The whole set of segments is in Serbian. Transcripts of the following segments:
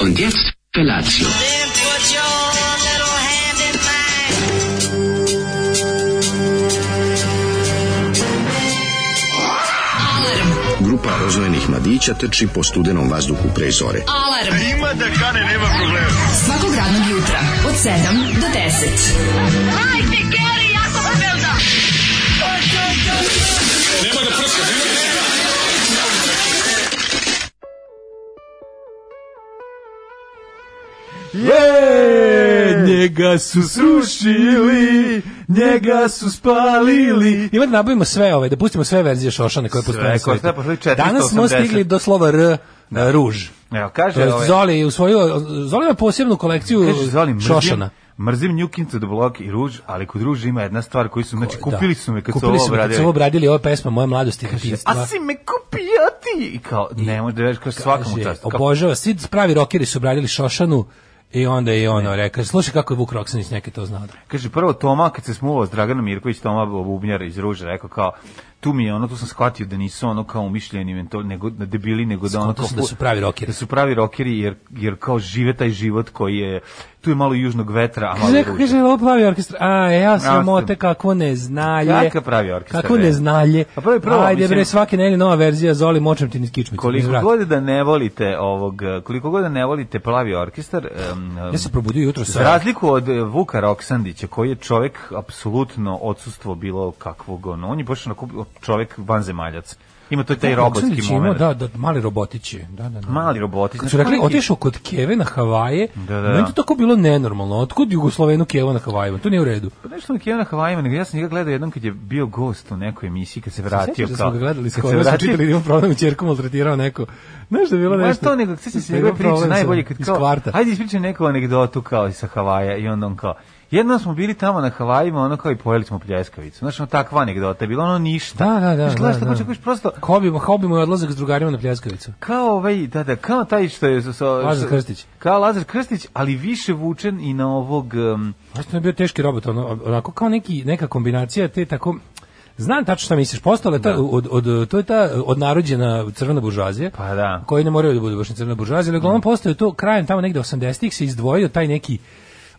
Und jetzt Felatio. Then put your little hand in mine. Grupa rozvojenih mladića trči po studenom vazduhu pre zore. Alarm. A ima da kane, nema problema. Svakog radnog jutra, od 7 do 10. Hajde, Geri, jako se velda. Je, njega su srušili, njega su spalili. Ima da nabavimo sve ove, da pustimo sve verzije Šošane koje postoje na koje svetu. ste pošli 480. Danas smo stigli do slova R, e, ruž. Evo, To je kaže ovaj... Zoli je usvojio, Zoli ima posebnu kolekciju Kaže, Zoli, mrzim, Šošana. Mrzim New Kids on the Block i Ruž, ali kod Ruž ima jedna stvar koju su, znači, kupili su me kad Kupili su ovo su me kad su obradili. ovo obradili, ovo je pesma moje mladosti i A detinjstva. si me kupio ti! I kao, ne može da veš, kao svakom Kaže, čast. Kao, Obožava, svi pravi rokeri su obradili Šošanu i onda je ono rekao, slušaj kako je Vuk Roksanić neki to znao. kaže, prvo Toma, kad se smuvao s Draganom Mirković, Toma Bubnjar iz Ruža, rekao kao, tu mi je ono, tu sam shvatio da nisu ono kao umišljeni mentori, nego, na debili, nego da ono Skonto kao... sam da su pravi rokeri. Da su pravi rokeri, jer, jer kao žive taj život koji je, tu je malo južnog vetra, a malo Kaže, ruže. kaže, ovo plavi orkestar. A, ja sam Orkestar. ote kako ne znalje. Kakav pravi orkestar, Kako bre? ne znalje. Pa prvo i prvo, Ajde mislim- bre, svake nedelje nova verzija Zoli močem ti niz kičmicu. Koliko niz vrata. god da ne volite ovog, koliko god da ne volite plavi orkestar, em, Ja sam probudio jutro za sa... razliku od e, Vuka Roksandića, koji je čovek apsolutno odsustvo bilo kakvog, ono, on je baš onako čovek vanzemaljac. Ima to taj robotski Oksanić je imao, moment. Da, da, mali robotići. Da, da, da. Mali robotić. Kad su rekli, otišao kod Keve na Havaje, Da, da, da. meni to tako bilo nenormalno. Otkud Jugoslovenu Keva na Havajima? To nije u redu. Pa nešto na Kijana Havajima, nego ja sam njega gledao jednom kad je bio gost u nekoj emisiji, kad se vratio. Sjećaš da kao- smo ga gledali, kad skoro se da smo vratio- čitali da ima problem, čerku maltretirao neko. Znaš da je bilo Baš Ono nešto? to nego, sjećam se Njegov njegove priče, problem sa- najbolje kad iz kao, kvarta. ajde ispričaj neku anegdotu kao i sa Havaja i onda on kao, jednom smo bili tamo na Havajima, ono kao i pojeli smo pljeskavicu. Znaš, ono takva anegdota, je bilo ono ništa. Da, da, da, Znaš, gledaš da, tako da. čekaš prosto, Hobi, hobi mu je odlazak s drugarima na pljeskavicu. kao ovaj, da, da, kao taj što je... So, Lazar Krstić. Kao Lazar Krstić, ali više vučen i na ovog... Um, Znaš što je bio teški robot, ono, onako kao neki, neka kombinacija te tako... Znam tačno šta misliš, postala je ta, od, od, to je ta odnarođena crvena buržuazija, Pa da. Mm. koji ne moraju da budu baš ni crvena buržuazija, ali uglavnom postoje to krajem tamo negde 80-ih se izdvojio taj neki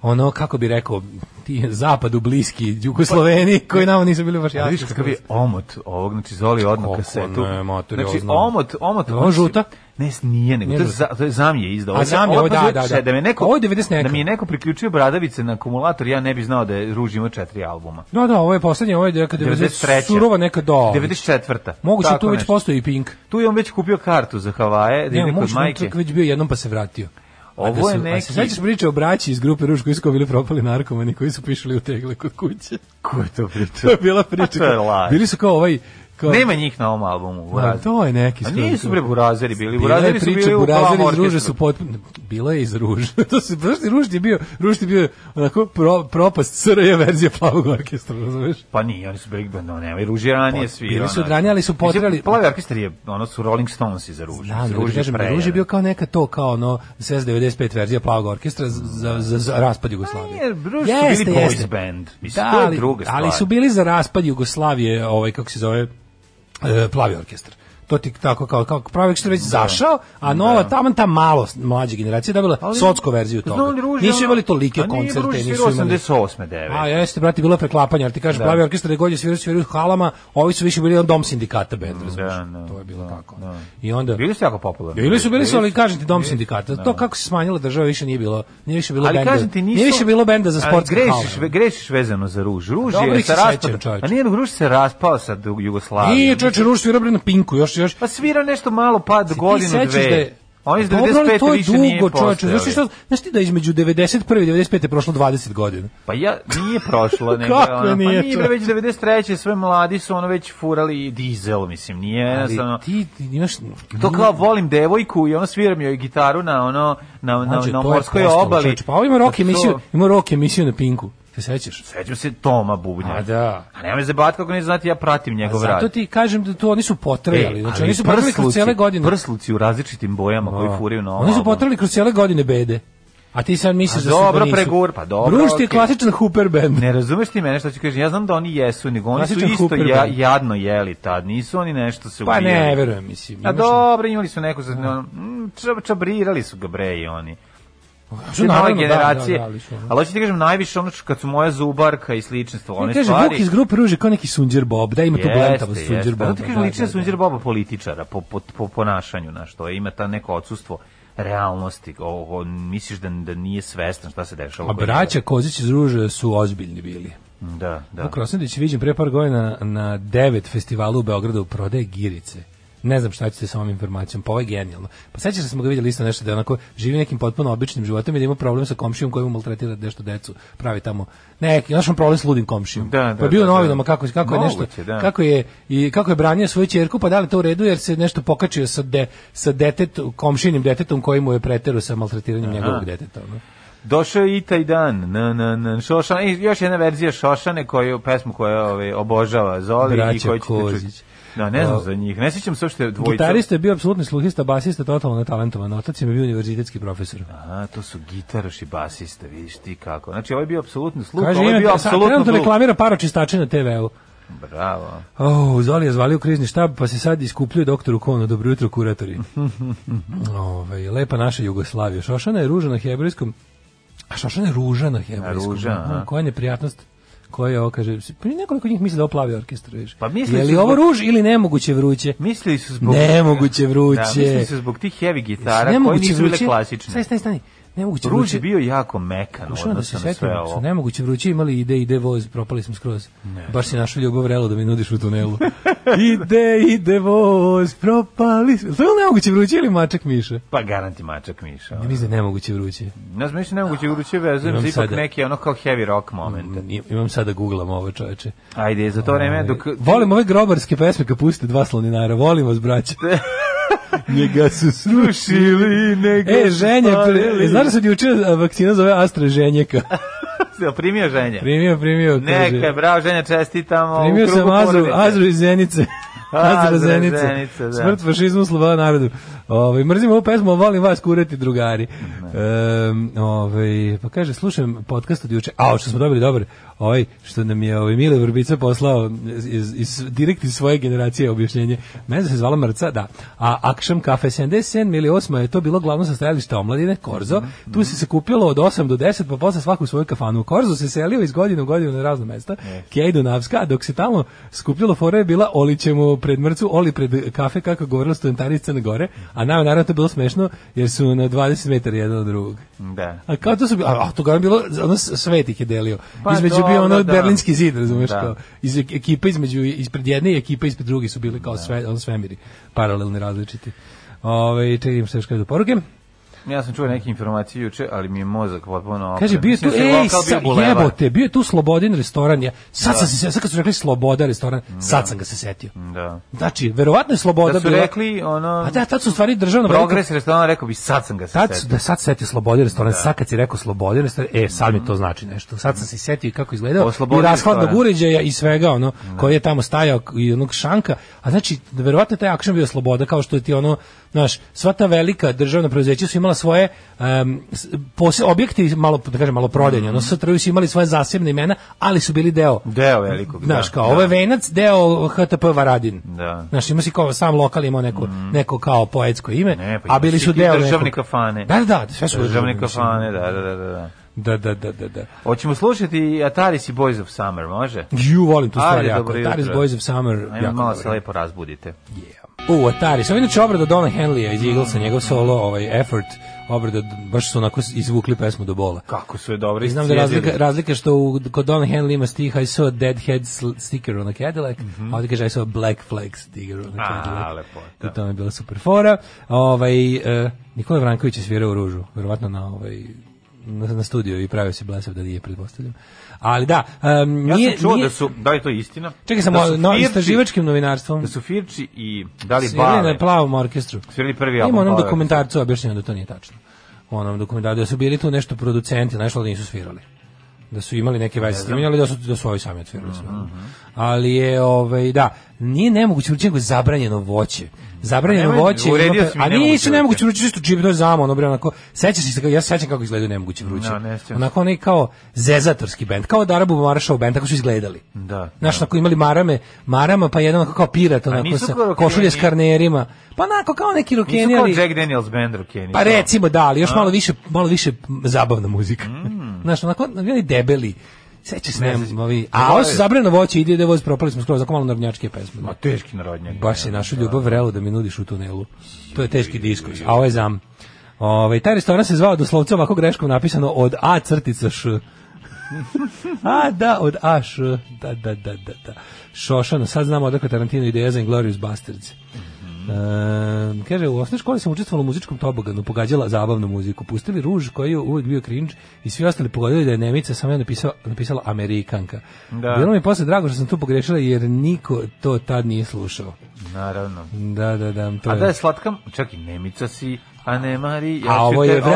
ono, kako bi rekao, ti zapadu bliski, Jugosloveni, koji nama nisu bili baš ali jasni. Pa, vidiš kakav je omot ovog, znači Zoli odno Kako kasetu. ne, materija, znači, znam. omot, omot... Je li on žuta? Ne, nije, nego Nije to, je žuta. za, to je zamje izdao. A Zamje, ovo, da, da, pazi, da. Da, me neko, Ovo je 90 neka. da mi je neko priključio bradavice na akumulator, ja ne bi znao da je Ruž imao četiri albuma. Da, da, ovo je poslednje, ovo je neka 93. 93. Surova neka do. 94. Moguće Tako tu već nešto. postoji i Pink. Tu je on već kupio kartu za Havaje, da Ne, ide muž kod je majke. čak već bio jednom pa se vratio. A Ovo da Dakle, su- je A se neki- sećaš priče o braći iz grupe Ruš koji su kao bili propali narkomani koji su pišali u tegle kod kuće? Ko je to To pričao? je bila priča. to je laž. Bili su kao ovaj... Kao, Nema njih na ovom albumu. A, Burazeri. to je neki A skroz- nisu bre burazeri bili. Bila je Burazeri su priča, bili u burazeri plavom iz ruže orkestru. su potpuno... Bila je iz ruže. to se, znaš ti, ruž je bio, ruž je bio onako pro, propast SRJ verzija plavog orkestra, razumeš? Pa nije, oni su bili, no nema, i Ruži je ranije svi. bili su od ranije, ali su potrali- Plavi orkestar je, ono su Rolling Stones iza Ruži. Da, Ruži Ruž je kažem, pre, Ruž je ne. bio kao neka to, kao ono, SS 95 verzija plavog orkestra za, za, za, za raspad Jugoslavije. Nije, Ruž Pa su bili boys band. Mislim, to je ali- druga stvar. Ali su bili za raspad Jugoslavije, ovaj, kako se zove, e, plavi orkestar. To ti tako kao, kao pravi orkestar već zašao, a nova, da. tamo ta malo s- mlađa generacija je dobila socko verziju toga. Znam li, Ruž je nisu ono- imali tolike A nije, Ruž koncerte, je nisu svirao imali... 88. 9. A jeste, brate, bilo je preklapanje, ali ti kažeš, plavi orkestar je godine svirao, svirao u halama, ovi su više bili on dom sindikata band, razumiješ? da, to je bilo tako. da. I onda... Bili su jako popularni. Bili su, bili su, ali kažem ti dom sindikata. To kako se smanjila država više nije bilo, nije više bilo Ali benda. kažem ti nisu... Nije više bilo benda za Ali sportske grešiš, ve- hale. grešiš vezano za Ruž. Ruž Dobro je ih sa se raspadom. sećam, čoveče. A nije, nego Ruž se raspao sa Jugoslavijom. Nije čoveče Ruš svirao bre na Pinku, još još. Pa svira nešto malo pad godinu, sećaš dve. da je- Pa On iz Dobro, ali 95 više nije čoveče. postojao. Znaš ti šta, znaš ti da između 91. i 95. je prošlo 20 godina. Pa ja, nije prošlo. nego, Kako ono, nije, Pa nije, bre, već 93. sve mladi su ono već furali i dizel, mislim. Nije jednostavno... Ali ti, ti imaš To kao volim devojku i ono sviram joj gitaru na ono na na Mlađe, na Znači, to je morskoj postalo, obali. čoveče. Pa ovo ima rock To- emisiju, ima rock emisiju na Pinku. Se sećaš? Sećam se Toma Bubnja. A da. Pa A nema se bat kako ne znate, ja pratim njegov rad. E, Zato ti kažem da tu oni su potrajali. Znači oni su potrajali kroz cijele godine. Prsluci u različitim bojama koji furaju na ovom Oni su albumu. potrali kroz cijele godine bede. A ti sad misliš A da su dobro, da nisu. pregur, pa dobro, Bruš ti okej. je klasičan hooper band. Ne razumeš ti mene što ću kažem, ja znam da oni jesu, nego oni su Klasičan isto Hooper ja, band. jadno jeli tad, nisu oni nešto se pa ubijali. ne, verujem, mislim. A imaš- dobro, imali su neku za... mm, čab- čabrirali su ga bre i oni. Što, Sve nove naravno, da, generacije. da, da, ali su ono- ali hoću ti kažem najviše ono što- kad su moja zubarka i slične stvari, Ne one kaže stvari. Vuk iz grupe Ruže kao neki Sunđer Bob, da ima tu blentavo Sunđer Bob. Boba. Zato kažem, lične Sunđer Boba političara po, po, po ponašanju, znaš, to je, ima ta neko odsustvo realnosti, o, o, misliš da, da nije svestan šta se dešava. A oko njega. braća Kozić iz Ruže su ozbiljni bili. Da, da. Vuk Rosnedić je viđen pre par godina na devet festivalu u Beogradu prodaje girice. Ne znam šta ćete sa ovom informacijom, pa ovo je genijalno. Pa sećaš se da smo ga vidjeli isto nešto da je onako živi nekim potpuno običnim životom i da ima problem sa komšijom koji mu maltretira nešto decu, pravi tamo neki, znaš on problem s ludim komšijom. Da, da, pa je bio da, u da. novinama kako, kako je nešto, Moguće, da. kako je i kako je branio svoju ćerku, pa da li to u redu jer se nešto pokačio sa de, sa detet, komšinim detetom koji mu je preterao sa maltretiranjem njegovog deteta. ono. Došao je i taj dan. Na, na, na, Šošan, i još jedna verzija Šošane koju pesmu koja ove, obožava Zoli i Braća koju ćete čuti. Kozić. Da, ne znam O, za njih. Ne sjećam se uopšte dvojica. Gitarista je bio apsolutni sluhista, basista totalno netalentovan, otac im je bio univerzitetski profesor. Aha, to su gitaroš i basista, vidiš ti kako. Znači, ovo je bio apsolutno sluh, Kaže, ovo je bio ima, sad apsolutno trenutno glup. reklamira paro čistače na TV-u. Bravo. Oh, Zoli je zvali u krizni štab, pa se sad iskupljuje doktoru Konu. Dobro jutro, kuratori. Ove, lepa naša Jugoslavija. Šošana je ruža na hebrejskom. A Šošana je ruža na hebrejskom. Ruža, aha. Mm, Koja neprijatnost koja je ovo, kaže, pa nekoliko njih misli da ovo plavi orkestar, viš. Pa misli je li su ovo zbog- ruž ili nemoguće vruće? Mislili su zbog... Nemoguće vruće. Da, mislili su zbog tih heavy gitara koji nisu bile klasične. Stani, stani, stani. Nemoguće Ruž vruće. je bio jako mekan u Pokušavam da odnosu se na setim, sve ako su ovo. nemoguće vruće imali ide, ide voz, propali smo skroz. Baš si našao ljubav relo da mi nudiš u tunelu. ide, ide voz, propali smo. To je li nemoguće vruće ili mačak Miša? Pa garanti mačak Miša. Ja mislim da je nemoguće vruće. Ne znam, mislim nemoguće vruće vezujem Imam za ipak sada- neki ono kao heavy rock moment. Mm, Imam sada da googlam ovo čoveče. Ajde, za to vreme E, dok... Volim ove grobarske pesme kad puste dva slaninara. Volim vas, braće. Njega su Slušili nego... E, ženje, pri... znaš da se od juče a, vakcina zove Astra ženjeka. Jel primio ženja? Primio, primio. kaže. Neka, bravo, ženja, čestitamo. u Primio krugu sam Azru, porodice. Azru iz Zenice. Azra Azra iz Zenice. Zenice, da. Smrt fašizmu, sloboda narodu. Ovaj mrzim ovu pesmu, a volim vas kurati drugari. Ehm, ovaj pa kaže slušam podcast od juče. A, što smo dobili dobro. Ovaj što nam je ovaj Mile Vrbica poslao iz, iz, iz direkt iz svoje generacije objašnjenje. Mene se zvala Mrca, da. A Akšam Kafe 77 ili 8 je to bilo glavno sastajalište omladine Korzo. Tu se se kupilo od 8 do 10, pa posle svaku svoju kafanu. Korzo se selio iz godine u godinu na razna mesta. Kej Dunavska, a dok se tamo skupljalo fora je bila Oli ćemo pred mrcu, Oli pred kafe, kako je govorila studentari iz Crne Gore, a nama je naravno to bilo smešno, jer su na 20 metara jedan od drugog. Da. A kao to su bilo, a, a to ga je bilo, ono svet ih je delio. Pa između dobro, bio ono da. berlinski zid, razumeš, Da. kao, iz ekipa između, ispred jedne i ekipa ispred druge su bili kao sve, ono svemiri, paralelni različiti. Ove, čekaj, imam se još kada poruke. Ja sam čuo neke informacije juče, ali mi je mozak potpuno... Kaže, opren. bio je tu, Mislim da se ej, lokal bio sa, bulevar. jebote, bio je tu Slobodin restoran, ja, sad sam se, se- sad kad su rekli Sloboda restoran, sad sam ga se setio. Da. Znači, verovatno je Sloboda Da su bila- rekli, ono... A da, tad su u stvari državno... Progres restorana, rekao bi, sad sam ga se Tad, su- setio. da sad setio Slobodin restoran, sad kad si rekao Slobodin restoran, e, sad mi to znači nešto. Sad sam se setio i kako izgledao, Ovo Slobodin i rashladnog restoran. uređaja i svega, ono, koji je tamo stajao k- i onog šanka. A znači, verovatno je taj akšan bio Sloboda, kao što je ti ono, znaš, sva ta velika državna preuzeća su imala svoje em, s- pose, objekti, malo, da kažem, malo Mm. prodajnje, ono, STRU su imali svoje zasebne imena, ali su bili deo Deo velikog, Znaš, da, kao, da. ovo je venac, deo HTP Varadin. Da. Mm. Znaš, ima si kao, sam lokal imao neko, neko kao poetsko ime, Ne, pa a imaš bili i su ti deo državne nekog- kafane. Da, da, da, sve su Državne mislim. kafane, da, da, da, da, da. Da, da, da, da, da. Hoćemo slušati Ataris i Boys of Summer, može? Ju, volim tu Ajde, stvar jako. dobro Ataris jutro. Boys of Summer, Ajmo jako malo dobro. se lepo razbudite. U, Ataris. Ovo je inače obrada Dona Henleya iz Eaglesa, njegov solo, ovaj, effort, obrada, baš su onako izvukli pesmu do bola. Kako su je dobro I znam da je razlika, razlika što u, kod Don Henley ima stih I saw a dead head sl- sticker on a Cadillac, a ovdje kaže I saw a black flag sticker on a Mhm. A, Cadillac. lepota. I to mi je bila super fora. Ovaj, eh, Nikola Vranković je svirao u ružu, verovatno na ovaj na, na studiju i pravio se blesav da nije pretpostavljam. Ali da, em, Ja nije, sam čuo nije, da su, da li je to istina? čekaj samo, da su no, Firči- istraživačkim novinarstvom Da su Firči i da li svirali Bale, na plavom orkestru. Svirali prvi Ima album onom Bale. dokumentarcu objašnjeno da to nije tačno. U onom dokumentarcu da su bili tu nešto producenti, nešto ali nisu svirali. da su imali neke veze s tim, ali da su da su ovi sami otvorili sve. Mhm, Ali je ovaj da, nije nemoguće uručiti nego zabranjeno voće. Zabranjeno Pa nemoj, voće, uredio ima- si mi a nemoguće nisu vruće. nemoguće vruće, isto čip do zamo, ono bre onako. Sećaš se kako ja se sećam kako izgledaju nemoguće vruće. Da, ne sećam se. onako onaj kao zezatorski bend, kao od Arabu Maršao bend, tako su izgledali. Da, Znaš, onako imali marame, marama, pa jedan onako kao pirat, onako nisu sa kao rokeni? košulje s karnerima. Pa onako kao neki Nisu rokeni, kao ali... Jack Daniels band rokeni. Pa recimo da, ali još malo više, malo više zabavna muzika. Znaš, onako, oni debeli. Seća se, Ne nemam, znam. ovi... Zaboravio A ovo su sam. zabrano voće, ide da voz, propali smo skroz, tako malo narodnjačke pesme. Ma teški narodnjak. Baš je našu ljubav vrelo da mi nudiš u tunelu. To je teški diskurs, a ovo je zam. Ove, taj restoran se zvao doslovce ovako greškom napisano od A crtica Š. a da, od A Š. Da, da, da, da, da. Šošano, sad znamo odakle Tarantino ideja za Inglourious Bastards. E, kaže, u osnovnoj školi sam učestvovala u muzičkom toboganu, pogađala zabavnu muziku. Pustili ruž koji je uvijek bio cringe i svi ostali pogodili da je Nemica, samo ja napisao, napisala Amerikanka. Da. Bilo mi je posle drago što sam tu pogrešila jer niko to tad nije slušao. Naravno. Da, da, da, to A je. da je slatka, čak i Nemica si, a ne Mari, ja A ću ovo je te- ovo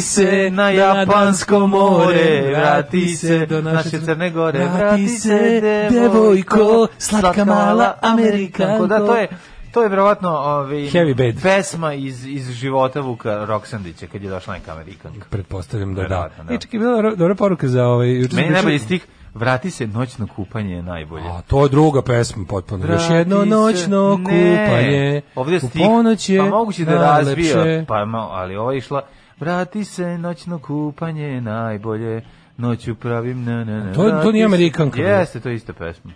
slatko se na na Japansko more, more, vrati se do naše Crne Gore, vrati se devojko, devojko, slatka mala Amerikanko. Da, to je To je verovatno ovaj Heavy bed. pesma iz iz života Vuka Roksandića kad je došla neka Amerikanka. Pretpostavljam da da. Verovatno, da. da. I čekaj, bila dobro- dobra poruka za ovaj... juče sam Meni je pričao- najbolji stih Vrati se noćno kupanje je najbolje. A to je druga pesma potpuno. Još Vrati jedno se- noćno Ne. kupanje. Ovdje je u stih, ponoć je pa moguće da je najlepše. razbio, pa malo, ali ova je išla, vrati se, noćno kupanje je najbolje, noću pravim, ne, ne, ne. To- to vrati nije se. Amerikanka bila. Jeste, to je ista pesma.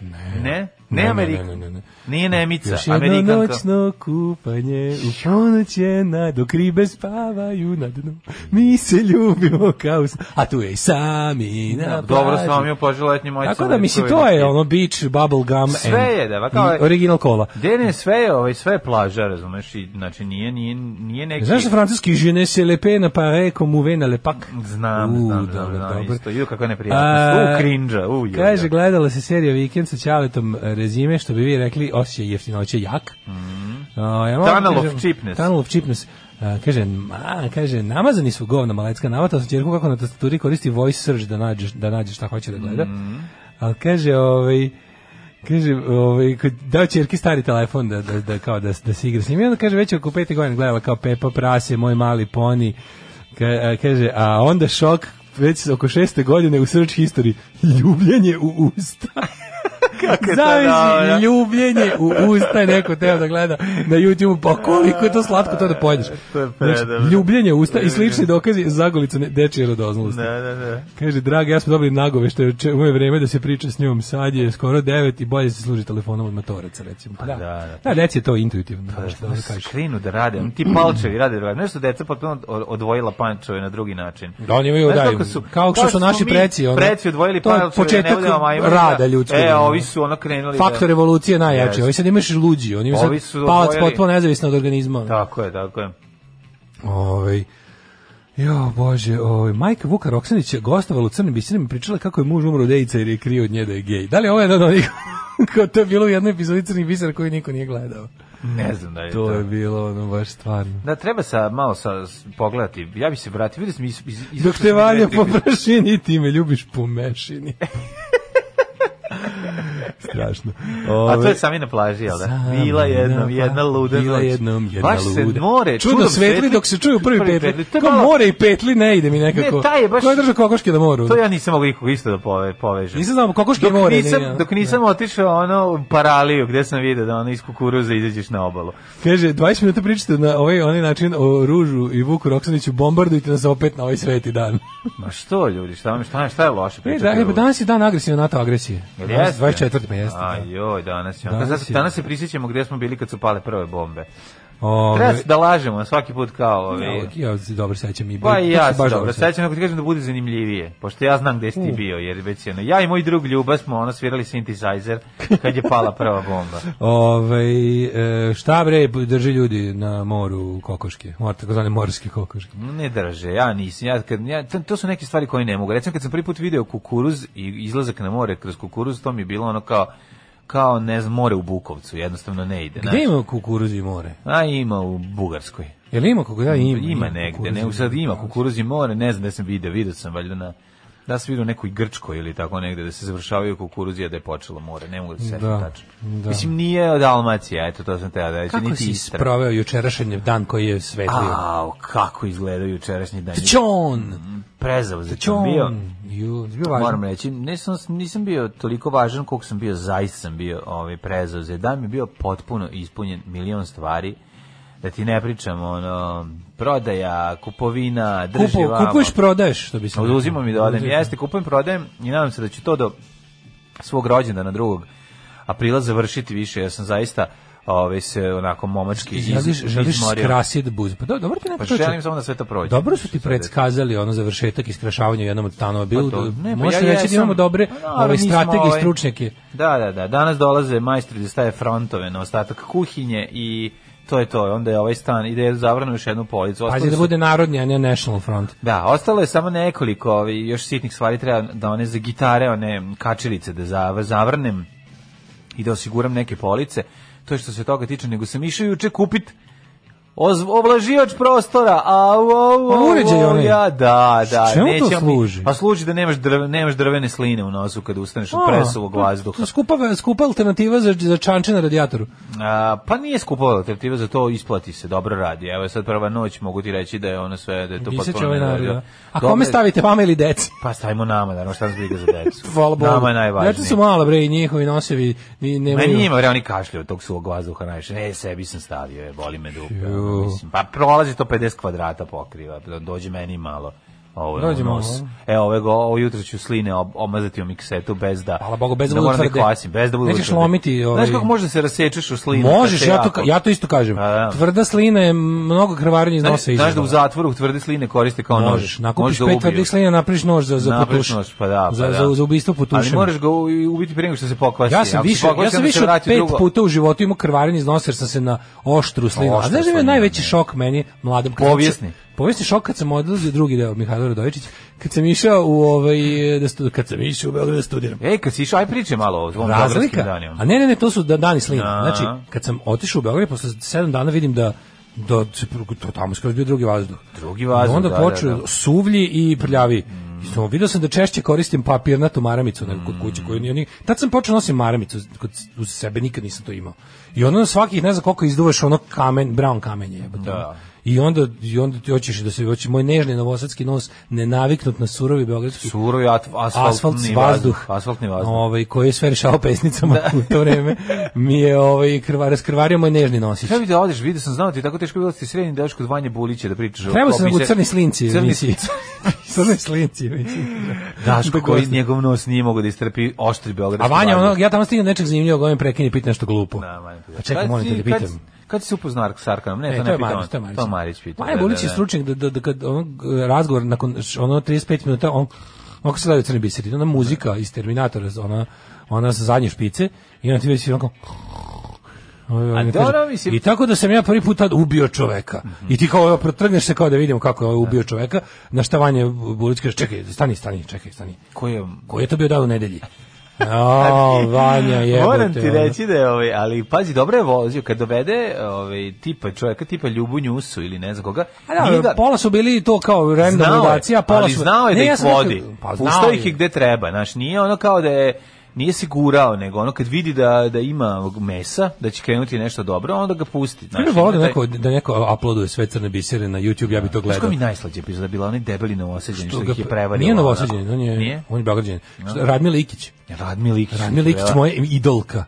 Ne, ne, ne, Amerika. Ne, ne, ne, ne. Nije Nemica, Još jedno Amerikanka. noćno kupanje, u ponoć je na dok ribe spavaju na dnu. Mi se ljubimo kao... s- A tu je i sami na Dobro plaži. sam vam ovaj je poželio letnji majicu. Tako da mislim to je ono beach, bubble gum Sve and- je, da, pa kao i je- original kola. Dene, sve je, ovaj, sve je plaža, razumeš, i, znači nije, nije, nije neki... Znaš da francuski je ne se lepe na pare comme uve na lepak? Znam, U, znam, dobro, znam, znam, dobro. isto. Ju, kako je A, neprijatno. U, krinđa, u, ju. Kaže, gledala se serija Vikend sa Ćaletom Rezime, što bi vi rekli, osjećaj jeftinoće jak. Mhm. Mm. ja moram Tunnel da of kažem- cheapness. Tunnel of cheapness. A, kaže, ma, kaže, namazani su govna malecka navata, sam čerku kako na tastaturi koristi voice search da nađe, da nađe šta hoće da gleda. Mhm. Ali kaže, ovaj, Kaže, ovaj, kod- dao ćerki stari telefon da, da, da, kao da, da se igra s njim. I onda kaže, već je oko pete godine gledala kao Pepa Prase, moj mali poni. Ka- a, kaže, a onda šok već oko šeste godine u search history. Ljubljenje u usta. Kako je to dobro. ljubljenje u usta je neko teo da gleda na YouTube. Pa koliko je to slatko to da pojedeš. To je Znači, predobro. ljubljenje u usta i slični dokazi zagolicu dečije radoznalosti. Da, da, da. Kaže, draga, ja smo dobili nagove što je če- u moje vreme da se priča s njom. Sad je skoro devet i bolje se služi telefonom od matoraca, recimo. Pa da, da, da, reci je to intuitivno. što Šta ono se kažeš. Krenu da rade, oni ti palčevi rade drugačije. Nešto deca potpuno od- odvojila pančeve na drugi način. Da, oni imaju, Znaš da, kako kao što su smo naši mi preci, ono, preci odvojili to je pančeve, početak ne budemo majmuni, da- rada ljudskog, E, ono. ovi su ono krenuli. da- Faktor evolucije najjači. Jeste. Ovi sad imaš luđi, oni imaju Ovi sad su palac odvojili. potpuno nezavisno od organizma. ono. Tako je, tako je. Ovaj Jo, bože, ovaj majka Vuka Roksanić je gostovala u Crnim bisinima i pričala kako je muž umro od AIDS-a jer je krio od nje da je gej. Da li je ovo jedan od onih kao to je bilo u jednoj epizodi Crnih bisera koju niko nije gledao? Ne znam da je To to. je bilo ono baš stvarno. Da, treba sa, malo sa, s- pogledati. Ja bi se vratio, vidio sam iz... iz, iz Dok te valja po prašini, ti me ljubiš po mešini. Strašno. A to Ove, je sami na plaži, jel da? Sama Bila jednom, na jedna plaži. luda Bila noć. jednom, jedna Baš se luda. more, Čudno čudom svetli dok se čuju prvi, petli. To je Kao malo- more i petli ne ide mi nekako. Ne, taj je baš- Ko je držao kokoške na moru? To ja nisam mogao nikog isto da pove, povežem. Nisam znao, kokoške dok i more. nisam, ne, ne. dok nisam otišao ono u paraliju gde sam vidio da ono iz kukuruza izađeš na obalu. Kaže, 20 minuta pričate na ovaj, onaj način o Ružu i Vuku Roksaniću, bombardujte nas opet na ovaj sveti dan. Ma što ljudi, šta, vam- šta, šta je loše E, pričati? da, e, danas je dan agresivne NATO agresije. Jel Danas, jeste? 24. pa jeste. Aj, Da. joj, danas je. Danas Danas, danas, je. se prisjećamo gde smo bili kad su pale prve bombe. Treba Ove, se da lažemo svaki put kao ja, ovi. ja se dobro sećam i Pa i ja baš se dobro, sećam. sećam ako ti kažem da bude zanimljivije, pošto ja znam gde si ti bio, jer već je ono, ja i moj drug Ljuba smo ono svirali synthesizer kad je pala prva bomba. Ovaj, e, šta bre, drži ljudi na moru kokoške, mor, takozvane morske kokoške. Ne drže, ja nisam. Ja, kad, ja, to- to su neke stvari koje ne mogu. Recimo kad sam prvi put video kukuruz i izlazak na more kroz kukuruz, to mi je bilo ono kao, kao ne znam, more u Bukovcu, jednostavno ne ide. Gde znaš. ima kukuruz i more? A ima u Bugarskoj. Je li ima kukuruz? Da, ima. Ima, negde, kukuruz i ne, sad ima more. kukuruz i more, ne znam da sam video, video sam valjda na da se vidi u nekoj Grčkoj ili tako negde, da se završavaju kukuruzija da je počelo more, ne mogu da se setim Da, tačno. da. Mislim, nije Dalmacija, eto to sam teo da reći, Kako niti si Istra. sproveo jučerašnji dan koji je svetlio? Au, kako izgledao jučerašnji dan. Čon! Prezauzet sam bio. Čon! Ju, bio važan. Moram reći, nisam, nisam bio toliko važan koliko sam bio, zaista sam bio ovaj, prezauzet. Dan mi je bio potpuno ispunjen milion stvari. Da ti ne pričam, ono, prodaja, kupovina, drži Kupu, vamo. kupuješ, prodaješ, što bi se... reklo. Oduzimam i dodajem. Oduzimam. Jeste, kupujem, prodajem i nadam se da ću to do svog rođendana drugog aprila završiti više, ja sam zaista ovaj se onako momački iz, Želiš, želiš izmorio. skrasit buz. Pa do, dobro ti Pa nekako želim samo da sve to prođe. Dobro su ti Mislim, sad, predskazali ono završetak iskrašavanja u jednom od stanova. Bilo, to- ne, pa možete ja reći da jesam- imamo dobre Pa naravno, ove, mi smo, strategije i ovaj, stručnjake. Da, da, da. Danas dolaze majstori da staje frontove na ostatak kuhinje i to je to. Onda je ovaj stan ide zavrano u još jednu policu. Ostali Pazi da su- bude narodni, a ne National Front. Da, ostalo je samo nekoliko ovi, još sitnih stvari treba da one za gitare, one kačilice da zav- zavrnem i da osiguram neke police. To je što se toga tiče, nego sam išao juče kupit oz- oblaživač prostora, a u Ono uređaj onaj. ja, da, da. Čemu to neće mi- služi? Pa služi da nemaš, drv, nemaš drvene sline u nosu kada ustaneš od A, pa presovog to- vazduha. to Skupa, skupa alternativa za, za čanče na radijatoru. A, pa nije skupo alternativa za to, isplati se, dobro radi. Evo sad prva noć, mogu ti reći da je ono sve, da je to Viseće potpuno ovaj narod, nevredno. da. A Dobro kome je- stavite, vama ili deci? Pa stavimo nama, naravno, šta nas briga za decu. Hvala Bogu. Nama je najvažnije. Deca su mala, bre, i njihovi nosevi. Ni, nemaju... Meni njima, bre, oni kašlju od tog suvog vazduha najviše. Ne, sebi sam stavio, je, boli me dupe. Ju. Mislim, pa prolazi to 50 kvadrata pokriva, dođe meni malo. Ovo, Dođe u nos. malo. E, ove, go, ovo jutro ću sline ob, omazati u miksetu bez da... Hvala Bogu, bez da da budu moram tvrde. Da kvasim, bez da budu Nećeš tvrde. lomiti, ovaj- Znaš kako možeš da se rasečeš u slinu? Možeš, kad te ja to, jako- ka- ja to isto kažem. A, da. Tvrda slina je mnogo krvarenja iz Znaš- nosa Znaš da u izazvala. zatvoru tvrde sline koriste kao nož. Možeš, nakupiš Možeš ga pet ubiju. tvrdih slina, napraviš nož za, za Napraviš potuš. nož, pa da, pa za, da. za, za ubistvo potušem. Ali moraš ga u- ubiti prije nego što se pokvasi. Ja sam Ako se više, pokvasi, ja sam onda se više od vrati pet drugo. puta u životu imao krvarenje iz nosa jer sam se na oštru slinu. A Oštru znaš da mi je slinu, najveći ne. šok meni mladom? kad sam- Povijesni. Povijesni šok kad sam odlazio drugi deo Mihajlo Radovičić, kad sam išao u ovaj, eh, da stu, kad sam išao u Beograd da studiram. Ej, kad si išao, aj priče malo o svom beogradskim Razlika? danima. A ne, ne, ne, to su da, dani slina. Da. Znači, kad sam otišao u Beograd, posle sedam dana vidim da da se pru- to tamo skroz bio drugi vazduh. Drugi vazduh, Onda da, počeo da, Mm. da. suvlji i prljavi. I sam video sam da češće koristim papirnatu maramicu nego kod Mm. kuće koju ni Tad sam počeo nosim maramicu kod uz sebe nikad nisam to imao. I onda na svakih ne znam koliko izduvaš ono kamen, brown kamenje jebote. Da. I onda i onda ti hoćeš da se hoće moj nežni novosadski nos nenaviknut na surovi beogradski Surovi at- asfaltni asfalt, vazduh. vazduh, Asfaltni vazduh. Ovaj koji je sve rešavao pesnicama u to vreme. Mi je ovaj krvar raskrvario moj nežni nosić. Treba bi da odeš, vidio sam, znao ti je tako teško bilo da si srednji deo kod Vanje Bulića da pričaš. o- Treba o se nego biser- crni slinci, Crni mislim. slinci. Crni slinci, mislim. Daško koji gosti. njegov nos nije mogao da istrpi oštri A beogradski Vanja, vazduh. ono, ja tamo stignem nečeg zanimljivog, ovaj prekinje, pita nešto glupo. Da, Vanja, A čekaj, kad molim te si- da kad- pitam. Kad si se upoznao sa Arkanom? Ne, Ne, to E, to ne je pitam. Marić, to je Marić. To Marić pitao. Maja da, Bulić da, je da. stručnjak da, da, da kad on eh, razgovor nakon š- ono 35 minuta, on kako se gledaju crni biseri, ona muzika iz Terminatora, ona, ona sa zadnje špice i onda ti već onako Ovaj, on dobro, kaže, mislim- Mhm. I tako da sam ja prvi put tad ubio čoveka. I ti kao evo, protrgneš se kao da vidimo kako je ovaj ubio čoveka, na šta Vanja Bulić kaže, čekaj, stani, stani, čekaj, stani. Ko je... Koji je to bio dan u nedelji? A, Vanja, jebote. Moram ti ono. reći da je, ovaj, ali pazi, dobro je vozio, kad dovede ovaj, tipa čovjeka, tipa Ljubu Njusu ili ne znam koga, A Pa da, ono, nije ga- pola su bili to kao random Znao je, dodacija, pola ali su... znao je Ne, da ja ih sam rekao- vodi. Pa znao Pustao je. ih je gde treba, znaš, nije ono kao da je nije se gurao, nego ono kad vidi da, da ima mesa, da će krenuti nešto dobro, onda ga pusti. Ja Znaš, bih volao da ima taj- neko, da neko uploaduje sve crne bisere na YouTube, ja bih to Znaš koja gledao. mi je najslađa epizoda bila, onaj debeli novoseđen što, To ga- ih je prevario. Nije novosađen, on je, Nije? on je beograđan. Što- Radmila Ikić. Radmil Ikić. Radmila Ikić, moja idolka.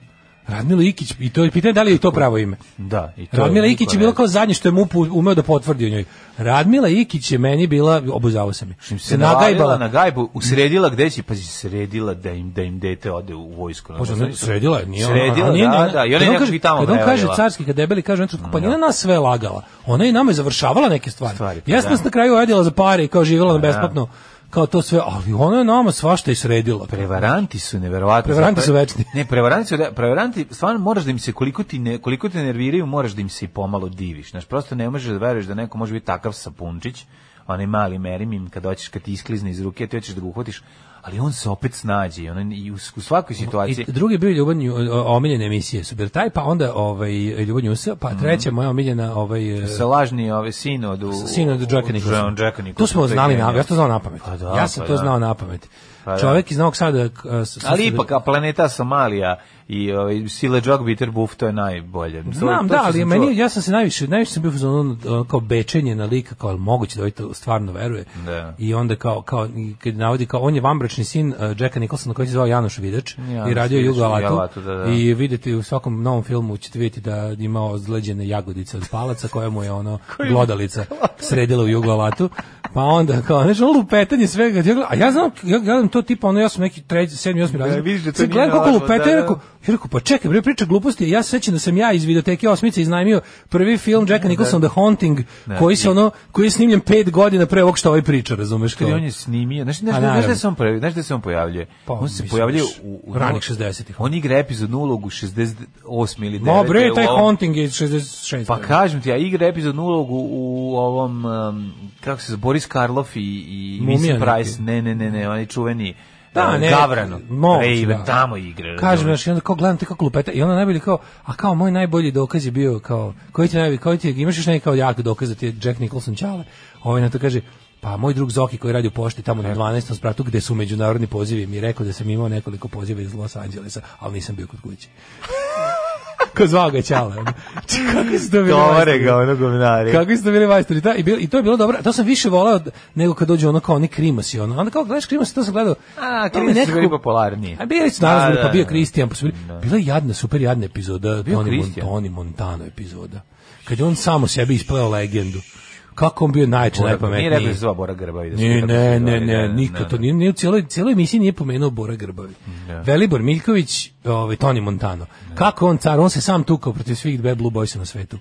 Radmila Ikić, i to je pitanje da li je to pravo ime. Da, i to Radmila niko Ikić je ne bila zna. kao zadnje što je MUP umeo da potvrdi o njoj. Radmila Ikić je meni bila, obuzavao sam je, se se nagajbala nagajbala. na gajbu, usredila gde će, pazi, sredila da im, da im dete ode u vojsku. na Može, ne, novosađencu. ono, sredila je, nije ona. Sredila, a nije, da, ona- da, i ona kad je on nekako kaže- i tamo Kad on kaže prevarila. carski, kad debeli kaže, on pa nije na nas sve lagala. Ona je nama je završavala neke stvari. Stvari, pa ja sam da. nas na kraju odjela za pare i kao živjela na besplatno, kao to sve, ali ona je nama svašta i sredila. Prevaranti su neverovatni. Prevaranti su večni. Ne, prevaranti su, da, prevaranti, stvarno moraš da im se, koliko ti, ne, koliko te nerviraju, moraš da im se i pomalo diviš. Znaš, prosto ne možeš da veruješ da neko može biti takav sapunčić, onaj mali merimim, kad hoćeš, kad ti isklizne iz ruke, ti hoćeš da ga uhvatiš, ali on se opet snađe i, on, i u, u svakoj situaciji. I drugi je bio Ljubav Nju- o- omiljene emisije su bili taj, pa onda ovaj, Ljubav Njusa, pa treća moja omiljena ovaj, e, Mhm. sa lažni ove sinod u Sin od Jacka Nicholsona. To smo znali na, ja sam to znao na pamet. Pa da, ja sam pa to da. znao na pamet. Pa da. Čovjek iz Novog Sada... k- a, s- Ali s- ipak, a planeta Somalija i ovaj, Sile Jog Bitter Buff, to je najbolje. To- Znam, to da, što ali sam čuo. meni, ja sam se najviše, najviše sam bio za ono, ono kao bečenje na lika, kao ali moguće da ovaj to stvarno veruje. Da. I onda kao, kao i kad navodi kao, on je vambračni sin uh, Jacka Nicholsona koji se zvao Janoš Vidač Janoš i radio Vidač, Jugo Alatu. Alatu, da, da. I vidite u svakom novom filmu ćete vidjeti da ima ozleđene jagodice od palaca koja mu je ono glodalica sredila u Jugo Alatu. Pa onda kao, znaš, ono lupetanje svega. Ja gledam- A ja znam, ja gledam to tipa, ono, ja sam neki treći, sedmi, osmi razred. vidiš da to Sad nije gledam kako lako, lupeta da, i da. rekao, ja rekao, pa čekaj, bre, priča gluposti, ja se sećam da sam ja iz videoteke Osmice iznajmio prvi film Jacka Nicholsona The Haunting, koji se ono, koji je snimljen pet godina pre ovog što ovaj priča, razumeš kao? Kad on je snimio, znaš, znaš, A, znaš, Pa naravno. gde se on pojavljuje, znaš gde se on pojavljuje? Pa, on se mislim, pojavljuje još u, u ranih 60-ih. On igra epizodnu ulogu 68 ili 9. Ma bre, taj u ovom- Haunting je 66. Pa kažem ti, ja igra epizodnu ulogu u ovom, um, kako se zove, Boris Karloff i, i Mumija Vincent neki. Price, ne, ne, ne, ne, oni čuveni Da, uh, ne, Gavrano, moguće, Raven, da. tamo igra. Kažem, razumeš? znaš, i onda kao gledam te kako lupeta i onda najbolje kao, a kao moj najbolji dokaz je bio kao, koji ti je najbolji, koji ti je, imaš još neki kao jak dokaz da ti je Jack Nicholson čale. Ovaj na to kaže, pa moj drug Zoki koji radi u pošti tamo E. na 12. spratu gde su međunarodni pozivi mi je rekao da sam imao nekoliko poziva iz Los Angelesa, ali nisam bio kod kuće. Ko zvao ga Ćale. ono. Či, Kako su to bili Dovare majstori? ga, ono govnari. Kako su to bili majstori? Da, i, bil, I to je bilo dobro. To sam više volao d- nego kad dođe ono kao oni Krimos i ono. Onda kao gledaš Krimos, to sam gledao. A, To mi Krimos su nekako- bili popularniji. A bili su naravno, A, bili, pa da, bio da. Kristijan, pa su bili. Bila je jadna, super jadna epizoda Bio Tony, Mon, Kristijan. Tony Montano epizoda. Kad je on samo sebi ispleo legendu. Kako on bio najče, Nije rekao da najpametniji. se zva Bora Grbavi. Da su Ne, tako ne, se ne, zvali, ne, da, nikad da, to nije, nije u cijeloj, cijeloj emisiji nije pomenuo Bora Grbavi. Velibor Miljković, ovaj, Toni Montano. Kako on car, on se sam tukao protiv svih dve Blue Boysa na svetu.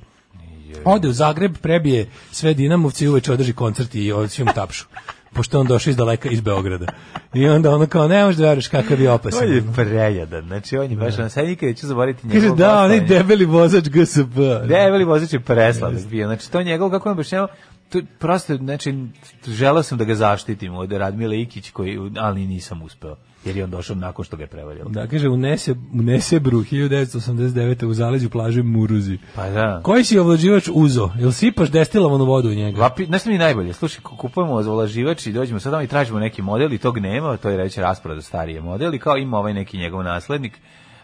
Ode u Zagreb, prebije sve Dinamovce i uveče održi koncert i ovaj svim tapšu. Pošto je on došao iz daleka, iz Beograda. I onda ono kao, ne možeš da veriš kakav je opasan. On je prejadan, znači on je baš on sad nikad neću zaboraviti njegov. Kaže, da, onaj glasanje. debeli vozač GSP. Debeli vozač je presladak bio. Znači to njegov kako on objašnjavao to prosto znači želeo sam da ga zaštitim od Radmila Ikić koji ali nisam uspeo jer je on došao nakon što ga je prevario. Da, kaže, unese, unese bruh 1989. u zaleđu plaže Muruzi. Pa da. Koji si ovlađivač uzo? Jel sipaš destilovanu vodu u njega? Lapi, znaš šta mi je najbolje? Slušaj, ku- kupujemo ozvolaživač i dođemo sad i tražimo neki model i tog nema, to je reći rasproda starije model i kao ima ovaj neki njegov naslednik.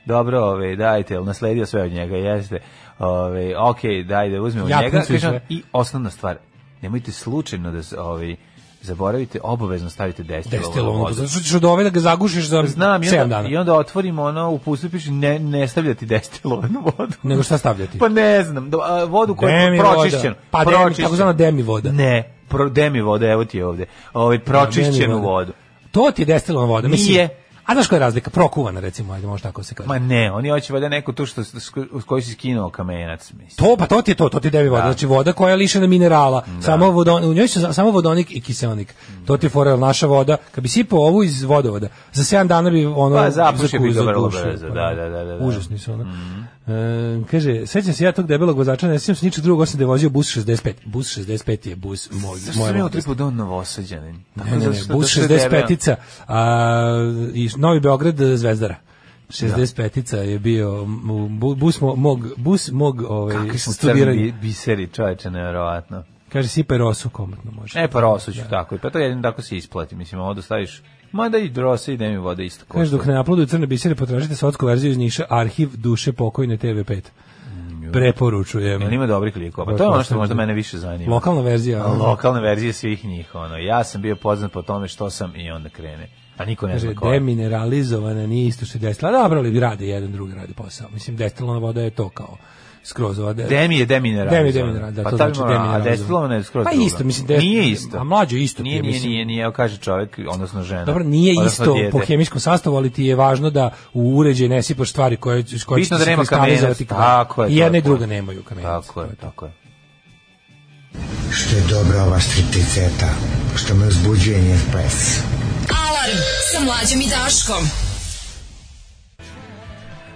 Dobro, ove, dajte, jel nasledio sve od njega, jeste. Ove, ok, dajde, uzmemo Japnicu njega. i sve. Kaže on, I osnovna stvar, nemojte slučajno da s- ove, zaboravite, obavezno stavite destilovanu Destilovanu vodu. vodu. Zato što ćeš od ove da ga zagušiš za Znam, i 7 onda, dana. i onda otvorimo ono, u pustu piše, ne, ne stavljati destilovanu vodu. Nego šta stavljati? Pa ne znam, do- a, vodu koja je Demi pročišćena. voda. Pa demi, takozvana demi voda. Ne, pro, demi voda, evo ti je ovde. Ovaj Da, pročišćenu meni voda. vodu. To ti je destilovana voda. Mislim, Nije. A znaš koja je razlika? Prokuvana, recimo, ajde, može tako se kaže. Ma ne, oni hoće valjda neku tu što s s koju si skinuo kamenac, mislim. To, pa to ti je to, to ti je devi voda. Znači voda koja je lišena minerala, samo vodon, u njoj su za- samo vodonik i kiseonik. To ti je fora, jer naša voda, kad bi sipao ovu iz vodovoda, za 7 dana bi ono... Pa, zapušio bi zaku- ga vrlo zagušio, brzo, pa da, da, da, Mhm. da, da. Užasni su ono. E, kaže, sećam se ja tog debelog vozača, ne sećam se ničeg drugog, osim da je vozio bus 65. Bus 65 je bus moj, Zašto moja sam ja mladost. utripo da on novosađanin? Tako Ne, ne, zato ne, što- bus zato što je debel. 65-ica, a, i Novi Beograd e, Zvezdara. 65-ica je bio m, bu- bus mo- mog, bus mog ovaj, Kakvi smo crni studiranja. biseri, čoveče, nevjerovatno. Kaže, sipaj rosu komotno može. E, pa rosu ću tako, i pa to jedin tako se isplati, mislim, ovo da staviš, ma da i rose i demi voda isto košta. Kaže, dok ne uploaduju crne bisere, potražite sotsku verziju iz Niša, arhiv duše pokojne TV5. Preporučujem. Mm, Jel ima dobrih likova? Pa to je ono što možda mene više zanima. Lokalna verzija. Lokalne verzije svih njih, ono. Ja sam bio poznat po tome što sam i onda krene. A niko ne zna Kaže, ko je. demineralizovana nije isto što je destilana. Dobro, ali rade jedan drugi radi posao. Mislim, destilana voda je to kao skroz ova de- Demi je demineralizovan. Demi je demineralizovan, da, pa to taj znači mora- demineralizovan. A destilovana je skroz Pa druga. isto, mislim, dest- Nije isto. a mlađe isto Nije, pije, nije, mislim. nije, nije, evo kaže čovjek, odnosno žena. Dobro, nije odnosno isto dijete. po hemijskom sastavu, ali ti je važno da u uređaj ne sipaš stvari koje, s koje Bitno će ti da nema se kristalizovati kamenac, tako je, I jedna i tako je. druga nemaju kamenac. Tako je, tako je. Što je dobra ova stripticeta, što me uzbuđuje njen pes. Alarm sa mlađom i Daškom.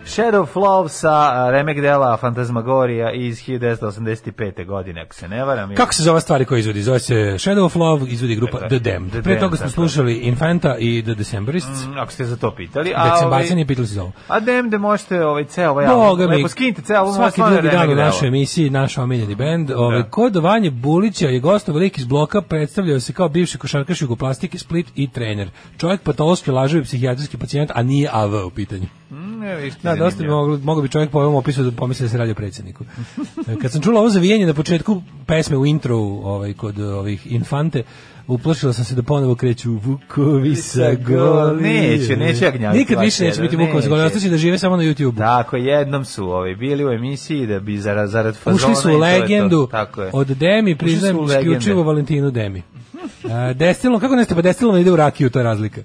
Shadow of Love sa remek dela Fantasmagoria iz 1985. godine, ako se ne varam. Kako se zove stvari koje izvodi? Zove se Shadow of Love, izvodi grupa The Damned. The Pre toga Damned, smo tako. slušali Infanta i The Decemberists. Mm, Ako ste za to pitali. a Decembarcani ovi- i Beatles iz ovo. A dem da možete ovaj ceo ovaj album. Boga mi, Lepo skinite ceo album. svaki ovo je drugi dan u remek delo. našoj emisiji, naš omiljeni bend. Ovaj, Da. Kod Vanje Bulića je gosto velik iz bloka, predstavljao se kao bivši košarkaš Jugoplastike, Split i trener. Čovjek patološki lažovi psihijatrijski pacijent, a nije AV u pitanju. Mm, evo, vidiš ti Da, dosta bi zanimljivo. moglo, mogao bi čovjek po ovom opisu da pomisli da se radi o predsjedniku. E, Kad sam čula ovo zavijenje na početku pesme u intro ovaj, kod e, ovih infante, uplašila sam se da ponovo kreću Vukovi sa goli. Neće, neće ja gnjaviti Nikad vaš više neće jedan, biti Vukovi sa goli, neće. ostaće da žive samo na YouTube-u. Tako, jednom su ovaj, bili u emisiji da bi zarad, zarad fazona. Ušli su i u pa to je to. legendu Tako je. od Demi, Ušli su priznajem u legende. isključivo Valentinu Demi. E, Destilno, kako neste, pa destilno ide u rakiju, to je razlika.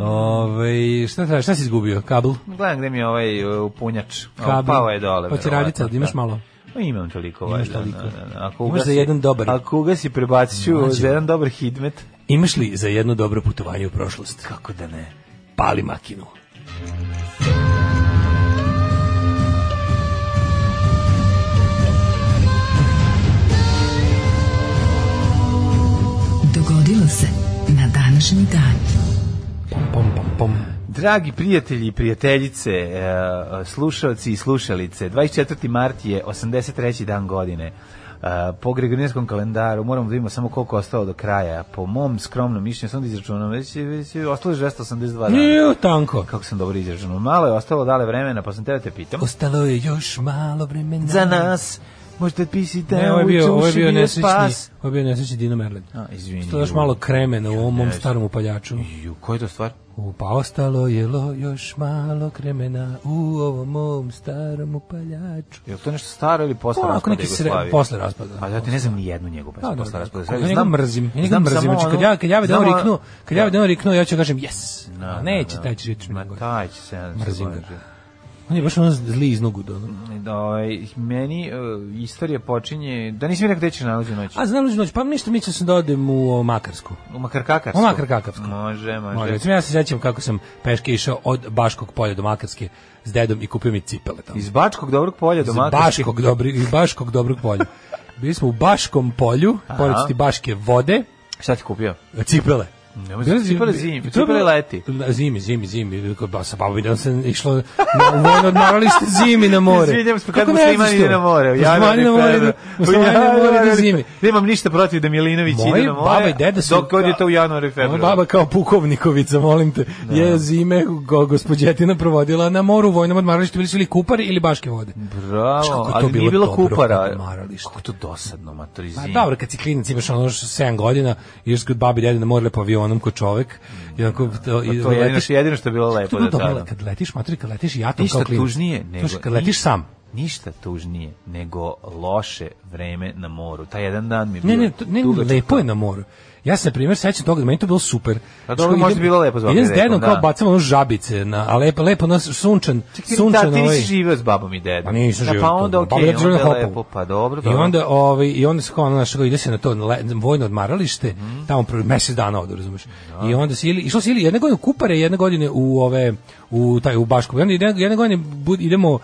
Ove, šta, tražiš, šta si izgubio? Kabel? Gledam gde mi je ovaj uh, punjač. Kabel. Pao je dole. Pa će verovatno, radica, imaš da. malo? Pa imam toliko. Imaš valjda, toliko. da, da, da. Ako Imaš za ugasi- jedan dobar. Ako ugasi prebacit ću Mlađe. za jedan dobar hidmet. Imaš li za jedno dobro putovanje u prošlost? Kako da ne? Pali makinu. Dogodilo se na današnji dan. Pom, pom, pom. Dragi prijatelji i prijateljice, e, slušalci i slušalice, 24. mart je 83. dan godine. E, Po gregorijanskom kalendaru moramo da vidimo samo koliko je ostalo do kraja. Po mom skromnom mišljenju, sam da izračunam, već je, već je ostalo 282 dana. Ju, tanko. Kako sam dobro izračunao? Malo je ostalo dale vremena, pa sam tebe te pitam. Ostalo je još malo vremena. Za nas, možete pisite, Ne, ovo je bio, ovo je bio nesrećni, spas. ovo je bio nesrećni Dino Merlin. A, izvini. Ostalo je još ju. malo kremena u ovom mom ne. starom upaljaču. Ju, koja je to stvar? U, pa ostalo je lo još malo kremena u ovom mom starom upaljaču. Je li to nešto staro ili posle Onako raspada neki sre, Jugoslavije? posle raspada. Pa ja ti ne znam ni jednu njegovu pesmu Da, da, Pa, posle da. raspada. Ja njega Pa, mrzim. Ja njega mrzim. Znači, ono- kad ja, kad ja vidim on riknu, kad ja vidim on riknu, ja ću kažem yes. Da, A da, neće da. taj će reći mi Ma nego. taj će se... ja ne Mrzim znam. ga. On je baš ono zli iz nogu. Da, ono. Da, ovaj, meni uh, istorija počinje... Da nisi mi rekao gde ćeš nalazi noć? A znam li noć, pa ništa mi će sam da odem u o, Makarsku. U Makarkakarsku. U Makarkakarsku. Može, može. Može, recimo ja se sećam kako sam peške išao od Baškog polja do Makarske s dedom i kupio mi cipele tamo. Iz Bačkog dobrog polja do Iz Makarske. Baškog, dobri, iz Baškog dobrog polja. Bili smo u Baškom polju, pored su ti Baške vode, Šta ti kupio? cipele. Nemoj za cipele zimi, To je cipele bilo- leti. Da, Zimi, zimi, zimi. Ba, sa babom idem sam išlo na vojno odmaralište zimi na more. Izvinjam se, pa kad Kako ne musliman znaš to? ide na more. u Muslimani na januari, more, idu- februar. muslimani U na more januari, idu zimi. Nemam ništa protiv da Milinović Moji ide na more. baba i deda su- Dok god je to u januari i Moja februaru. baba kao pukovnikovica, molim te, je zime go, gospođetina provodila na moru u vojnom odmaralištu, bili su ili kupari ili baške vode. Znaš kako Bravo, je to ali nije bilo bilo dobro kupara. odmaralište. Kako je to dosadno, matori Pa zimi. dobro, kad si klinac imaš ono š- 7 godina, ideš kod babi i dede na more lepo avionom ko čovek. I onako, to, i Pa To je jedino, letiš- što- jedino što je bilo lepo To je da bilo dobro, tada. kad letiš, mater, kad letiš jatom Ništa kao klinac. tužnije nego... Znaš, kad letiš sam. Ništa tužnije nego loše vreme na moru. Taj jedan dan mi je bio Ne, ne, to, ne, dugačak. lepo je na moru. Ja se na primjer sećam toga da meni to bilo super. A Pa dobro, Što možda idem- je bilo lepo s Idem s Bogom i dedom Rekom, kao da. bacamo ono žabice, na, a lepo, lepo, ono sunčan, Čekaj, sunčan da, ti ovaj. nisi živeo s babom i dedom. Pa nisam Da, živeo. Pa tu, onda da. okej, Baba i deda živeo onda na je Hopovu. lepo, pa dobro, I dobro. onda, ovaj, i onda se kao ono, znaš, kao ide se na to na le- vojno odmaralište, Mhm. tamo prvo mesec dana ovde, razumeš. I onda se ili, išlo se ili jedne godine u Kupare, jedne godine u ove, u taj, u Baško. I onda jedne, jedne godine bud, idemo,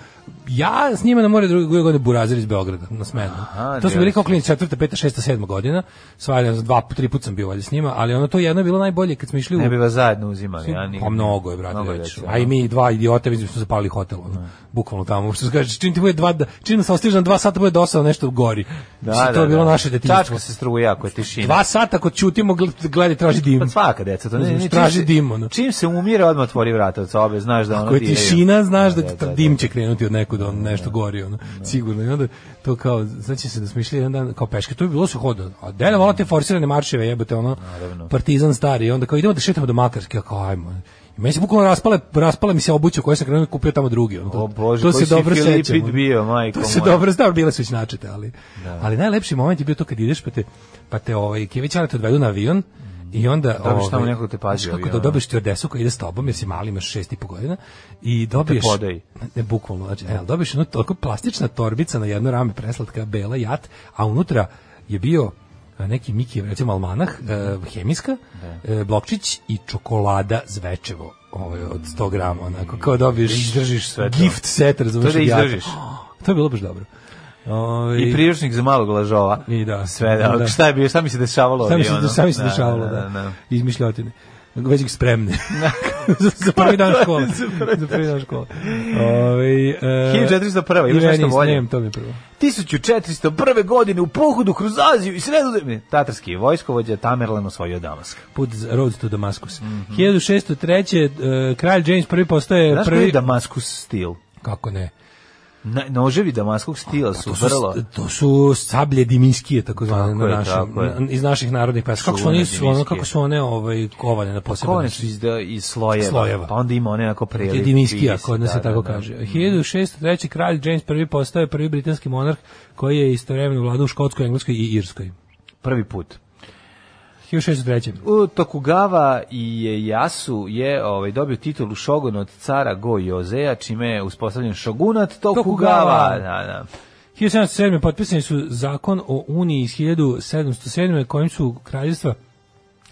ja s njima na more druge godine Burazer iz Beograda na smenu. Aha, to smo bili divno. kao klinici četvrta, peta, šesta, sedma godina. Sva ne znam, dva, tri puta sam bio valjda s njima, ali ono to jedno je bilo najbolje kad smo išli u Ne bi vas zajedno uzimali, ja pa mnogo je, brate, Mnogo je već. dece, A i da. mi dva idiota, mi smo zapalili hotel, ono, bukvalno tamo. Što se kaže, čim ti bude dva, da- čim se ostiže na dva sata, bude dosadno nešto gori. Da, to je bilo naše detinjstvo. Čačka se struja, ako je tišina. Dva sata, ako ćutimo, gl- gledaj, traži dim. Pa svaka deca, to ne, ne, Razumeš, čim traži se- dim, ono. Čim se umire, odmah otvori vrata od sobe, znaš da ono... Ako je diraju. tišina, znaš da, Da, da, da. dim će krenuti od nekud, on nešto gori, ono, sigurno. I onda to kao, znači se da smo išli jedan dan kao peške, to je bilo se hodo. A dele vola te forsirane marševe, jebote, ono, partizan stari. I onda kao idemo da šetamo do Makarske, ja kao ajmo. I meni se bukvalno raspale, raspale mi se obuća koju sam krenuo i kupio tamo drugi. Ono, to, O Bože, to koji se si dobro Filipid sećam. ono. bio, majko To se moja. dobro, znam, bile su već načete, ali, ali najlepši moment je bio to kad ideš pa te, pa te ovaj, Kjevićara te odvedu na avion, I onda Dobiš tamo ovaj, nekog te pazi znaš kako avion, da dobiješ stjuardesu koja ide s tobom, jer si mali, imaš šest i po godina, i dobiješ... podaji. Ne, bukvalno, znači, e, ali dobiješ jednu toliko plastična torbica na jedno rame preslatka, bela, jat, a unutra je bio e, neki Miki, recimo Almanah, e, hemijska, e, blokčić i čokolada zvečevo ovaj, od 100 grama, onako, kao dobiješ Izdržiš sve to. gift set, razumiješ, To da od jata. izdržiš. To je bilo baš dobro. Ovaj, I priručnik za malog lažova. I da. Sve, da. Da. Šta je bio, šta mi se dešavalo? Sam mi ovdje, se, ono? sam mi se Da, dešavalo, da, da, da. da. Izmišljotine. Već ih spremne. za, za prvi dan škole. za prvi dan škole. Ove, e, 1401, imaš i nešto meni, bolje? nemam, to mi je prvo. 1401. godine u pohodu kroz Aziju i sredozemlje tatarski je vojskovođa Tamerlan osvojio Damask. Put za- road to Damaskus. 1603. e, kralj James prvi postaje Mhm. Znaš koji prvi... je Damaskus stil? Kako ne? Na, noževi damaskog stila su pa To su, e, vrlo... to su sablje dimiskije, tako zvane, Tako na je, našem- tako je. na- iz naših narodnih pesama. Kako su Čuvene oni, su ono, dimiskije. kako su one ovaj, kovane na poseban Kovane način? su iz, iz slojeva, Slojeva. pa onda ima one onako preliv. Jediniskija, vidi kod nas da, se tako da, da. kaže. 1603. kralj James I postao je prvi britanski monarh koji je istovremeno vladao u Škotskoj, Engleskoj i Irskoj. Prvi put. 1603. U Tokugawa i Jasu je ovaj dobio titulu šogun od cara Go Jozeja, čime je uspostavljen šogunat Tokugawa. Tokugawa. Da, da. 1707. potpisani su zakon o Uniji iz 1707. kojim su kraljevstva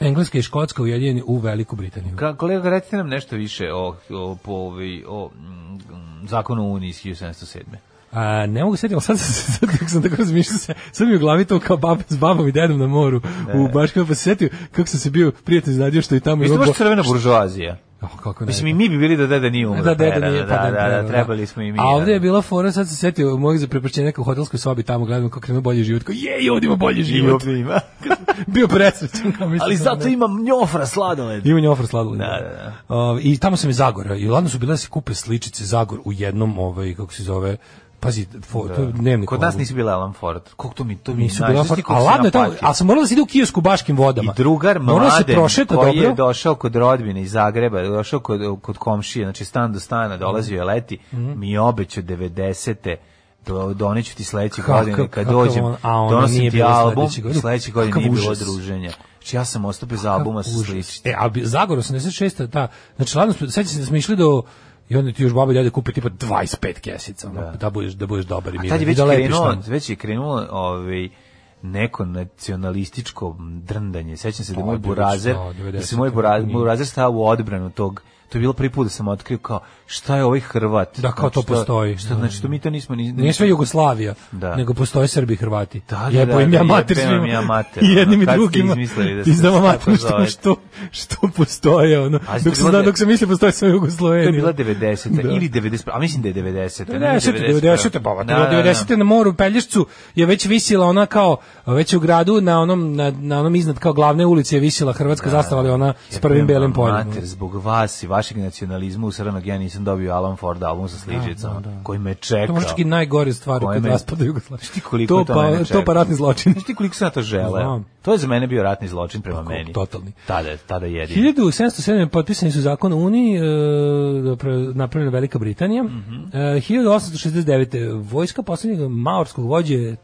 Engleska i Škotska ujedinjeni u Veliku Britaniju. Ka, kolega, recite nam nešto više o, o, po, ovaj, o mm, mm, zakonu o Uniji iz 1707. A, ne mogu sjetiti, ali sad, sam se- sad kako sam tako razmišljao, se, sad mi je u glavi to kao bab, s babom i dedom na moru u Baškama, pa se sjetio kako sam se bio prijatelj znadio što i tamo... Vi ste ima baš bo- crvena buržuazija. Oh, kako ne, Mislim, i mi bi bili da deda nije umro. Da, deda nije, pa da, da, da, treba, trebali smo i mi. A da, ovdje je da. bila fora, sad se setio mojeg zaprepašćenja neka u hotelskoj sobi, tamo gledam kako krenuo bolji život. Kao, je, i ovdje ima bolji I život. ovdje ima. Bio presrećan. kao, mislim, Ali da, zato ne. imam njofra sladoled. Ima njofra sladoled. Da, da, Ovaj, I tamo sam i Zagora. I ladno su bile da se kupe sličice Zagor u jednom, ovaj, kako se zove, pazi, fo, to je dnevnik. Kod nas ovaj. nisi bila Alan Ford. Koliko to mi, to mi Nisu znaš, bila znaš ti fora. A koliko sam ladno je tamo, napatio? a sam morala da se ide u kiosku u Baškim vodama. I drugar Morala se mladen koji prošeta dobro. je došao kod rodbine iz Zagreba, došao kod, kod komšije, znači stan do stana, dolazio je leti, Mhm. mi je obećao 90. Do, doneću ti sledeće Kakav- godine kad kakav dođem, on- a ono donosim nije ti bilo album, sledeće godine. sledeće godine Kakav nije bilo užas. druženja. Znači ja sam ostao bez albuma sa Užas. sličicom. E, a bi- Zagor 86. ta, znači ladno, smo- sećam se da smo išli do i onda ti još baba i dede kupe tipa 25 kesica, ono, da. budeš, da budeš dobar i A miran. tad je i već da lepiš krenuo, tamo. već je krenulo ovaj neko nacionalističko drndanje. Sećam se da je moj Pa, burazer, da, 90-te, da se moj burazer, nije. burazer stao u odbranu tog To je bilo prvi put da sam otkrio kao šta je ovaj Hrvat. Da, kao to šta- postoji. Šta, znači to mi to nismo ni Nije sve Jugoslavija, Da. nego postoje Srbi i Hrvati. Da, da, Jebo da, im da, ja mater jebem svima. vam ja mater, I jednim ono, i kad ste drugima. izmislili da se Izdava tako mater što, zove? što, što postoje. Ono. A jeste Dok sam, bilo znao, da- dok sam mislio postoje samo Jugoslovenija. To je bila 90. Da. pa, ili 90. A mislim da je 90. Da, 90. 90. baba, Da, da, da. 90. na moru u Pelješcu je već visila ona kao već je u gradu na onom na, na onom iznad kao glavne ulice je visila hrvatska zastava ali ona s prvim Jebem vam belim poljem. Mater, zbog vas i vašeg nacionalizma u Srnog ja nisam dobio Alan Ford album sa sličicama, koji me čekao. To možda čak i najgore stvari Koje kod me- raspada Jugoslavije. Znaš ti koliko je to mene pa, čeka? to pa ratni zločin. Znaš ti koliko sam ja to želeo? Znam. Pa To je za mene bio ratni zločin prema meni. totalni. Tada, tada jedin. 1707. potpisani su zakon o Uniji, e, napra- napravljena Velika Britanija. Mhm. E, 1869. vojska posljednjeg maorskog vođe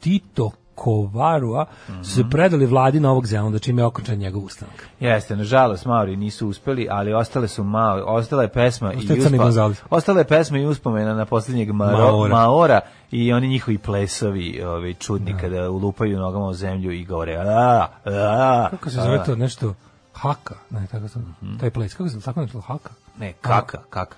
Tito Kovarua su Mhm. se predali vladi Novog Zelanda, čime je okončan njegov ustanak. Jeste, nažalost, Maori nisu uspeli, ali ostale su Maori, ostala je pesma i Ostaje Crni Gonzales. ostala je pesma i uspomena na posljednjeg Maro, Maora. Maora. i oni njihovi plesovi ovaj, čudni kada ulupaju nogama u zemlju i govore a, a, Kako se a." zove to nešto? Haka, ne, tako sam, Mhm. taj plec, kako se tako nešto, haka? Ne, kaka, kaka.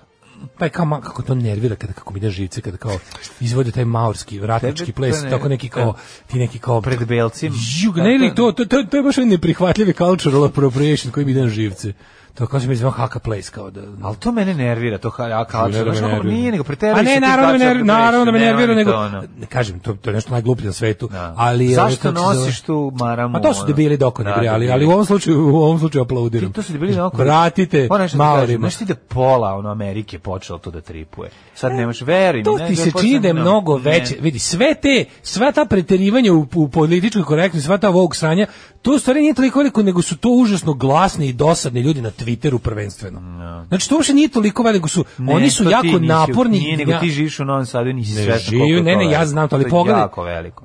Taj kao, ma- kako to nervira kada kako mi ide živce, kada kao izvode taj maorski, Tebe ratnički to ples, ne- tako neki kao, ti neki kao... Pred belcim. Jug, ne, ne, to, to, to, to je baš onaj neprihvatljivi cultural appropriation koji mi ide na živce. To kao se mi zove haka place, kao da... Ali to mene nervira, to ha, kao, ono, Nervira me, nervira. nije, nego A preterali ne, naravno, me nervira, naravno da me nervira, nego, Ono. ne kažem, to, to je nešto najgluplje na svetu, Da. ali... ovaj, Zašto kako se zove- nosiš tu maramu? Ma to su ono? debili dokoni, Da, bre, ali, debili. ali u ovom slučaju, u ovom slučaju aplaudiram. Ti, to su bili na oko. Vratite Moram nešto da kažem, Maorima. Znaš ti da pola ono Amerike počelo to da tripuje. Sad nemaš veri. E, To ti se čini da ono, je mnogo veće. Vidi, sve te, sva ta preterivanja u, u političkoj korektnosti, sva ta ovog sranja, to u stvari nije toliko veliko, nego su to užasno glasni i dosadni ljudi na Twitteru prvenstveno. Znači, to uopšte nije toliko veliko, su, oni su jako naporni. Nije, nego ja- ti živiš u Novom Sadu, nisi Ne svesno koliko živi- je ne, to ne, ja veliko. znam to, ali je pogledaj. jako veliko.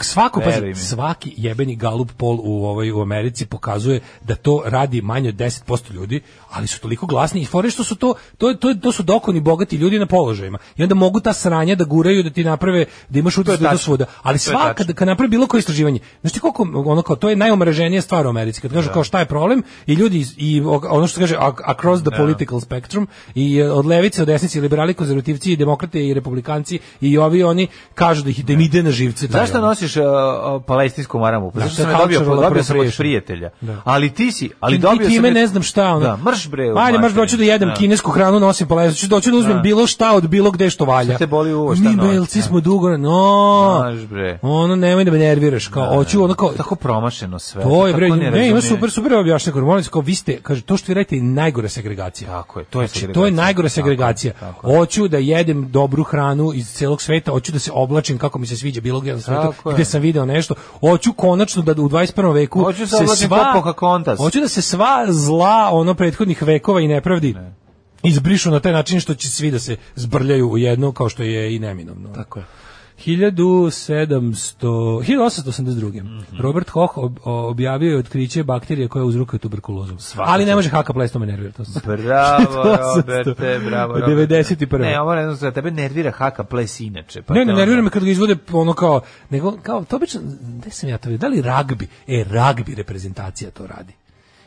svako Veruj pazi, mi. svaki jebeni galup pol u ovoj u Americi pokazuje da to radi manje od 10% ljudi, ali su toliko glasni i fore što su to to to to su dokoni bogati ljudi na položajima. I onda mogu ta sranja da guraju da ti naprave da imaš utisak da je to tačno. svuda. Ali To je svaka tačno. da kad napravi bilo koje istraživanje, znači ti koliko ono kao to je najomraženija stvar u Americi. Kad kažu kao šta je problem i ljudi iz- i o- ono što se kaže ac- across the political spectrum i e, od levice, od desnice, i liberali, konzervativci i demokrate i republikanci i ovi oni kažu da ih da im ide na živce. taj Zašto ono. nosiš uh, uh, palestinsku maramu? Pa Da, zašto to je sam je dobio, cultural dobio sam od appropriation. prijatelja. Da. Ali ti si, ali Ti- dobio ti sam... time od- ne znam šta ono. Da, mrš bre. u Ajde, mrš materinu. doću da jedem Da. kinesku hranu, nosim poleza, ću doću da uzmem Da. bilo šta od bilo gde što valja. Šta te boli uvo, šta Mi noć, belci da. smo dugo, no. Znaš, bre. Ono nemoj da me nerviraš, kao hoću ono kao Tako promašeno sve. To je bre, tako ne, ima nerazumije. super, super objašnjeno, kao, molim vas, kao vi ste, kaže, to što vi radite je najgora segregacija. Tako je, to je Znači, to je segregacija. najgora Tako je, segregacija. tako je. Hoću da jedem dobru hranu iz celog sveta, hoću da se oblačim kako mi se sviđa bilo gdje na svetu, Tako je. gdje sam video nešto. Hoću konačno da u 21. veku Hoću da se se oblačim sva, kao Pocahontas. hoću da se sva zla ono prethodnih vekova i nepravdi izbrišu na taj način što će svi da se zbrljaju u jedno kao što je i neminovno. Tako je. 1700, 1882. Mhm. Robert Koch ob- objavio je otkriće bakterije koja uzrokuje tuberkulozu. Ali ne može haka ples, to me nervira. To sam- Bravo, 1800. Roberte, bravo, Roberte. 91.. Ne, ovo ne znam, za tebe nervira haka ples inače. Pa ne, te ne, onda- nervira me kad ga izvode ono kao, nego, kao, to obično, gde sam ja to vidio, da li ragbi, e, ragbi reprezentacija to radi.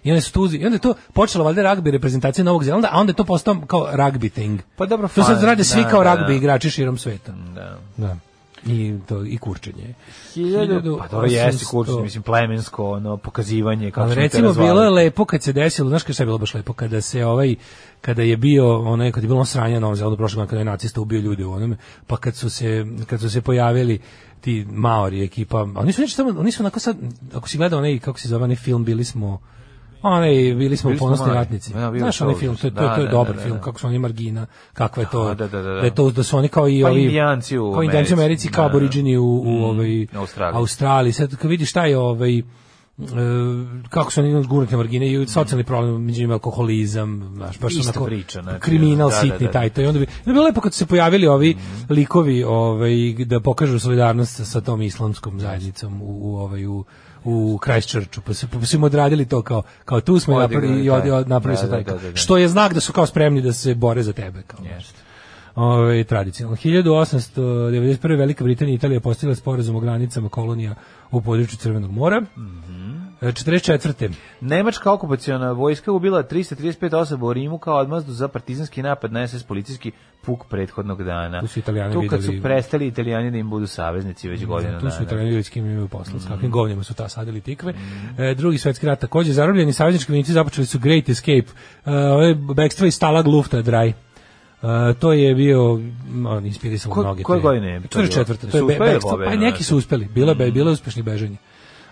I onda su tu, uzi- i onda je to počela valjda ragbi reprezentacija Novog Zelanda, a onda je to postao kao ragbi thing. Pa dobro, To sad fan, rade svi da, da, kao ragbi da. Mm. igrači širom sveta. Da. Da. I, to, i kurčenje. Hiljadu, pa dobro jeste 1800. kurčni, mislim, plemensko, ono, pokazivanje, kako Ali smo te recimo razvalili. bilo je lepo kad se desilo, znaš kad šta je bilo baš lepo, kada se ovaj kada je bio onaj kad je bilo ono sranje na Novom Zelandu prošle godine kada je nacista ubio ljude u onome, pa kad su se kad su se pojavili ti Maori ekipa, oni su nešto samo oni su onako sad ako si gledao onaj kako se zove onaj film bili smo Onaj, bili smo Bili smo ponosni Maori. ratnici. Ja, bio Znaš sam onaj to film, to je, to, je- užas. to je Da, dobar da, da, film, da. kako su oni margina, kakva je to, Da, da, da, da, da. je to, da su oni kao i Pa ovi, Indijanci u kao Indijanci u Americi, Americi, kao da, da. aboriđini u, u ovaj, Mm, Australiji. Australiji. Sad kad vidiš taj ovaj e, kako su oni gurnute margine i socijalni problem među njima alkoholizam, znaš, baš Ista onako priča, znači, kriminal da, da, sitni da. Mhm. taj to i onda bi, onda bi bilo lepo kad su se pojavili ovi likovi ovaj da pokažu solidarnost sa, sa tom islamskom zajednicom u, u ovaj u u Christchurchu, pa su, pa su im odradili to kao, kao tu smo i Odigrali napravili, i taj. odi- od- napravili Da, se da, taj, da, da, da. što je znak da su kao spremni da se bore za tebe. Kao, znaš. Jeste. Ove, tradicionalno. 1891. Velika Britanija i Italija postigla sporazum o granicama kolonija u području Crvenog mora. Mhm. E, 44. Nemačka okupaciona vojska ubila 335 osoba u Rimu kao odmazdu za partizanski napad na SS policijski puk prethodnog dana. Tu su Italijani Tu kad su videli- prestali Italijani da im budu saveznici već godina Mm, Mm. Tu su dana. italijani ljudi s kim imaju posla, s kakvim govnjima su ta sadili tikve. Mm. E, drugi svetski rat takođe zarobljeni saveznički vojnici započeli su Great Escape, e, ove bekstvo iz Stalag Lufta Draj. E, to je bio m, on inspirisalo Ko- mnoge. koje te- godine je to bilo? 44. To je Su be, uspeli bekstvo, pobede, pa znači? neki su uspeli. Bilo je be- bilo je uspešnih bežanja.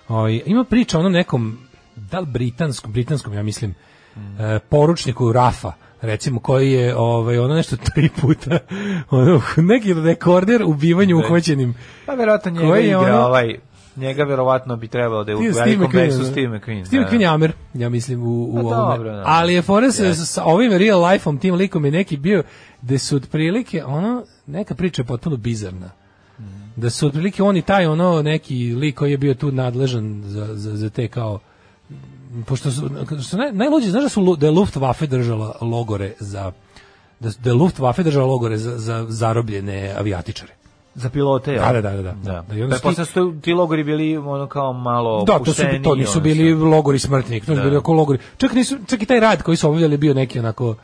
Ovaj, ima priča o onom nekom da li britanskom, britanskom ja mislim, Mm. e, poručniku Rafa recimo koji je ovaj ono nešto tri puta ono, neki rekorder u bivanju uhvaćenim Pa verovatno njega Koji je igra ono- ovaj... Njega verovatno bi trebalo da je u Steve- Steve velikom McQueen, beksu da. Steve McQueen. Steve da. McQueen je Amer, ja mislim, u, u Pa ovome. dobro, da. Ali je fora se sa ovim real life-om, tim likom je neki bio, da su otprilike, ono, neka priča je potpuno bizarna. Mhm. Da su otprilike on i taj, ono, neki lik koji je bio tu nadležan za, za, za te kao pošto su, su naj, najluđe, znaš da, su, lu- da je Luftwaffe držala logore za da, da je Luftwaffe držala logore za, za zarobljene avijatičare. Za pilote, ja. Da, da, da, da, da. Da. Da, i onda Pretpostavljam su ti- ti logori bili ono kao malo Da, to su opušteniji, to nisu ono, bili logori smrtnik, to su bili oko logori. Čak nisu čak i taj rad koji su obavljali je bio neki onako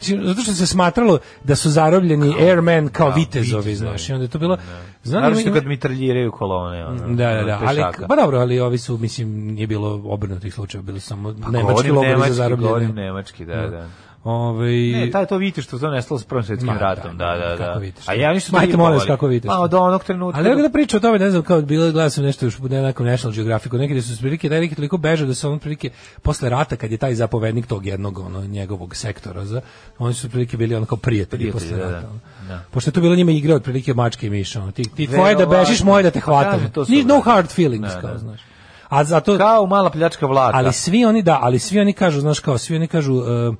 mislim, zato što se smatralo da su zarobljeni airmen kao vitezovi, znaš, i onda je to bilo znam da ima- Naravno kad mitraljiraju kolone. Ono, Da, da, od da, ali pešaka. pa dobro, ali ovi su mislim nije bilo obrnutih slučajeva, bili su samo nemački Pa Govorim logori za nemački, zarobljene. Govorim nemački, da, da. Ovaj Ne, taj to vidite što se nestalo s prvim svjetskim Ma, da, ratom, da, da, da. kako Viteš, A da. ja ništa Majte, drugo molim vas, volim. kako Viteš, Pa da. od onog trenutka. Ali evo do- da priča o tome, ne znam, kao bilo gledao sam nešto još na nekom National Geographicu, negdje su prilike, da je neki toliko bežao da su on prilike posle rata, kad je taj zapovednik tog jednog, ono, njegovog sektora, za, oni su prilike bili ono kao prijatelji, Prijatelji, posle da, rata. da. ono. Da. Pošto je to bilo njima igra od prilike mačke i miša, ono, ti, ti tvoje da Verovatno. bežiš, moje da te Pa hvatam. kažem, to su Ni- no bre. hard feelings, Da, kao, da. znaš. A zato, Kao mala pljačka vlaka. ali svi oni da, ali svi oni kažu, znaš kao, svi oni kažu e,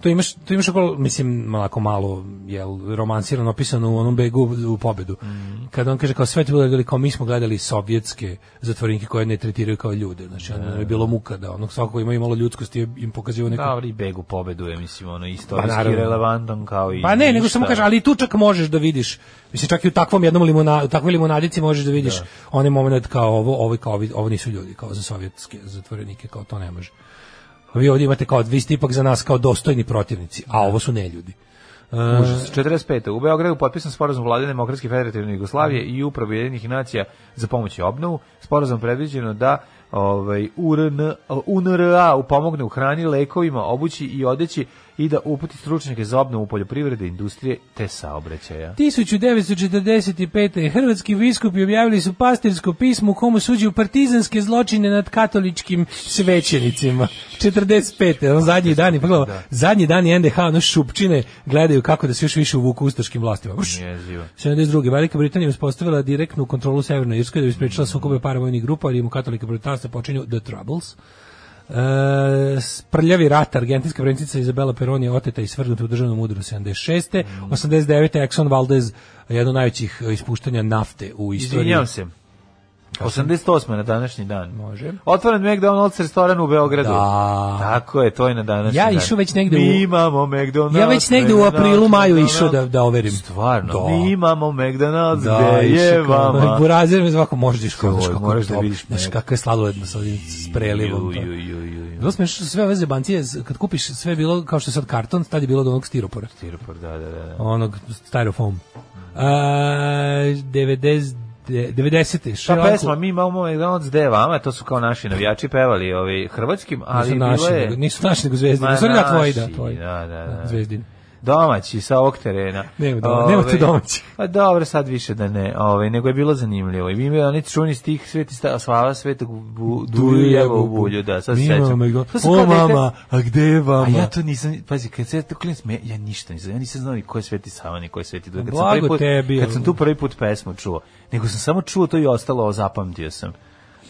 to imaš to imaš oko mislim malako malo jel romansirano opisano u onom begu u pobedu. Kad on kaže kao sve to bilo ili kao mi smo gledali sovjetske zatvorenike koje ne tretiraju kao ljude. Znači ono je bilo muka da onog svako ko ima imalo ljudskosti je im pokazivao neku Da, ali i Begu pobedu je, mislim, ono, istorijski Pa naravno. relevantan kao i... Pa ne, nego ništa. samo kaže, ali i tu čak možeš da vidiš. Mislim čak i u takvom jednom limona, u takvoj limonadici možeš da vidiš onaj momenat kao ovo, ovo i kao ovi- ovo nisu ljudi kao za sovjetske zatvorenike, kao to ne može. A Vi ovdje imate kao vi ste ipak za nas kao dostojni protivnici, a ovo su neljudi. E, Užas. 45. U Beogradu potpisan sporazum vlade Demokratske federativne Jugoslavije i upravo Jedinih nacija za pomoć i obnovu. Sporazum predviđeno da ovaj, URN, UNRA pomogne u hrani, lekovima, obući i odeći i da uputi stručnjake za obnovu poljoprivrede, industrije te saobraćaja. 1945. hrvatski biskupi objavili su pastirsko pismo u komu suđuju partizanske zločine nad katoličkim svećenicima. 45. On zadnji dani, pogledaj, zadnji dani NDH, ono šupčine, gledaju kako da se još više uvuku ustaškim vlastima. Brš. Jezivo. 72. Velika Britanija uspostavila direktnu kontrolu Severnoj Irskoj da bi sprečila sukobe paravojnih grupa, ali im u katolike protestante počinju The Troubles. E, s- prljavi rat, argentinska predsjednica Izabela Peroni je oteta i svrgnuta u državnom udaru 76. 89. Exxon Valdez, jedno od najvećih e, ispuštanja nafte u istoriji. Izvinjam se. 88. na današnji dan. Može. Otvoren McDonald's restoran u Beogradu. Da. Tako je, to je na današnji Ja dan. išao već negde u- Mi imamo McDonald's. Ja već negde u McDonald's, aprilu, maju McDonald's. išao da, da overim. Stvarno, Da. mi imamo McDonald's, da, Da, gde je vama? Burazir me zvako možeš da iškodeš Joj, kako moraš moraš da da vidiš Znaš mene. kako je sladoledno sa ovim s Ju, prelivom. pa. ju, ju, ju, ju. Bilo smiješno što su sve ove zebancije, z- kad kupiš sve je bilo, kao što je sad karton, tad je bilo od onog stiropora. Tirpor, pa da, da, da. da. Onog styrofoam. A, 90, 90. Ta Šrilanku- pesma Mi imamo McDonald's, gde je vama? To su kao naši navijači pevali ovaj, hrvatskim, ali nisu bilo naši, je nego- nisu naši, nego zvezdini. Ma, Sorry, da, tvoji, naši, da, tvoji. da, da, da. Zvezdini. domaći sa ovog terena. Nema doma- nema tu Ovaj, domaćih. Pa dobro, sad više da ne, ovaj, nego je bilo zanimljivo. I mi imamo oni čuni stih Sveti Sta- Slava Svetog bu, Dujevo u bulju, da, sad se Mi sećam. imamo McDonald's. To sam O kao dete- mama, a gde je vama? A ja to nisam, pazi, kad se ja to klinac, me, ja ništa nisam, ja nisam znao ni ko je Sveti Sava, ni ko je Sveti Dugo. Kad sam Blago prvi put, tebi, Kad ali. sam tu prvi put pesmu čuo, nego sam samo čuo to i ostalo, zapamtio sam.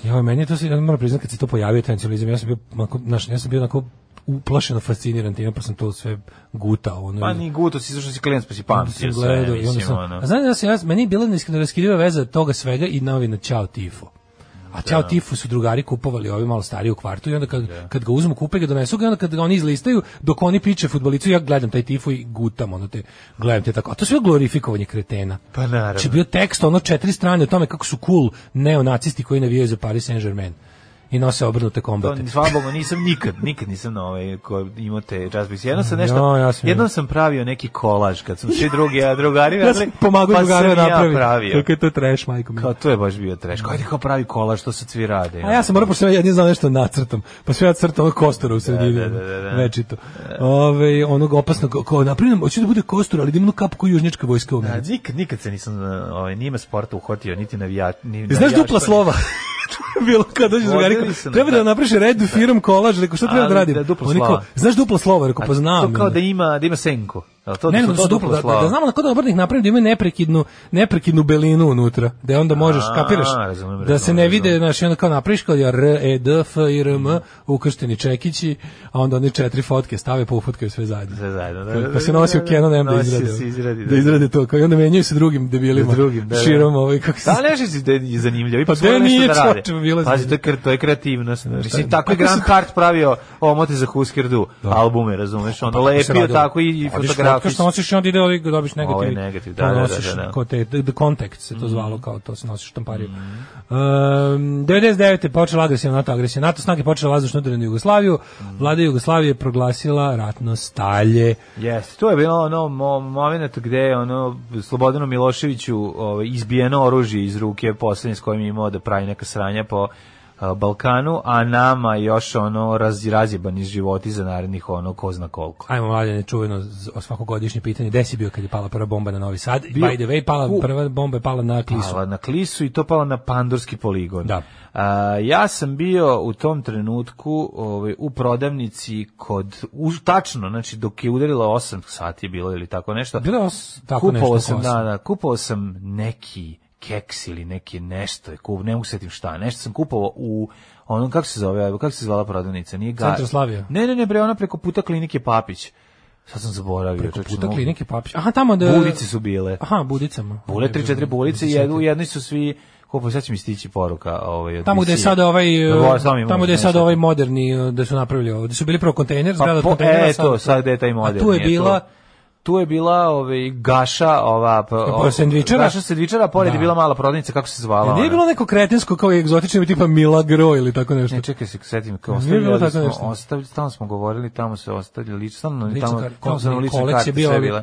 Pa Ja, meni je to se, ja moram priznati kad se to pojavio tencionalizam, ja sam bio, onako, znaš, ja sam bio onako uplašeno fasciniran time, pa sam to sve gutao. Ono, Pa ni guto si, zašto si klinac, pa si Onda sam pamtio sve, gledao i onda mislim, sam- ono. A znaš da se ja, meni je bila neiskidova veza toga svega i novina Ćao Tifo. A Ćao Tifo su drugari kupovali ovi malo stariji u kvartu i onda kad, kad ga uzmu, kupe ga, donesu ga i onda kad ga oni izlistaju, dok oni piče futbolicu, ja gledam taj Tifo i gutam, ono te, gledam te tako. A to je sve glorifikovanje kretena. Pa naravno. Znači, bio tekst, ono četiri strane o tome kako su cool neonacisti koji navijaju za Paris Saint-Germain i nose obrnute To kombate. ni hvala Bogu, nisam nikad, nikad nisam na ovaj ko imate jazzbix. Jednom sam nešto, No, ja sam- jednom sam pravio neki kolaž kad sam svi drugi, a drugari Ja sam radili, pomagao pa drugaru sam da ja napravi. pravio. Kako je to trash, majko mi. Kao, to je baš bio treš. Kao, ajde kao pravi kolaž, to sad svi rade. A ja sam morao, pošto sam ja jedin znao nešto nacrtom, pa sve ja crtam ono kostura u sredini, da, da, da, da. večito. Ove, onog opasnog, kao napravim, hoću da bude kostur, ali da ima onu kapu koju južnjačka vojska u Da, meni. nikad, nikad se nisam, uh, ovaj, nije me sporta uhvatio, niti navijač. pa Ni, E, Znaš navijaštvo, dupla ni- slova? bilo kad dođe drugari, Vodili kao, su nas, treba da da. napraviš red firom kolaž, rekao šta treba da Ali radim? da dupla Oni kao, slova. znaš dupla slova, rekao A pa znam. To kao ono. da ima, da ima senku. Jel to, Ne, da ne, da su dupla, da, da, da znamo na kod obrnih napravim da imaju neprekidnu, neprekidnu belinu unutra, da je onda možeš, A, kapiraš, razumem, da razumem, se ne vide, razumem. znaš, i onda kao napraviš kao ja R, E, D, F, I, R, M, ukršteni čekići, a onda oni četiri fotke stave, pa ufotkaju sve zajedno. Sve zajedno, da, Pa- da, da, pa se nosi u da, da, Canon, da nosi izrade. se, izradi, da, da. izrade to, kao i onda menjaju se drugim debilima, Da, drugim, da, da. širom ovaj, kako se... Da, nešto si da je zanimljivo. Pa Ipak smo da nešto nije, da rade. čoveče, bilo je Pazi, to je, zanimljivo. kre- to je kreativnost. Mislim, šta- tako je kako se Grant Hart pravio omote za Husker Du albume, razumeš? Ono Kako Pa se lepio radilo? tako i, i Odiš fotka fotografijski. što nosiš i onda ide ovaj, dobiš negativ. Ovo je negativ, da, To da, da, nosiš da, Mhm. da. Kao te, the contact se to zvalo, kao to se nosiš štampariju. Um, 99. je počela agresija NATO, agresija NATO, snage počela vazdušno udarenu Jugoslaviju, Mhm. vlada Jugoslavije je proglasila ratno stalje. Yes, to je bilo ono mo- moment gde je ono Slobodanu Miloševiću ovaj, izbijeno oružje iz ruke poslednje s kojim je imao da pravi neka sranja po a, Balkanu, a nama još ono raz, razjebani životi za narednih ono ko zna koliko. Ajmo mladene, čuveno z- o svakogodišnje pitanje, gde si bio kad je pala prva bomba na Novi Sad? Bio- By the way, pala, U. prva bomba je pala na Klisu. Pala na klisu i to pala na Pandurski poligon. Da. A, ja sam bio u tom trenutku ovaj, u prodavnici kod, u, tačno, znači dok je udarila 8 sati je bilo ili tako nešto. Bilo je os- tako kupovao nešto oko sam, osam. da, da, kupovao sam neki keks ili neki nešto je kup, ne mogu se setim šta, nešto sam kupovao u onom, kako se zove, kako se zvala prodavnica, nije ga... Centar Slavija. Ne, ne, ne, bre, ona preko puta klinike Papić. Sad sam zaboravio. Preko čoveče, puta mogu- klinike Papić. Aha, tamo da... Bulice su bile. Aha, budicama. Bule, tri, četiri bulice i jednu, u jednoj su svi, kupo, sad će mi stići poruka. Ovaj, od Tamo gde je Misije. sada ovaj Dogovor, e, samo imamo tamo gde je nešto. sada ovaj moderni e, da su napravili ovo, da su bili prvo kontejner, Pa, zgrada od po- kontejnera. e, to, sad gde je taj A moderni. tu je eto. bila Tu je bila ovaj, gaša, ova... pa, o- sendvičara? Gaša sendvičara, a pored je bila mala prodavnica, kako se zvala Nije ona? bilo neko kretensko kao egzotično tipa Milagro ili tako nešto. Ne, čekaj se, setim, kao Nije bilo ostavljali tako smo, nešto. ostavljali, tamo smo govorili, tamo se ostavljali, lično, tamo, Lična tamo, kar- tamo su nam nije, lične Kolex karte je bio, sve ali- bile.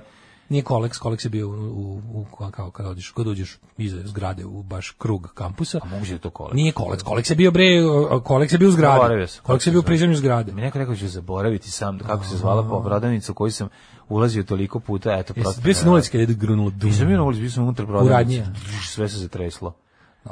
Nije Kolex, Kolex je bio u, u, u kao- kao kad odiš, kad uđeš iza zgrade u baš krug kampusa. A moguće da je to Kolex. Nije Kolex, Kolex je bio bre, Kolex je bio u zgradi. Zaboravio sam. Kolex je bio u prizemlju zgrade. Mi neko rekao da ću zaboraviti sam kako se zvala po prodavnicu u koju sam ulazio toliko puta, eto, prosto. Jesi bio si na ne- ulici kada je grunulo dum. Nisam bio na ulici, bio sam unutar prodavnice. radnji, a? Drž, Sve se zatreslo.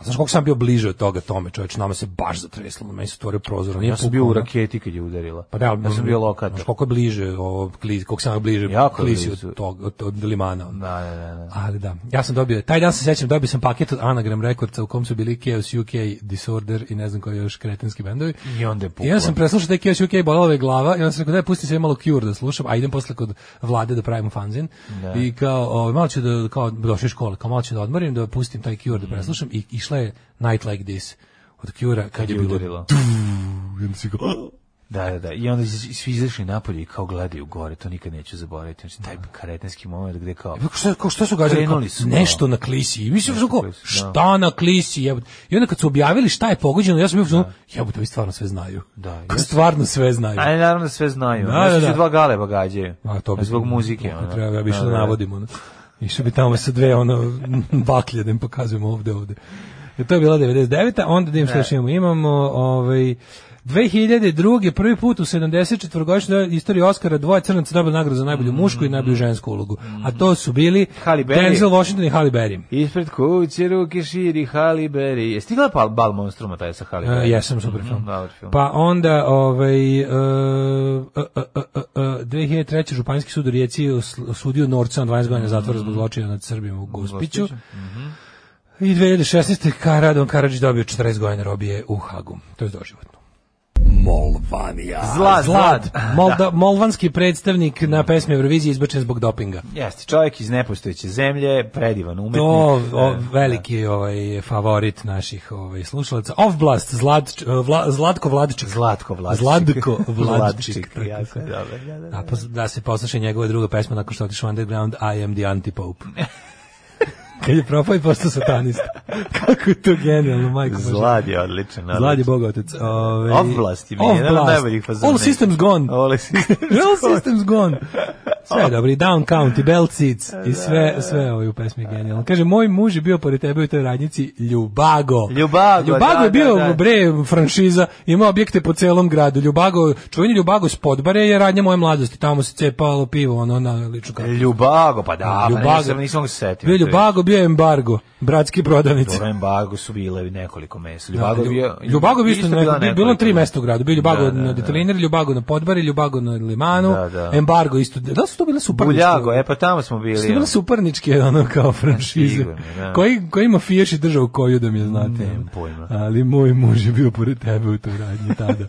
Znaš koliko sam bio bliže od toga tome, čoveč, nama se baš zatreslo, meni se otvorio prozor. nije Ja sam puklo, bio u ono. raketi kad je udarila. Pa da, ja sam bio lokator. Znaš koliko je bliže, ovo, klizi, koliko sam ja bliže Jako je klisi blizu. od, tog, od, od limana. ono. Da, da, da. da. Ali da, ja sam dobio, taj dan se sećam, dobio sam paket od Anagram Rekordca u kom su bili Chaos UK, Disorder i ne znam koji još kretenski bendovi. I onda je puklo. I onda sam preslušao taj Chaos UK, bolala me glava i onda sam rekao daj pusti se malo Cure da slušam, a idem posle kod vlade da pravim fanzin. I kao, o, malo ću da, kao došli iz škole, kao malo ću da odmorim, da pustim taj Cure Mhm. da preslušam i išla je Night Like This od Cure-a kad je je bilo udarila. I onda si kao, Da, da, da. I onda iz- svi izašli napolje i kao gledaju gore, to nikad neću zaboraviti. Znači, taj karetenski moment gde kao... Pa Šta, kao, šta su gađali? Krenuli Kao, su, nešto na klisi. I mislim, Nešto kao, na klisi, da. šta na klisi? Jebote. I onda kad su objavili šta je pogođeno, ja sam bio u fazonu, jebote, ovi stvarno sve znaju. Da, Kao, jesu. stvarno sve znaju. A naravno da sve znaju. Da, Da, da, da, da. dva gale bagađaju. A to bi Zbog muzike. to ono. Treba ja bi išao Da, da da, da. navodimo. Ono. Išao bi tamo sa dve ono baklje da im pokazujemo ovde ovde. E, to je bila 99. Onda da im E. šta još imamo. Imamo ovaj 2002. prvi put u 74-godišnjoj istoriji Oscara dvoje crnaca dobili nagradu za Mm, najbolju mušku i najbolju žensku ulogu. A to su bili Halle Berry. Denzel Washington i Halle Berry. Ispred kuće ruke širi Haliberi. Jesi ti gledala Bal Monstruma taj sa Uh, Haliberi? jesam, super film. E, mm, dobar film. Pa onda, ovaj, uh, uh, uh, uh, uh, 2003. Županijski sud u Rijeci je osl- osudio Norca na 12 godina zatvora Mhm. zbog zločina nad Srbima u Gospiću. I 2016. Karadon Karadžić dobio 40 godina robije u Hagu. To je doživotno. Molvanija. Zlad, Zlad. zlad. Molda, molvanski predstavnik na Mhm. pesmi Eurovizije izbačen zbog dopinga. Jeste, čovjek iz nepostojeće zemlje, predivan umetnik. To o, E, veliki ovaj favorit naših ovaj slušalaca. Ovblast Zlad, vla, Zlatko Vladiček. Zlatko Vladčić. Zlatko Vladčić. jako je dobro, da, da, da. A pa, da se posluša njegova druga pesma nakon što je otišao underground I am the antipope. Kad je propao i postao satanista. Kako je to genijalno, majko. Božja. Zlad je odličan. odličan. Zlad je bog otec. Ovaj, Ovblast je mi je jedan od Ovblast. najboljih fazona. All systems gone. All systems All systems gone. Sve je dobro, i Down County, Bell Seeds i sve, sve ovo je u pesmi je genijalno. Kaže, moj muž je bio pored tebe u toj radnjici Ljubago. Ljubago, Ljubago da, je bio, da, da. bre, franšiza, ima objekte po celom gradu. Ljubago, čuveni Ljubago s podbare je radnja moje mladosti, tamo se cepalo pivo, ono, na liču kartu. Ljubago, pa da, pa Ljubago. nisam, nisam ga se setio. Bio je Ljubago, bio je embargo, bratski prodavnici. Dobro, Embargo su bile nekoliko mesa. Ljubago Ljubago je bio... Ljubago je isto, bila na, bi- bilo nekoliko. na tri mesta u gradu. Bio je Ljubago Da, da, na da. Detelineru, Ljubago na Podbari, Ljubago na Limanu, Da, da. Embargo isto. Da li su to bile suparničke? Buljago, e pa tamo smo bili. Su to bile ono. suparničke, ono, kao franšize. Sigurno, da. Koji, koji ima fijaš i držao koju da mi je znate. Nemam ono. pojma. Ali moj muž je bio pored tebe u toj radnji tada.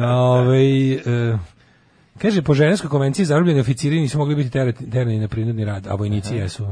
Ove, e, Kaže, po ženevskoj konvenciji zarobljeni oficiri nisu mogli biti teret- terani na prinudni rad, a vojnici jesu.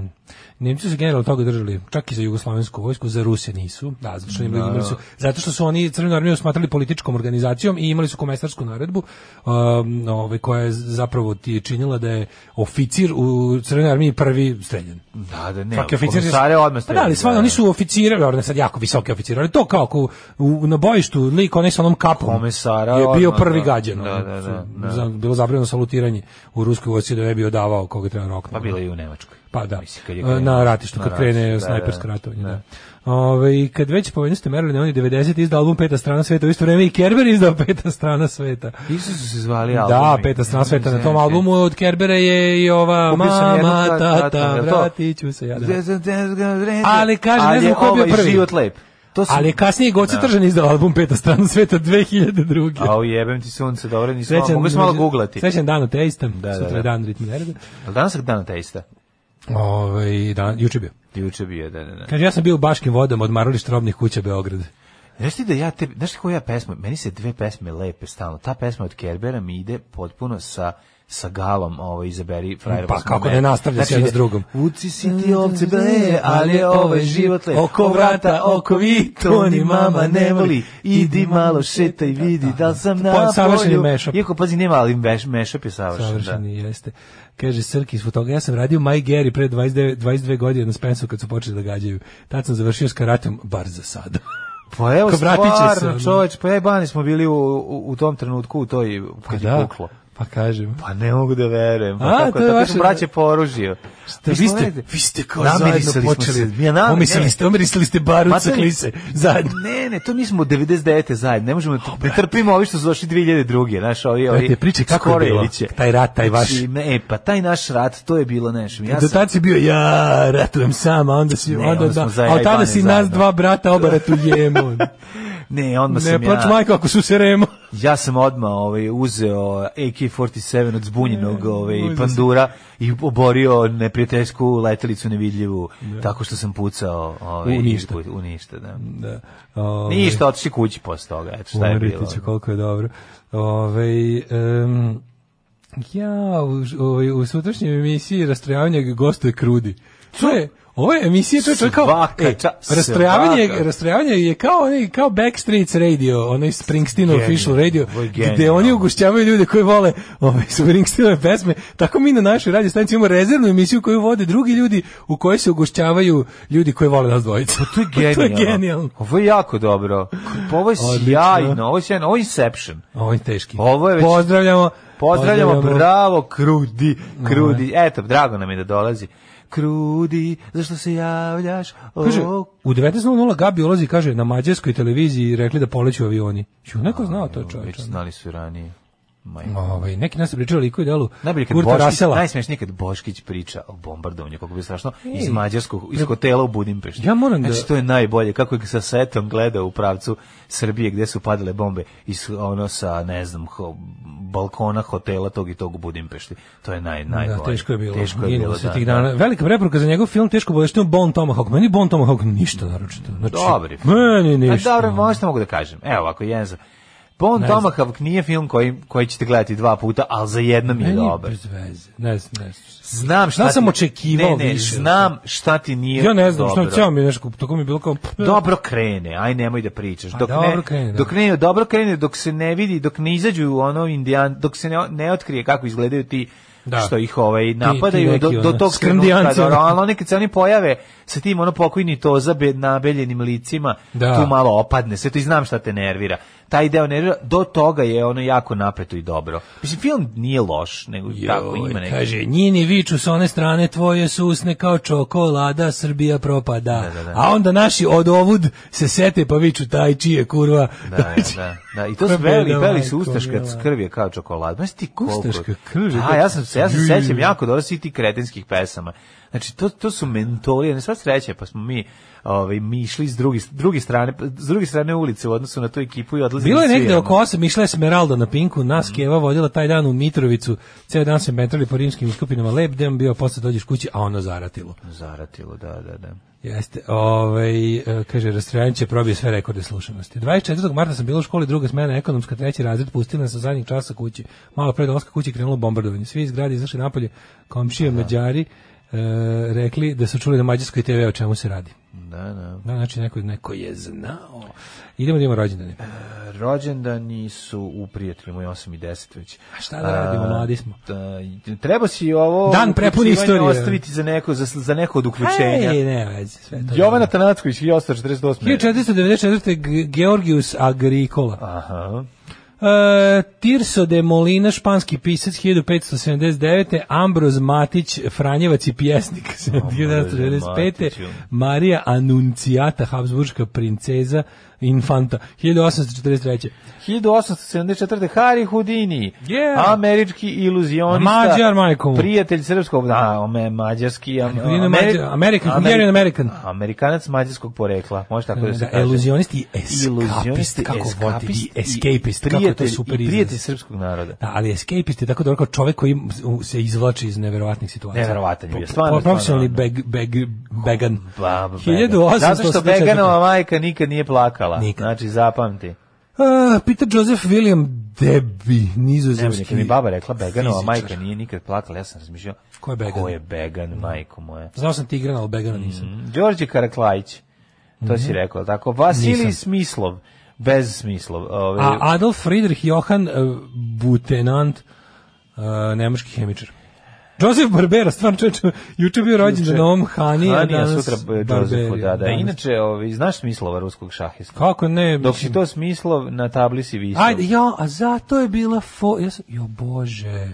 Nemci su se generalno toga držali, čak i za jugoslovensku vojsku, za Ruse nisu. Da, zato što, im- imali su, zato što su oni Crvenu armiju smatrali političkom organizacijom i imali su komestarsku naredbu, um, ovaj, koja je zapravo ti je činila da je oficir u Crvenoj armiji prvi streljan. Da, da, ne. Svaki oficir Komisare odmah Pa da, ali sva, streljali, oni su oficiri, dobro, ne sad jako visoki oficiri, ali to kao ako u, u, na bojištu lik onaj sa onom kapom Komesara je bio odmah, prvi da. gađan. Da, ono, da, su- da, da. za- Bilo zabranjeno salutiranje u ruskoj vojsci da ne bi odavao koga treba roknuti. Pa bilo je i u Nemačkoj. Pa da, Mislim, kad je e, krenuo. na ratištu, Na kad krene ratištu, da, snajpersko da. ratovanje. Da. Ove, i kad već pomenuli ste Marilyn, on je 90 izdao album Peta strana sveta, u isto vreme i Kerber izdao Peta strana sveta. Isto su se zvali Da, albumi. Peta strana sveta, na tom Znači, albumu od Kerbera je i ova kupio sam jednu Mama, kad- tata, tata, jel to? vratit ću se ja. Da. Ali kaže, ne znam ko je bio prvi. lep. To su... Ali je kasnije Goce Tržan izdao album Peta strana sveta 2002. Au jebem ti sunce, dobro, nisam, mogu sam malo guglati. Srećan dan ateista, da, sutra je da. dan ritmi nereda. Ali danas je dan ateista. Ove, da, juče bio. Juče bio, da, da, da. Kaže, ja sam bio u Baškim vodama, odmaralište robnih kuća Beograd. Znaš ti da ja te, znaš ti koja ja pesma, meni se dve pesme lepe stalno. Ta pesma od Kerbera mi ide potpuno sa sa galom ovo izaberi frajer Pa kako ne nastavlja se jedna s drugom. Uci si ti ovce ble, ali je ovaj život lep. Oko vrata, oko vi, to ni mama ne voli. Idi malo šetaj, vidi da li sam na polju. Pa, Savršeni mashup. Iako, pazi, nema, ali meš, mashup je savršen. da. Savršeni jeste. Kaže Srki iz toga, ja sam radio My Gary pre 29, 22 godine na Spensu kad su počeli da gađaju. Tad sam završio s karatom, bar za sada. Pa evo, Ko vratit će se, stvarno, ono. čoveč, pa jebani smo bili u, u, u tom trenutku, u toj, kad je puklo. pa kažem. Pa ne mogu da verujem. Pa A, kako to je je tako vaše- smo braće Pa poružio. Ste, vi, ste, vi ste kao zajedno počeli. Ja nam, omislili, ne, ste, omislili ste baruca Ma to je- klise zajedno. ne, ne, to mi smo 99. zajedno. Ne možemo, oh, ne trpimo ovi što su došli 2002. Naš, ovi, ovi, Brate, priče kako je bilo, Skoreliće. taj rat, taj vaš. Znači, ne, e, pa taj naš rat, to je bilo nešto. Ja Do sam, tad si bio ja ratujem sam, a onda si, Ne, onda, onda da, smo a od tada zajebani si nas zajedno. dva brata oba ratujemo. ne, odmah ne sam plač ja, majko ako su se remo. ja sam odmah ovaj, uzeo AK-47 od zbunjenog ovaj, uzeo sam. pandura i oborio neprijateljsku letelicu nevidljivu, tako što sam pucao ovaj, U ništa. ispod- U ništa, da. Ovaj. Da. Ove, Ništa, otišli kući posle toga, eto šta je bilo. ono. Umriti ću, koliko je dobro. Ove, um, ja, u, ovaj, u sutrašnjoj emisiji rastrojavanja gostuje krudi. To je, ovo je emisija, to je, to je kao... Svaka e, ča- rastrojavanje, svaka. rastrojavanje je kao, onaj, kao Backstreets radio, onaj Springsteen official radio, ovo je gde genijalno. oni ugošćavaju ljude koji vole ovaj, Springsteenove pesme. Tako mi na našoj radio stanici imamo rezervnu emisiju koju vode drugi ljudi u kojoj se ugošćavaju ljudi koji vole nas dvojicu. Pa To je to genijalno. je genijalno. Ovo je jako dobro. Pa Ovo je Odlično. sjajno, ovo je sjajno, ovo je Inception. Ovo je teški. Ovo je već- Pozdravljamo. Pozdravljamo, bravo, krudi, krudi. Eto, drago nam je da dolazi. Krudi, zašto se javljaš? O, Kaže, u 19.00 Gabi ulazi, kaže, na mađarskoj televiziji rekli da poleću avioni. Ju, neko znao to Već čovječe. ono. znali su i ranije. Maj. Ovaj, neki nas su pričali liku i delu Najbolje kad Kurta Boškić, Rasela. najsmešnije kad Boškić priča o bombardovanju, kako bi strašno, iz Ej. mađarskog, iz hotela u Budimpešti. Ja moram da- Znači, to je najbolje, kako je sa setom gledao u pravcu Srbije gde su padale bombe, iz, ono sa, ne znam, ho- balkona hotela tog i tog u Budimpešti. To je naj, najbolje. Da, teško je bilo. Teško je Ginulo bilo, se da, tih da. dana. Velika preporuka za njegov film Teško boleština Bon Tomahawk. Meni Bon Tomahawk ništa naročito. Znači, Dobri film. Meni A ništa. Pa dobro, možda mogu da kažem. Evo, ako jedan za... Bon Tomahawk nije film koji, koji ćete gledati dva puta, ali za jednom je Meni je dobar. bez veze. Ne znam, ne znam. Znam šta Ja sam ti- očekivao ne, ne, više. znam šta ti nije Ja ne znam, što dobro. cijelo mi je nešto, tako mi je bilo kao... dobro krene, aj nemoj da pričaš. Pa Dok dobro ne, krene, da. dok ne, dobro krene, dok se ne vidi, dok ne izađu ono indijan, dok se ne, ne otkrije kako izgledaju ti Da. što ih ovaj ti napadaju neki, do, do ono, tog trenutka, skrndijanci, dobro, ono. ali oni kad se oni pojave sa tim ono pokojni to za nabeljenim licima, Da. tu malo opadne, sve to i znam šta te nervira. Taj deo nervira, do toga je ono jako napeto i dobro. Mislim, film nije loš, nego tako ima neki. Kaže, njini viču s one strane tvoje su usne kao čokolada, Srbija propada. Da, da, da. A onda naši od ovud se sete pa viču taj čije kurva. Znači, Da, da, da, da. I to Koja su veli, beda, veli majko su ustaška mila. krv je kao čokolad. Znaš ti koliko? Ustaška krv je A, kao- ja sam, se- ja se Ju. sećam jako dobro svih tih kretenskih pesama. Znači, to, to su mentori, ne sva sreće, pa smo mi, ovaj, mi išli s druge, druge strane, s druge strane ulice u odnosu na tu ekipu i odlazili Bilo je da negde sviramo. oko 8, išla je Smeralda na Pinku, Mhm. nas Keva vodila taj dan u Mitrovicu, ceo dan se metrali po rimskim uskupinama, lep dan bio, posle dođeš kući, a ono zaratilo. Zaratilo, da, da, da. Jeste, ovaj, e, kaže, rastrojanje će probije sve rekorde slušanosti. 24. marta sam bila u školi, druga smena, ekonomska, treći razred, pustila nas u zadnjih časa kući. Malo pre dolaska kući krenulo bombardovanje. Svi iz grada izašli napolje, komšije, mađari, e, rekli da su čuli na mađarskoj TV o čemu se radi. Da, da. Da, znači, neko, neko je znao. Idemo da imamo rođendane. Rođendani su u prijatelju moj 8 i 10 već. A šta da radimo, A, mladi smo. da, treba si ovo Dan prepun uključivanje istorije. ostaviti za neko, za, za neko od uključenja. Ej, ne, veze, sve to. Jovana Tanacković, 1848. 1494. G- Georgius Agricola. Aha. E, Tirso de Molina, španski pisac 1579. Ambroz Matić, Franjevac i pjesnik 1995. Matiću. Marija Anuncijata, Habsburgska princeza, infanta 1843. 1874. Harry Houdini, Yeah. američki iluzionista. Mađar, majko mu. Prijatelj srpskog, da, ome, mađarski. am- Houdini je Ameri- Mađar, American, Ameri- Hungarian American. Amerikanac mađarskog porekla, može tako da se Da, kaže. iluzionisti i eskapist, Iluzionisti, kako vodi, eskapist i escapist, i kako to je prijatelj, super i izraz. prijatelj srpskog naroda. Da, ali escapist je tako dobro kao čovjek koji se izvlači iz neverovatnih situacija. Neverovatan je bio, Po- stvarno, po- Profesionalni stvarno, beg, beg, began. Ba, ba, 1884. Zato što Beganova majka nikad nije plakala. Nikad. Znači, zapamti. A, Peter Joseph William Debby, Evo, nizozemski. neka mi baba rekla, Beganova fizičar. majka nije nikad plakala. Ja sam razmišljao, Ko je Began? Ko je Mm. Began, majko moje? Znao sam Tigrana, ali Begana nisam. Đorđe Karaklajić. To si rekao, jel tako? Vasilij Mhm. Nisam. Smislov. Bez smislov. ovaj, Ove, A Adolf Friedrich Johann eh, Butenant, eh, nemački hemičar. Joseph Barbera, stvarno čovječe, juče bio rođen na ovom Hani, a Hanija danas sutra eh, Barberi. Jozefu, da, da. Danas- Inače, ovi, znaš smislova ruskog šahista? Kako ne? Dok mislim- si to smislov, na tabli si visio. Ajde, ja, a zato je bila fo... Ja sam, jo bože.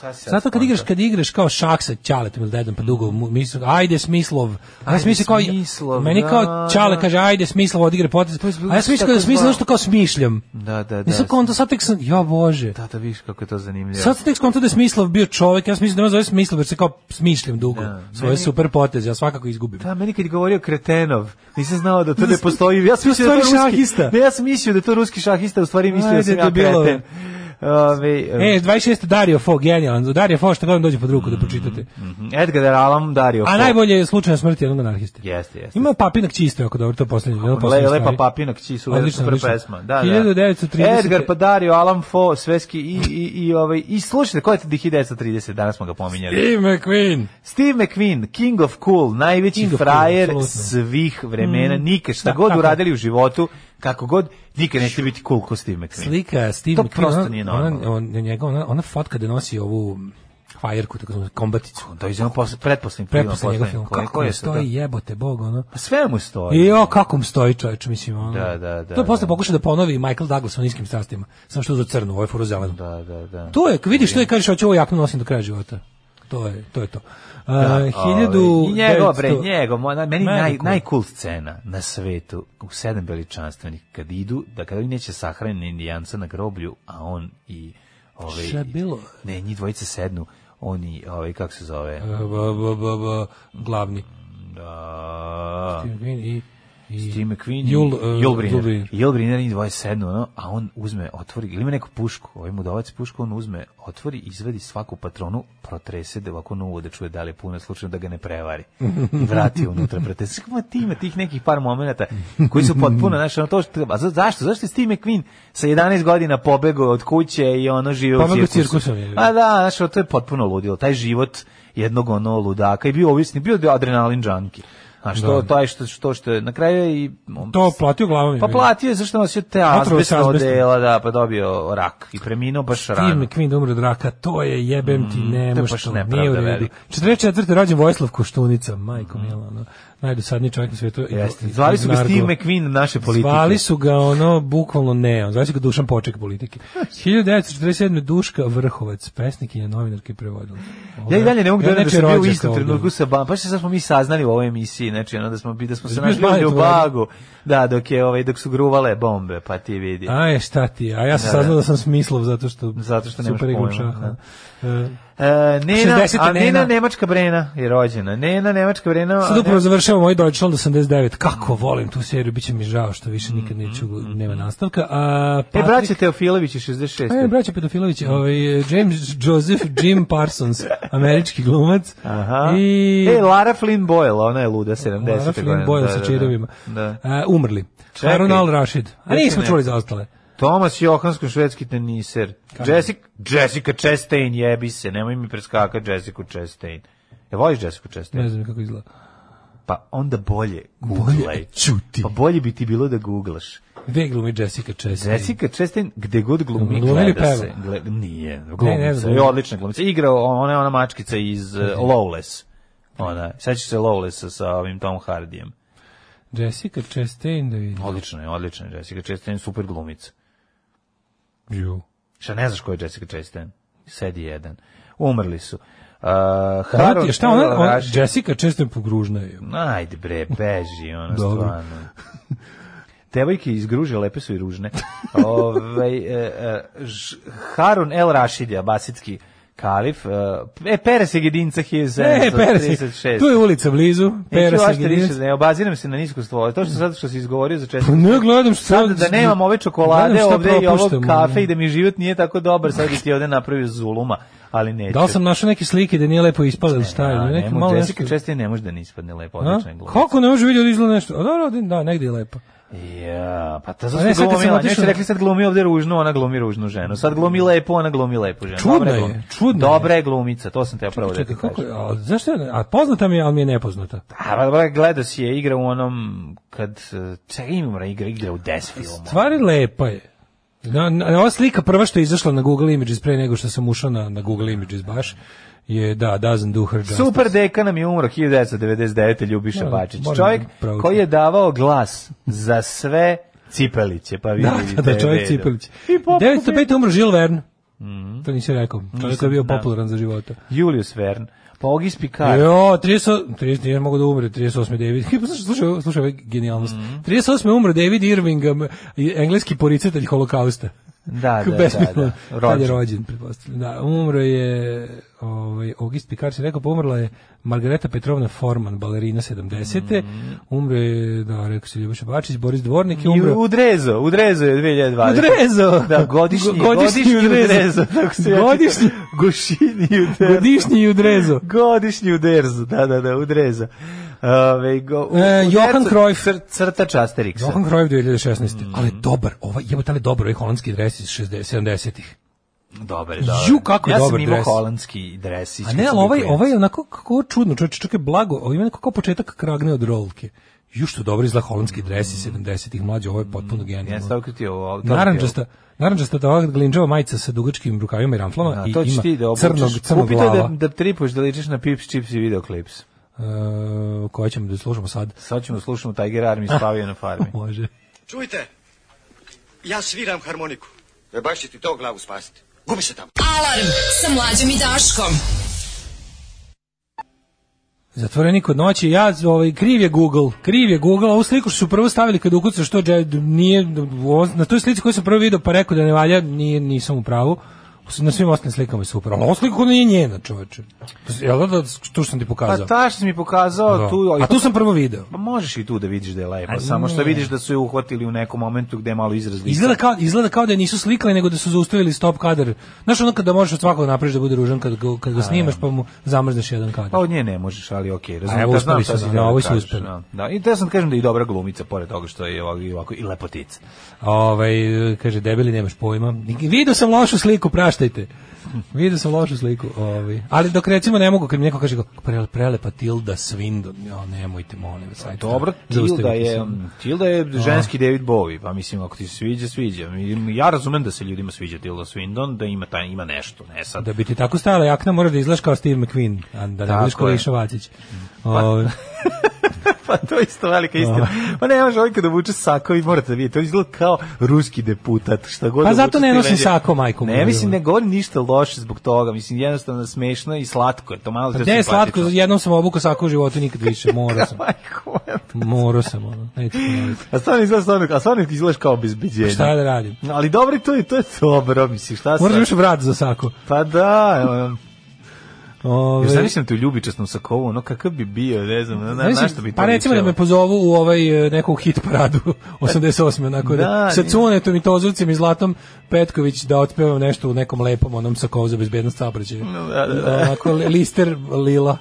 Sad si ja Zato kad skončao. igraš, kad igraš kao šak sa ćaletom ili dedom, pa dugo, mu- mislim, ajde smislov. A ja sam Ajde, mislio kao, Smislov, meni da, kao ćale da. kaže, ajde smislov odigra potez. To je bilo A ja sam mislio tako da smislov zvao. nešto kao smišljam. Da, da, da. Nisam konto, sad tek sam, jo bože. Da, da, vidiš kako je to zanimljivo. Sad sam tek skonto da je Smislov bio čovek, ja sam mislio da me zove Smislov, jer se kao smišljam dugo. Da. Svoje Meni- super poteze, ja svakako izgubim. Da, meni kad je govorio Kretenov, nisam znao da to ne postoji. Ja sam mislio da je to Postoji ruski šahista. Ne, ja sam mislio da je to ruski šahista, u stvari mislio Ajde, da sam ja debilo. kreten. Ovaj, Ove, E, 26. Dario Fo, genijalan. Dario Fo, što god vam dođe pod ruku da pročitate. mhm, Edgar Allan Dario. A Mm, Fo. najbolje je slučajna smrt jednog anarhiste. Jeste, jeste. Ima papinak čisto, ako dobro, to je poslednje. jedna od Le, poslednjih lepa stvari. papinak čiji su Odlično, super odlično. pesma. Da, da. 1930. Edgar pa Dario Alan Fo, sveski i, i, i, ovaj, i slušajte, ko je 1930, danas smo ga pominjali. Steve McQueen. Steve McQueen, King of Cool, najveći King of cool, frajer apsolutno. Mm. svih vremena, nikad, šta Da, god tako je. uradili u životu, kako god, nikad nećete biti cool ko Steve McQueen. Slika Steve To McQueen. prosto ona- nije ona- normalno. on- njega, ona, ona fotka da nosi ovu fajerku, tako zvanu kombaticu. To je iz onog posle- pretposlednjeg filma. Preposle njegov poslednjeg. film. Koji- Kako koji je su to? stoji, jebote, bog, ono. Pa sve mu stoji. I o, kako mu stoji čovječ, mislim, ono. Da, da, da, To je posle da. pokušao da ponovi Michael Douglas u niskim strastima. Samo što je za crnu, ovo je furo zeleno. Da, da, da. To je, vidiš što je, kažeš, hoću ovu jaknu nosim do kraja života. To je, to je to. Uh, Ovaj, I njegov, bre, 1900 njegov, mo- na- meni naj, Medical. najcool scena na svetu, u sedam veličanstvenih, kad idu, da kada oni neće sahranjeni indijanca na groblju, a on i... Ove, Šta je bilo? Ne, njih dvojice sednu, oni, ove, kako se zove? E, b- b- b- b- glavni. Da, Steve McQueen i, i Steve McQueen i Yul, e, Yul Brynner. Yul Brynner. Yul Brynner, njih dvoje sednu, ono, a on uzme, otvori, ili ima neku pušku, ovaj mu davac pušku, on uzme, otvori, izvedi svaku patronu, protrese da ovako novo da čuje da li je puno slučajno da ga ne prevari. I vrati je unutra, protrese. Kako ti ima tih nekih par momenata koji su potpuno, znaš, ono to što treba. A za- zašto? Zašto je Steve McQueen sa 11 godina pobegao od kuće i ono žive Pobegao u cirkusu? cirkusom je. A da, znaš, ono, to je potpuno ludilo. Taj život jednog ono ludaka i bio ovisnik, bio je adrenalin junkie. A što Da. taj što što što je na kraju je i on- To platio glavom. pa platio je zašto nosio te Otrovao se azbestno azbestom. odela, da, pa dobio rak i preminuo baš Steve rano. Mm, McQueen da umre od raka, to je jebem ti, ne to je može baš to, nepravda nije u redu. velika. Mm. 44. rođen Vojislav Koštunica, majko mila, ono, najdosadniji čovjek na svijetu. Jeste. Zvali su ga Steve McQueen naše politike. Zvali su ga ono bukvalno ne, zvali su ga Dušan Poček politike. 1947. Duška Vrhovac, pesnikinja, novinarka i prevodilac. Ja i dalje ne mogu da verujem da sam bio u rođaka istom ovdje. trenutku sa Bam. Pa sad smo mi saznali u ovoj emisiji, znači ono da smo bi- da smo se Jesi našli bio u Bajet u Ljubagu. Da, dok je ovaj dok su gruvale bombe, pa ti vidi. Aj, šta ti, a ja sam Da, saznao da. da sam smislov zato što Zato što nemaš super igram pojma, šaha. E, E, Nena, 60. a Nena Nena. Nemačka Brena je rođena. Nena Nemačka Brena. a Sad ne- upravo završavamo ovaj moj Deutschland 89. Kako volim tu seriju, bit će mi žao što više nikad neću, nema nastavka. A, E, Patrik- braće Teofilović je 66. mm-hmm. E, braća Pedofilović, ovaj, eh, James Joseph Jim Parsons, američki glumac. Aha. I... E, Lara Flynn Boyle, ona je luda 70. Lara Flynn godina, Boyle da, sa da, čirovima. Da. da. A, umrli. Čekaj. Harun al-Rashid. A Ja nismo se ne- čuli za ostale. Tomas Johansko, švedski teniser. Jessica, Jessica Chastain, jebi se, nemoj mi preskaka Jessica Chastain. Ja voliš Jessica Ne Chastain? znam kako izgleda. Pa onda bolje googlaj. čuti. Pa bolje bi ti bilo da googlaš. Gde glumi Jessica Chastain? Jessica Chastain, gde god glumi, Glumi ili gleda se. peva? Gleda, nije, ne glumica, znam. je odlična glumica. Igra ona je ona mačkica iz uh, Lawless. Ona, sećaš se Lawlessa sa ovim Tom Hardijem. Jessica Chastain, da vidim. Odlično je, odlično je Jessica Chastain, super glumica. Ju. Šta ne znaš ko je Jessica Chastain? Sedi jedan. Umrli su. Uh, Ona ti Harold je- Pa Šta ona? L. ona Rashid- Jessica Chastain pogružna je. Ajde bre, beži, ono Dobro. stvarno. Devojke iz Gruže lepe su i ružne. Ovaj e, e, Ž- Harun El Rashid, basitski Kalif, uh, e, Pere Segedinca 1736. E, Persi, tu je ulica blizu, Pere Neću ošte Segedinca. više, ne obaziram se na nisku stvo. To što sad što si izgovorio za četiri. Pa Ne gledam što Sad da nemam ove Gledam čokolade šta ono. ovde i ovog propuštamo, kafe da. i da mi život nije tako dobar, sad bi ti ovde napravio zuluma, ali neću. Da li sam našao neke slike da nije lepo ispalo ili šta? A, ili ne neke može, malo Jessica nešto- Chastain ne može da ne ispadne lepo, A? odlična je glumica. Kako ne može vidjeti da izgleda nešto? A, dobro, da, da, negdje je lepo. Ja, pa ta A ne, zašto sad kad sam glumi, oni otišao- su rekli sad glumi ovde ružnu, ona glumi ružnu ženu. Sad glumi lepo, ona glumi lepu ženu. Čudna Dobra Mm. je, glumi- čudna je. Dobra je glumica, to sam te ja prvo da ti Čekaj, kako, kažem. a, zašto je, a poznata mi je, ali mi je nepoznata. A, ba- ba- gledao si je igra u onom, kad, eh, čekaj imam igra, igra u 10 filmu. Stvari lepa je. Na, na, ova slika prva što je izašla na Google Images pre nego što sam ušao na, na Google Images baš je da, doesn't do her justice. Super deka nam je umro 1999. Ljubiša Moram- Bačić. moram Čovjek da proučim. koji je davao glas za sve cipeliće, pa Da, vidite. da, da, čovjek Cipelić. I pop- 905. umro Žil Vern. To nisi rekao. Čovjek koji je bio da. popularan za života. Julius Verne, pa Ogis Picard. Jo, 30, 30, nije mogu da umre, 38. David. Pa Slušaj, slušaj, slušaj, ovo je genijalnost. Mhm. 38. umre David Irving, em, i- engleski poricatelj holokausta. Da, da, Besmisleno. da, da. Rođen. Tad je rođen, pretpostavljam. Da, umro je, ovaj, August Picard se rekao, pa umrla je Margareta Petrovna Forman, balerina 70. Mhm. Umro je, da, rekao se Ljuboša Bačić, Boris Dvornik je I umro. udrezo, udrezo je 2020. Udrezo! Da, godišnji, Go- godišnji, udrezo. tako se ja Godišnji- čitam. Gošini udrezo. Godišnji i udrezo. Godišnji udrezo, da, da, da, udrezo. Ove, go, u- E, udrezo- Johan Cruyff. Cr, crtač Asterixa. Johan Cruyff 2016. Mm. Ali dobar, ovaj jebote ali dobar ovaj holandski dres iz 60 70-ih. Dobar, je, dobar. Ju, kako je ja dobar sam imao dres. holandski dres. A ne, ali ovaj, ovaj je onako kako čudno, čovječe, čak je blago, ovo ima neko kao početak kragne od rolke. Ju što dobro izgleda holandski dres Mm. iz 70-ih, mlađe, ovo je potpuno Ja sam genijalno. tako ti ovo. Mm. to Narandžasta, narandžasta da ova glinđava majica sa dugačkim rukavima i ramflama ti je ovo. i Da, to ćeš ima ti da obučeš. crnog, crnog Kupite glava. da, da tripuš da ličiš na Pips, Chips i videoklips. E, koja ćemo da slušamo sad? Sad ćemo slušati Tiger Army spavio na farmi. Može. Čujte, ja sviram harmoniku. E baš će ti to glavu spasiti. Gubi se tamo. Alarm sa mlađom i Daškom. Zatvorenik od noći, ja, ovaj, kriv je Google, kriv je Google, ovu sliku što su prvo stavili kad ukucaš što nije, on- na toj slici koju sam prvo vidio pa rekao da ne valja, nije, nisam u pravu, na svim ostalim slikama je super, ali ovo sliku nije njena čoveče, jel da, da tu sam ti Pa pokazao? ta što si mi pokazao, Da. tu, A tu sam prvo video. Pa možeš i tu da vidiš da je lepo, A samo što ne. vidiš da su je uhvatili u nekom momentu gde je malo izraz lica. Izgleda kao, izgleda kao da je nisu slikali, nego da su zaustavili stop kadar. Znaš ono kada možeš od svakog napraviš da bude ružan kad, ga- kad ga snimaš pa mu zamrzneš jedan kadar. Pa od nje ne možeš, ali okej, A razumijem evo, da uspeli znam su, šta si da, htjela ovo da su kažeš, uspeli. Da, da, i da sam kažem da je i dobra glumica, pored toga što je ovako, i ovako i lepotica. Ovaj kaže debeli nemaš pojma. Video sam lošu sliku, praštajte. Video sam lošu sliku, ovaj. Ali dok recimo ne mogu kad mi neko kaže kao, "Pre- prelepa Tilda Swindon, ja nemojte molim vas. ajde, Pa Dobro, zaustavite Tilda je, mm, se. Tilda je ženski David Bowie, pa mislim, ako ti se sviđa, sviđa. Mi- Ja razumem da se ljudima sviđa Tilda Swindon, da ima, taj, ima nešto, ne sad. Da bi ti tako stajala jakna, moraš da izgledaš kao Steve McQueen, a da ne Tako budeš kao je. Iša Vacić. Ovaj, pa to je isto velika istina. Pa ne može ovdje da vuče sako i morate vidjeti. To izgleda kao ruski deputat. Šta god Pa da zato vuče ne nosim stileđe. sako, ono. majko moja. Ne, mislim, ne govorim ništa loše zbog toga. Mislim, jednostavno smešno i slatko je. To malo Gde je Pa slatko, jednom sam obukao sako u životu, nikad više, morao sam. Majko moja. Morao sam, ono, neću ponoviti. A stvarno izgleda, stvarno, a stvarno izgledaš kao obezbiđenje. Šta da radim? Ali dobro, to je, to je dobro, mislim, šta Moraš sad? još vrat za sako. Pa da, evo, Ovaj, još zamislim te u ljubičasnom sakovu, ono kakav bi bio, ne znam, na, na, na Znaš, što bi to pa recimo da ličilo? me pozovu u ovaj e, neku hit paradu 88. onako da, Da, sa i- Cunetom i Tozucem i Zlatom Petković da otpevam nešto u nekom lepom onom sakovu za bezbednost saobraćaja. da, da, da. Onako li- lister lila.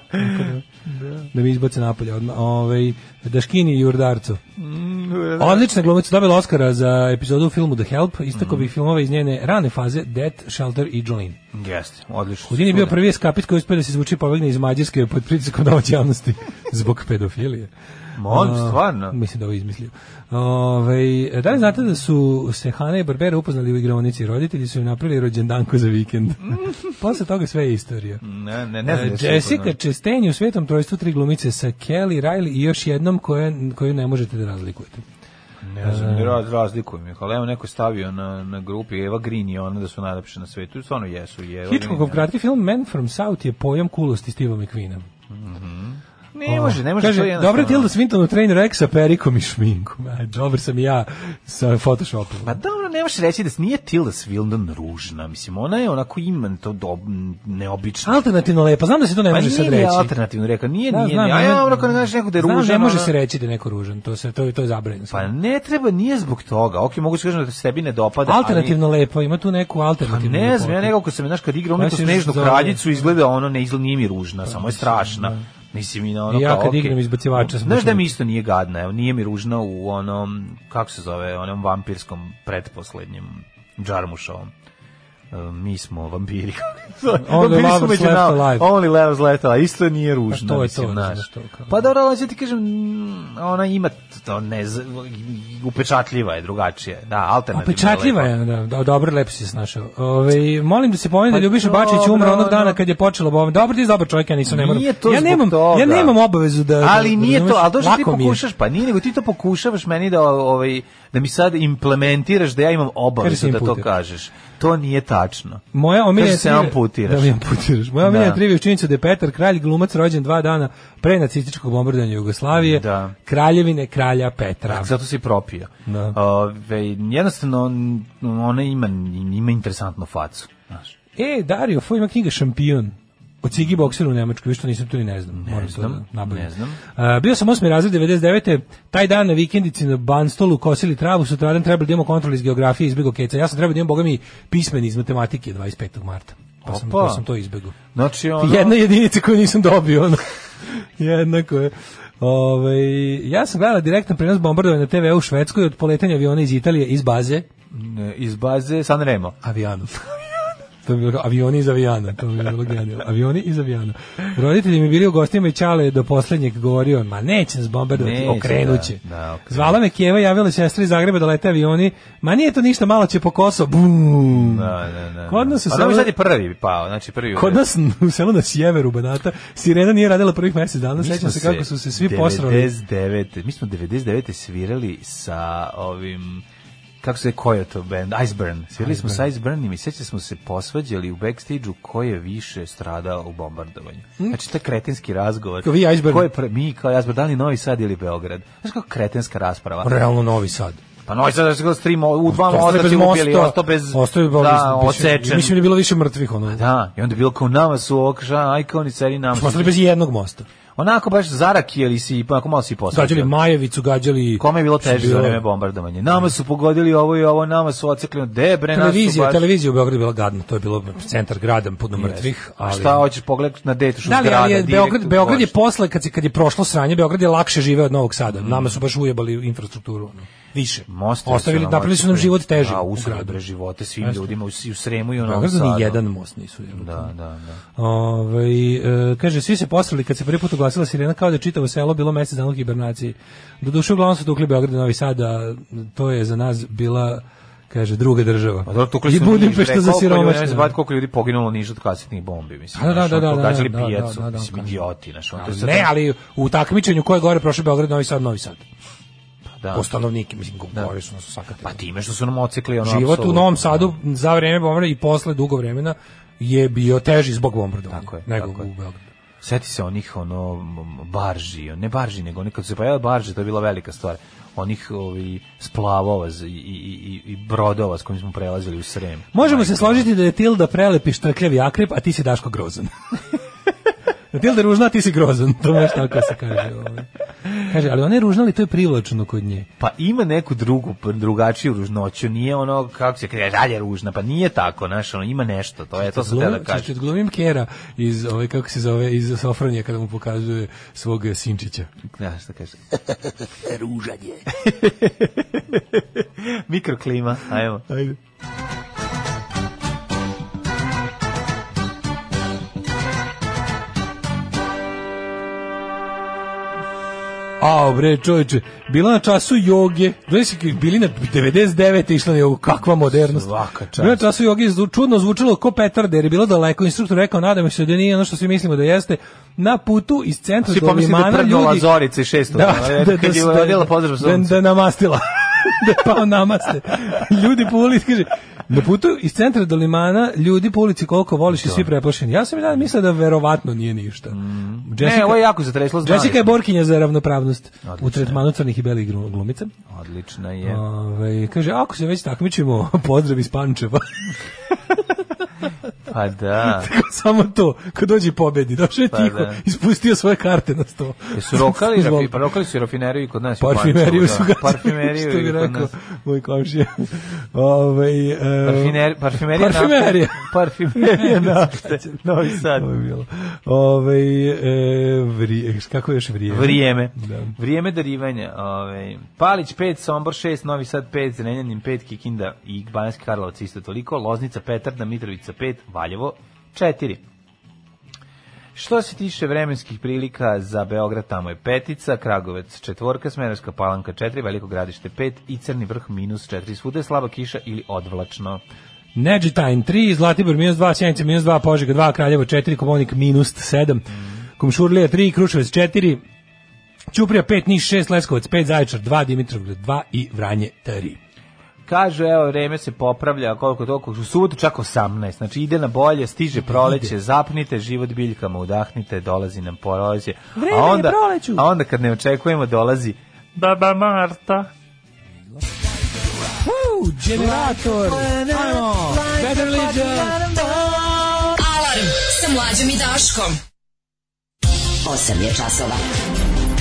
Da. da mi izbace napolje odmah. Ovaj, Daškini i Jurdarco. Odlična glumica dobila Oscara za epizodu u filmu The Help, istako Mhm. bih filmova iz njene rane faze Death, Shelter i Jolene. Jeste, odlično. Houdini je bio prvi eskapit koji je uspio da se izvuči i pobegne iz Mađarske pod pritiskom domaće javnosti zbog pedofilije. Molim, A, stvarno? Mislim da ovo je izmislio. Ove, da li znate da su se Hana i Barbera upoznali u igraonici? Roditelji su im napravili rođendanku za vikend. Posle toga sve je istorija. E, Ne, ne, ne znam. da se Jessica upoznam. Chastain je u svetom trojstvu tri glumice sa Kelly, Riley i još jednom koje, koju ne možete da razlikujete. Ne znam, raz, razlikujem ih, ali evo neko je stavio na, na grupi Eva Green i ona da su najlepše na svetu, stvarno jesu i Eva Green. Hitchcockov kratki film Man from South je pojam kulosti Steve'a McQueena. Ne može, ne može. to je Kaže, jednostavno. dobro je Tilda Swinton u Train Wreck sa perikom i šminkom. Aj, dobar sam i ja sa Photoshopom. Pa dobro, ne možeš reći da s- nije Tilda Swinton ružna, mislim, ona je onako iman to do, m, neobično. Alternativno lepa, znam da se to ne pa može nije sad mi reći. alternativno rekao, nije, Da, nije, znam, nije. A ne- ja ono kad znaš nekog da je Znam, ružan, ne može ono- se reći da je neko ružan, to, se, to, to je zabranjeno. Pa ne treba, nije zbog toga. Ok, mogu se kažem da se tebi ne dopada. ali- alternativno lepo, ima tu neku Pa alternativnu ne znam, lepotu. ja nekako sam, znaš, kad igra Pa umjetno se snežnu zove- kraljicu, izgleda ono, ne izgleda, nije mi ružna, samo je strašna. Mislim, i na ono Pa, I ja kao, kad okej. igram izbacivača sam Znaš da baš- ono- mi isto nije gadna, evo, nije mi ružna u onom, kako se zove, onom vampirskom pretposlednjem Džarmušovom. E, Mi smo vampiri. Only Vampiri su lovers među left nama. alive. Only lovers left alive. Isto nije ružna. to je mislim, to, znaš. znaš, to kao- Pa dobro, ali ću ti kažem, mm, ona ima to ne, z- upečatljiva je drugačije. Da, alternativna. je Pečatljiva lepa. je, da, da, dobro, lepo si se snašao. Ove, molim da se pomeni da Pa Ljubiša dobro, Bačić umre onog dana no. kad je počelo bomba. Dobro, ti je dobar čovjek, ja nisam ne moram. Nije to ja zbog nemam, toga. Ja nemam obavezu da... da- ali da nije to, razumeš, ali dođe ti lako mi je. pokušaš, pa nije, nego ti to pokušavaš meni da ovaj da mi sad implementiraš da ja imam obavezu Kaže se da to imputira. kažeš. To nije tačno. Moja omiljena Kaže se trivija- amputiraš. Da mi amputiraš. Moja omiljena Da. da. trivija je činjenica da je Petar Kralj glumac rođen dva dana pre nacističkog bombardovanja Jugoslavije, Da. Znači, kraljevine kralja Petra. Tako, zato si propio. Da. Ovaj, jednostavno, on- ona ima, ima interesantnu facu. Znaš. E, Dario, Fo ima knjiga Šampion. O cigi bokseru u Nemačkoj, vi što nisam tu ni ne znam. Moram to znam, da nabavim. ne znam. A, bio sam 8. razred 99. Taj dan na vikendici na Banstolu kosili travu, sutradan trebali da imamo kontrol iz geografije, izbjegao keca. Ja sam trebao da imam, boga mi, pismen iz matematike 25. marta. Pa sam, Opa. pa sam to izbjegao. Znači, ono, Jedna jedinica koju nisam dobio. Ono. Jednako je. Ove, ja sam gledala direktan prenos bombardovanja na TV u Švedskoj od poletanja aviona iz Italije iz baze iz baze San Remo. Avijanov. To bi bilo kao avioni iz avijana, to bi bilo genijalno. Avioni iz avijana. Roditelji mi bili u gostima i Čale je do poslednjeg govorio, ma neće nas bombardovati, Neće, okrenuće. da, da, okrenut. Zvala me Kijeva, javila sestra iz Zagreba da lete avioni, ma nije to ništa, malo će po Kosovo, bum. Da, da, Pa da. Kod nas se A samo- dobro, sad je prvi pao, znači prvi. Kod nas u selu na sjeveru Banata sirena nije radila prvih mesec dana, Mi sećam smo se kako su se svi posrali. 99, mi smo 99 svirali sa ovim kako se koja to band Iceburn. Svirali smo sa Iceburnom i sećam smo se posvađali u backstage-u ko je više stradao u bombardovanju. Znači taj kretenski razgovor. Hm? Kao vi Iceburn? Ko je pre, mi kao Iceburn, da li Novi Sad ili Beograd? Znaš kako kretenska rasprava. Realno Novi Sad. Pa Novi Sad je s tri mo- u dva Ostao je mosta bez ti Pa, ubili, mosta, ostao bez ostao je da, bez- odsečen. Mislim da je bilo više mrtvih ono. Da, i onda je bilo kao nama su okša, aj kao ni ceri nama. Smo ostali bez jednog mosta. Onako baš zarakijeli si, onako pa malo si posvađali. Gađali Majevicu, gađali... Kome je bilo teže za Bilo- vreme bombardovanja? Nama su pogodili ovo i ovo, nama su ocekli, ono, de bre, nas su Televizija, baš- televizija u Beogradu je bila gadna, to je bilo centar grada, puno mrtvih, A ali... šta hoćeš pogledati na detušu Da li, zgrada? ali je direkt Beograd, u Beograd je dvorište. posle, kad, se, kad je prošlo sranje, Beograd je lakše žive od Novog Sada. Nama su baš ujebali infrastrukturu. ono. Više. Mostovi Ostavili, nam napravili su nam otkupili. život teži. A u usred gradu. bre živote svim Jeste. ljudima u, i u Sremu i u U Novom Beogradu Sadu. ni jedan most nisu jebali. Da, da, da. Ovaj, e, kaže, svi se posrali kad se prvi put oglasila sirena kao da je čitavo selo bilo mesec dana u hibernaciji. Doduše, uglavnom su tukli Beograd i Novi Sad, a to je za nas bila kaže, druga država. Pa dobro, tukli I su Niš, Budimpešta bre, za koliko ljudi, Ne siromašne. znam koliko ljudi poginulo u Nišu od kasetnih bombi, mislim. A, da, znaš, da, ono, da, da, pogađali da, da, pijacu, da, da, mislim, kažem. idioti, znaš, ono, to je sad- Ne, ali u takmičenju koje gore prošao Beograd, Novi Sad, Novi Sad. da. Po stanovnike, mislim, gore su nas sakatili. Pa time što su nam ocekli ono Život u apsolutno. Novom Sadu za vreme bombardovanja i posle dugo vremena je bio teži zbog bombardovanja Tako je, nego tako je. u Beogradu. Sjeti se onih ono m- m- barži, ne barži nego oni kad su se pojavile barže, to je bila velika stvar. Onih ovi splavova z- i, i, i, i brodova s kojim smo prelazili u Srem. Možemo se Majko. složiti da je Tilda prelepi štrkljav i akrep, a ti si Daško grozan. Tilda je ružna, a ti si grozan. To može tako se kaže. ovaj. Kaže, ali ona je ružna, ali to je privlačeno kod nje. Pa ima neku drugu, p- drugačiju ružnoću, nije ono, kako se kaže, dalje ružna, pa nije tako, znaš, ono, ima nešto, to je, to sam te da Glumim, kažem. glumim Kera iz, ove, kako se zove, iz Sofronija kada mu pokazuje svog sinčića. Znaš šta kaže? Ružan je. Mikroklima, ajmo. Ajde. A, bre, čovječe, bila na času joge, gledaj si, bili na 99. išla na jogu, kakva modernost. Svaka čast. Bila na času joge, zvu- čudno zvučalo ko petarde, jer je bilo daleko, instruktor rekao, nadam se da nije ono što svi mislimo da jeste, na putu iz centra Svi do pomislili da je limana prdnula ljudi... Ono, Zorica i šesto. Da, da, da, da, da, da, da, da, da, da, da, da, da, da namastila. da je pao namaste. Ljudi po ulici, kaže, na putu iz centra do limana, ljudi po ulici koliko voliš i svi preplašeni. Ja sam i dan mislio da verovatno nije ništa. Jessica, Mm. Ne, ovo je jako zatreslo znanje. Jessica je borkinja za ravnopravnost Odlično u je. tretmanu crnih i belih glu- glumica. Odlična je. Ove, kaže, ako se već takmičimo, pozdrav iz Pančeva. Pa da. Samo to, kad dođe i pobedi, došao je Pa tiho, da. ispustio svoje karte na sto. Jesu rokali, Zbog- rafi, pa rokali su i rafineriju i kod nas. u Parfimeriju Pančevu, su da. ga, Parfimeriju što bi i kod rekao nas. moj komšija. Ovaj e, Parfiner, parfimerija nafte. Parfimerija. Parfimerija nafte. Novi Sad. Ovo je bilo. Ovaj e, vri, kako je još vrijeme? Vrijeme. Da. Vrijeme darivanja. Ovaj Palić 5, Sombor 6, Novi Sad 5, Zrenjanin 5, Kikinda i Banjski Karlovac isto toliko, Loznica, Petarda, Mitrovica 5, Valjevo 4. Što se tiče vremenskih prilika za Beograd, tamo je petica, Kragovec četvorka, Smerovska palanka 4, Veliko gradište 5 i Crni vrh minus 4. Svuda je slaba kiša ili odvlačno. Neđetajn 3, Zlatibor minus 2, Sjenica minus 2, Požega 2, Kraljevo 4, Komonik minus Mm. 7, Komšurlija 3, Kruševac 4, Ćuprija 5, Niš 6, Leskovac 5, Zaječar 2, Dimitrovgrad 2 i Vranje 3. Kažu, evo, vreme se popravlja, koliko toliko, u subotu čak 18, znači ide na bolje, stiže proleće, zapnite život biljkama, udahnite, dolazi nam proleće. Vreme je a onda, proleću. A onda kad ne očekujemo, dolazi Baba Marta. Woo, generator! Ajmo! Better uh, Legion! Alarm sa mlađom i Daškom. 8 je časova.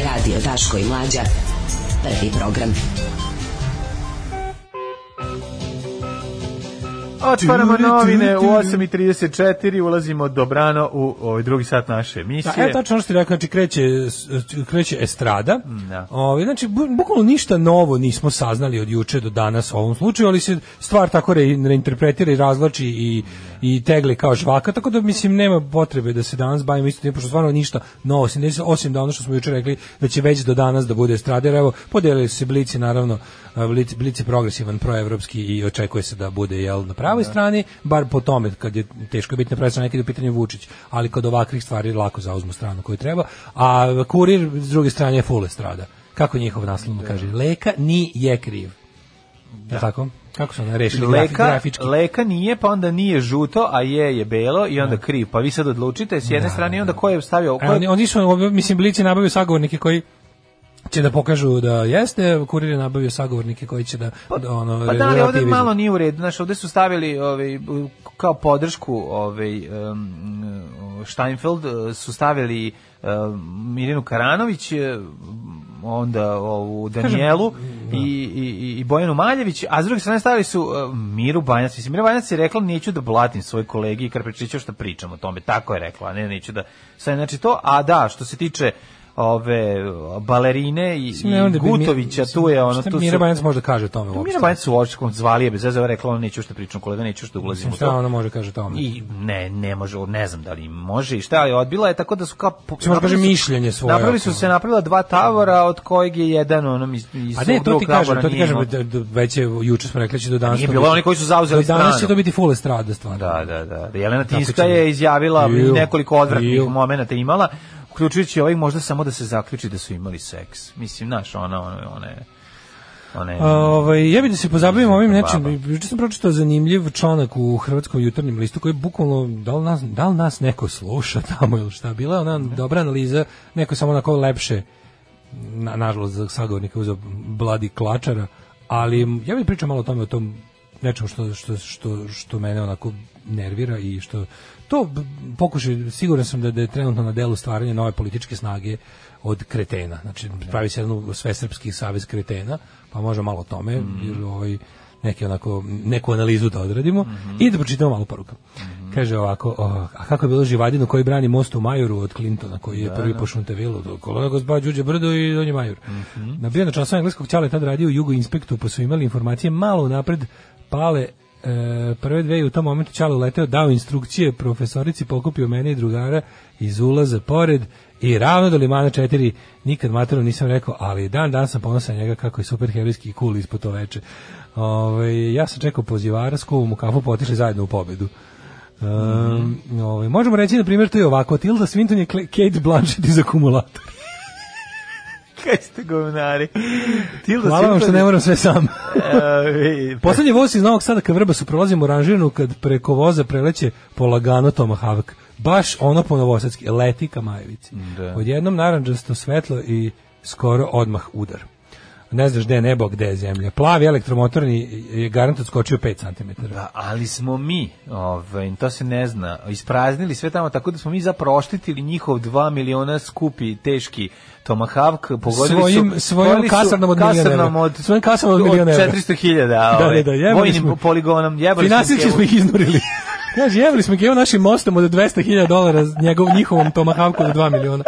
Radio Daško i Mlađa. Prvi program. Otvaramo novine u 8.34, ulazimo dobrano u ovaj drugi sat naše Da, emisije. evo tačno ono što ti rekao, znači kreće, s- kreće estrada. Mm, Da. Ovaj, znači, bu- bukvalno ništa novo nismo saznali od juče do danas u ovom slučaju, ali se stvar tako re, reinterpretira i razvlači i, i tegle kao žvaka, tako da mislim nema potrebe da se danas bavimo isto tim, pošto stvarno ništa novo se ne desi, osim da ono što smo juče rekli da će već do danas da bude estrada, jer evo, podelili su se blici, naravno, a, blici, blici progresivan, proevropski i očekuje se da bude jel, na pravoj strani, bar po tome, kad je teško je biti na pravoj strani, kad je u pitanju Vučić, ali kod ovakvih stvari lako zauzmu stranu koju treba, a kurir s druge strane je full estrada kako njihov naslovno kaže, leka ni je kriv. Da. tako? Kako su ona rešili grafi, Leka, grafički? leka nije, pa onda nije žuto, a je je belo i onda kriv. Pa vi sad odlučite s jedne strane i onda ko je stavio... Ko A je oni, oni su, ovi- mislim, blici nabavio sagovornike koji će da pokažu da jeste, kurir je nabavio sagovornike koji će da, da ono, Pa da, ali ovde relativizuju. malo nije u redu. Znaš, ovde su stavili ovaj, u- kao podršku ovaj, um, Steinfeld, eh, su stavili eh, Mirinu Karanović, eh, onda ovu Danielu i, i, i Bojanu Maljević, a s druge strane stavili su eh, Miru Banjac. Mislim, Mira Banjac je rekla, neću da blatim svoje kolege i Karpečića što pričam o tome. Tako je rekla, ne, neću da... Sve, znači to, a da, što se tiče ove balerine i, Mislim, ne, onda i bi mi- Gutovića, tu je ono, Šta tu Mira su... Banjac može da kaže o tome Pa uopšte. Mira Banjac u očkom zvali je bez veze, ona je rekla ono neću što pričam kolega, neću što ulazim u Šta to. ona može da kaže o tome? I ne, ne može, ne znam da li može i šta, ali odbila je tako da su kao... Mislim, može kaže napravili su- mišljenje svoje. Napravili su ono. se napravila dva tavora, od kojeg je jedan ono iz, iz A ne, to drugog ti kažem, tabora to ti nije kažem, imao. da, da, već je, juče smo rekli da će do danas... Nije to bilo biti- oni koji su zauzeli Do danas će stranu. to biti full estrada stvarno. Da, da, da. da. Jelena Tako Tiska ćemo. je izjavila i Iu, nekoliko odvratnih iu. momenata imala, uključujući ovaj možda samo da se zaključi da su imali seks. Mislim, znaš, ono, ona, ona, ona je... Ona je Ovaj ja bih da se pozabavim ovim nečim. Baba. Juče sam pročitao zanimljiv članak u hrvatskom jutarnjem listu koji je bukvalno da li nas da li nas neko sluša tamo ili šta bila je ona dobra analiza, neko samo onako lepše na, nažalost za sagovornika uzeo bladi klačara, ali ja bih pričao malo o tome o tom nečemu što, što, što, što mene onako nervira i što to b- pokušaj, siguran sam da, da je trenutno na delu stvaranje nove političke snage od kretena, znači pravi se jedan svesrpski savez kretena, pa možda malo o tome, jer ovaj, neke onako, neku analizu da odradimo i da pročitamo malo poruka. Kaže ovako, o, a kako je bilo živadinu koji brani most u Majoru od Clintona, koji je prvi po Šuntevilu, do kolona gozba Đuđe Brdo i Donji Major. Na bio na članstvu engleskog ćala je tad radio u Jugo Inspektu, pa su imali informacije malo napred pale E, prve dve i u tom momentu Ćalo leteo, dao instrukcije profesorici, pokupio mene i drugara iz ulaza pored i ravno do Limana 4 nikad materu nisam rekao, ali dan dan sam ponosan na njega kako je super herojski i cool ispod to veče. Ove, ja sam čekao pozivara, s kuvom u kafu potišli zajedno u pobedu. Um, ovaj, možemo reći, na primjer, to je ovako, Tilda Swinton je Kle- Kate Blanchett iz akumulatora. Kaj ste govnari? Tilda Hvala vam što ne moram sve sam. moram... Poslednji voz iz Novog Sada ka Vrbasu prolazim u ranžirnu kad preko voza preleće polagano Tomahawk. Baš ono po novosadski, leti ka Majevici. Da. Odjednom naranđasto svetlo i skoro odmah udar. Ne znaš gde je nebo, gde je zemlja. Plavi elektromotorni je garant odskočio 5 cm. Pa, ali smo mi, ovaj, to se ne zna, ispraznili sve tamo, tako da smo mi zapravo oštetili njihov 2 miliona skupi, teški Tomahawk, pogodili Svojim- su... svojom pogodili su kasarnom od milion kasarnom evra. od- Svojim kasarnom od milion evra. 400.000, Da, ovaj, da, da, jebali vojnim smo. poligonom, jebali Finansijski cijelu- smo ih iznurili. Kaže, jevili smo ih evo našim mostom od 200.000 dolara s njegov, njihovom Tomahawku od 2 miliona.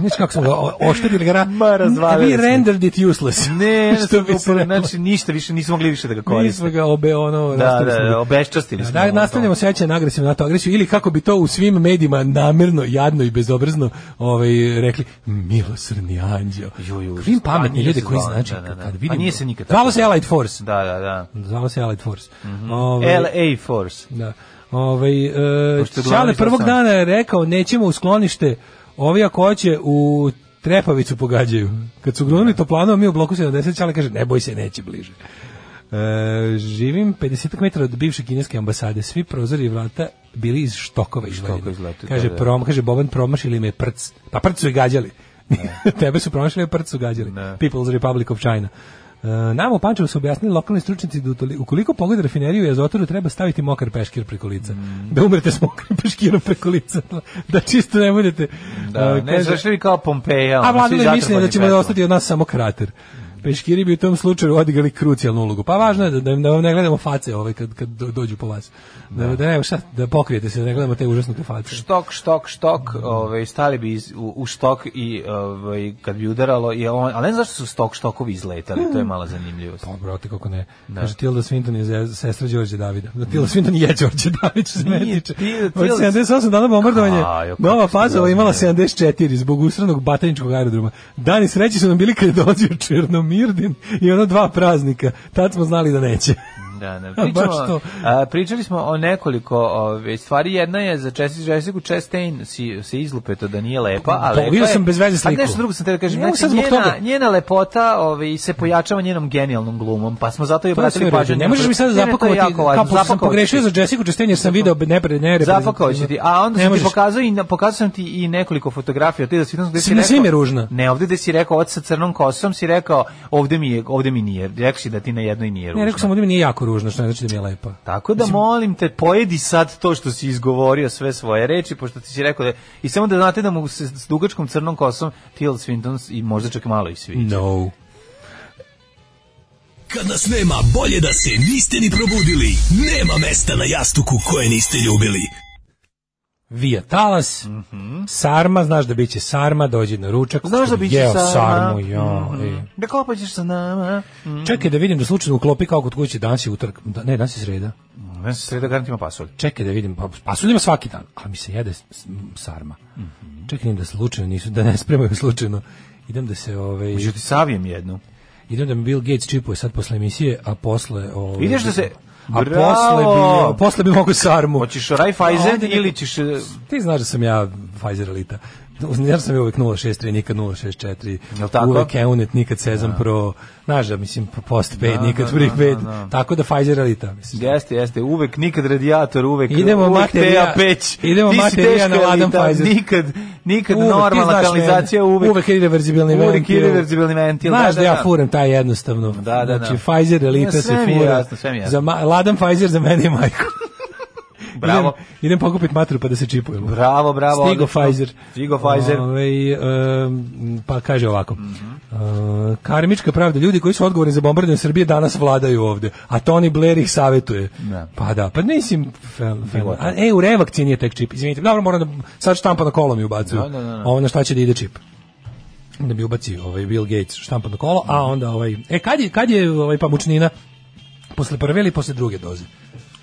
Znači kako smo ga o- oštedili ga. ra- Ma, razvalili We smo. rendered it useless. Ne, ne, što bi se upravo, reklo. znači ništa više, nismo mogli više da ga Mi koristimo. smo ga obe ono... Da, rastavili da, smo da, ga. obeščastili smo. ono, Da, nastavljamo sećanje na agresivnu NATO agresiju ili kako bi to u svim medijima namerno, jadno i bezobrazno ovaj, rekli milosrni anđeo. Ju, ju, Vidim pametni a nije ljudi se koji zvao, znači da, da, da. kad A vidim... nije se nikad tako Zvalo se zvao. Allied Force. Da, Mhm. da, da. Zvalo se Allied Force. Mm LA Force. Da. Ovaj e, Pošto je Šale glavni prvog izlasan. dana je rekao nećemo u sklonište, ovi ako hoće u Trepavicu pogađaju. Kad su grunili to planova, mi u bloku 70, Šale kaže ne boj se, neće bliže. E, živim 50 metara od bivše kineske ambasade, svi prozori i vrata bili iz štokova Štokova izvaljeni. izvlačili, Kaže, da, da. prom, kaže Boban promašili me prc. Pa prc su i gađali. Tebe su promašili, a prc su gađali. Ne. People's Republic of China. E, Nama u Pančevu su objasnili lokalni stručnici da utoli- ukoliko pogleda rafineriju i azotoru treba staviti mokar peškir preko lica. Mm. Da umrete s mokrim peškirom preko lica. Da čisto ne budete... Da, e, ne, kaže- zašli kao Pompeja. a ono, svi vladilo je mišljenje da zatrpani ćemo da petlom. ostati od nas samo krater. Peškiri bi u tom slučaju odigrali krucijalnu ulogu. Pa važno je da, da, da vam ne gledamo face ove kad, kad do- dođu po vas. Da, da, ne, šta, da pokrijete se, da ne gledamo te užasnute face. štok, štok, štok, Mm. ovaj, stali bi iz, u, u štok i ovaj, kad bi udaralo, i on, ali ne znam zašto su stok štokovi izletali, to je mala zanimljivost. Pa, brate, kako ne. Kaže, Tilda Swinton je ze- sestra Đorđe Davida. Da, Tilda Swinton je Đorđe David, što se mene Nije tiče. Tilda- Od Tilda- 78 dana bombardovanja, Kaj, o, kako nova si faza ova imala razumeo. 74 zbog usranog bataničkog aerodroma. Dani sreći su nam bili kad je dolazio Černomirdin i ono dva praznika. Tad smo znali da neće. Da, da. baš Pričamo, to. a, pričali smo o nekoliko ove, stvari. Jedna je za Česi Jessica Chastain si, se izlupeto da nije lepa, a Pa, lepa vidio je. sam bez veze A sliku. nešto drugo sam te da kažem. Ne mogu Znači, sad zbog njena, toga. njena lepota ove, se pojačava njenom genijalnom glumom, pa smo zato i To je sve obratili pažnju. rođe. Ne na- možeš mi sad Ne, ne, to je zapakovati, jako važno. kao pošto sam Zapakovaću pogrešio ti. za Jessica Chastain jer sam video ne pre ne Zapakao će ti, a onda pa Ne sam ti možeš. pokazao i na, pokazao sam ti i nekoliko fotografija od te da si gde Si- si na rekao. svim je ružna. Ne, ovde gde si rekao od sa crnom kosom si rekao ovde mi je, ovde mi nije. Rekao si da ti na jednoj nije ružna. Ne, rekao sam ovdje mi nije jako ružno, što ne znači da mi je lepa. Tako da molim te pojedi sad to što si izgovorio sve svoje reči pošto ti si rekao da i samo da znate da mu se s dugačkom crnom kosom Till Swinton i možda čak malo i svi. No. Kad nas nema, bolje da se niste ni probudili. Nema mesta na jastuku koje niste ljubili. Vija talas, sarma, znaš da biće sarma, dođi na ručak, Znaš da skupi, biće jeo sarma. Mhm. sarmu, jo, ej. Da kopaćeš sa nama. Čekaj da vidim da slučajno uklopi kao kod kuće, danas je utorak, da, ne, danas je sreda. Ne Mm. se sreda garant ima pasulj. Čekaj da vidim, pa pasulj ima svaki dan, ali mi se jede s- s- sarma. Mhm. Čekaj da slučajno nisu, da ne spremaju slučajno. Idem da se, ovaj, Uđu ti savijem jednu. idem da mi Bill Gates čipuje sad posle emisije, a posle... Ovaj, Ideš da se- A Bravo! posle bi, posle bi mogu sarmu. Hoćeš Raiffeisen Ovde neko- ili ćeš e, Ti znaš da sam ja Pfizer elita. Ja sam uvek 063, nikad 064. Jel tako? Uvek Eunet, nikad Sezam Pro. Znaš da, mislim, postpaid, nikad prepaid. Tako da Pfizer elita, mislim. Jeste, jeste, uvek nikad radijator, uvek Idemo uvek materija- teja peć. idemo Ti si materija teška na Ladan elita, Pfizer. Nikad, nikad Uvek, ti normalna znaš kanalizacija mene. uvek. Uvek irreverzibilni Uvek ventil. irreverzibilni ventil, Znaš da, da, ja da. furam taj jednostavno. Da, da, znači, da. Pfizer elita Ja, se sve mi je fura. jasno, sve mi je jasno. Za ma- Ladan Pfizer za mene je majko. Bravo. Idem, idem pokupit matru pa da se čipujemo. Bravo, bravo. Stigo odlično. Pfizer. Stigo Pfizer. Ovaj, em, pa kaže ovako. E, karmička pravda, ljudi koji su odgovorni za bombardovanje Srbije danas vladaju ovde, a Tony Blair ih savetuje. Da. Pa da, pa mislim, fel, fel, a, e, u revakcini je tek čip, izvinite, dobro, moram da sad štampa na kolo mi ubacuju, Da, da, da, da. ovo na šta će da ide čip da mi ubaci ovaj Bill Gates štampano kolo, a onda ovaj e kad je kad je ovaj pamučnina posle prve ili posle druge doze?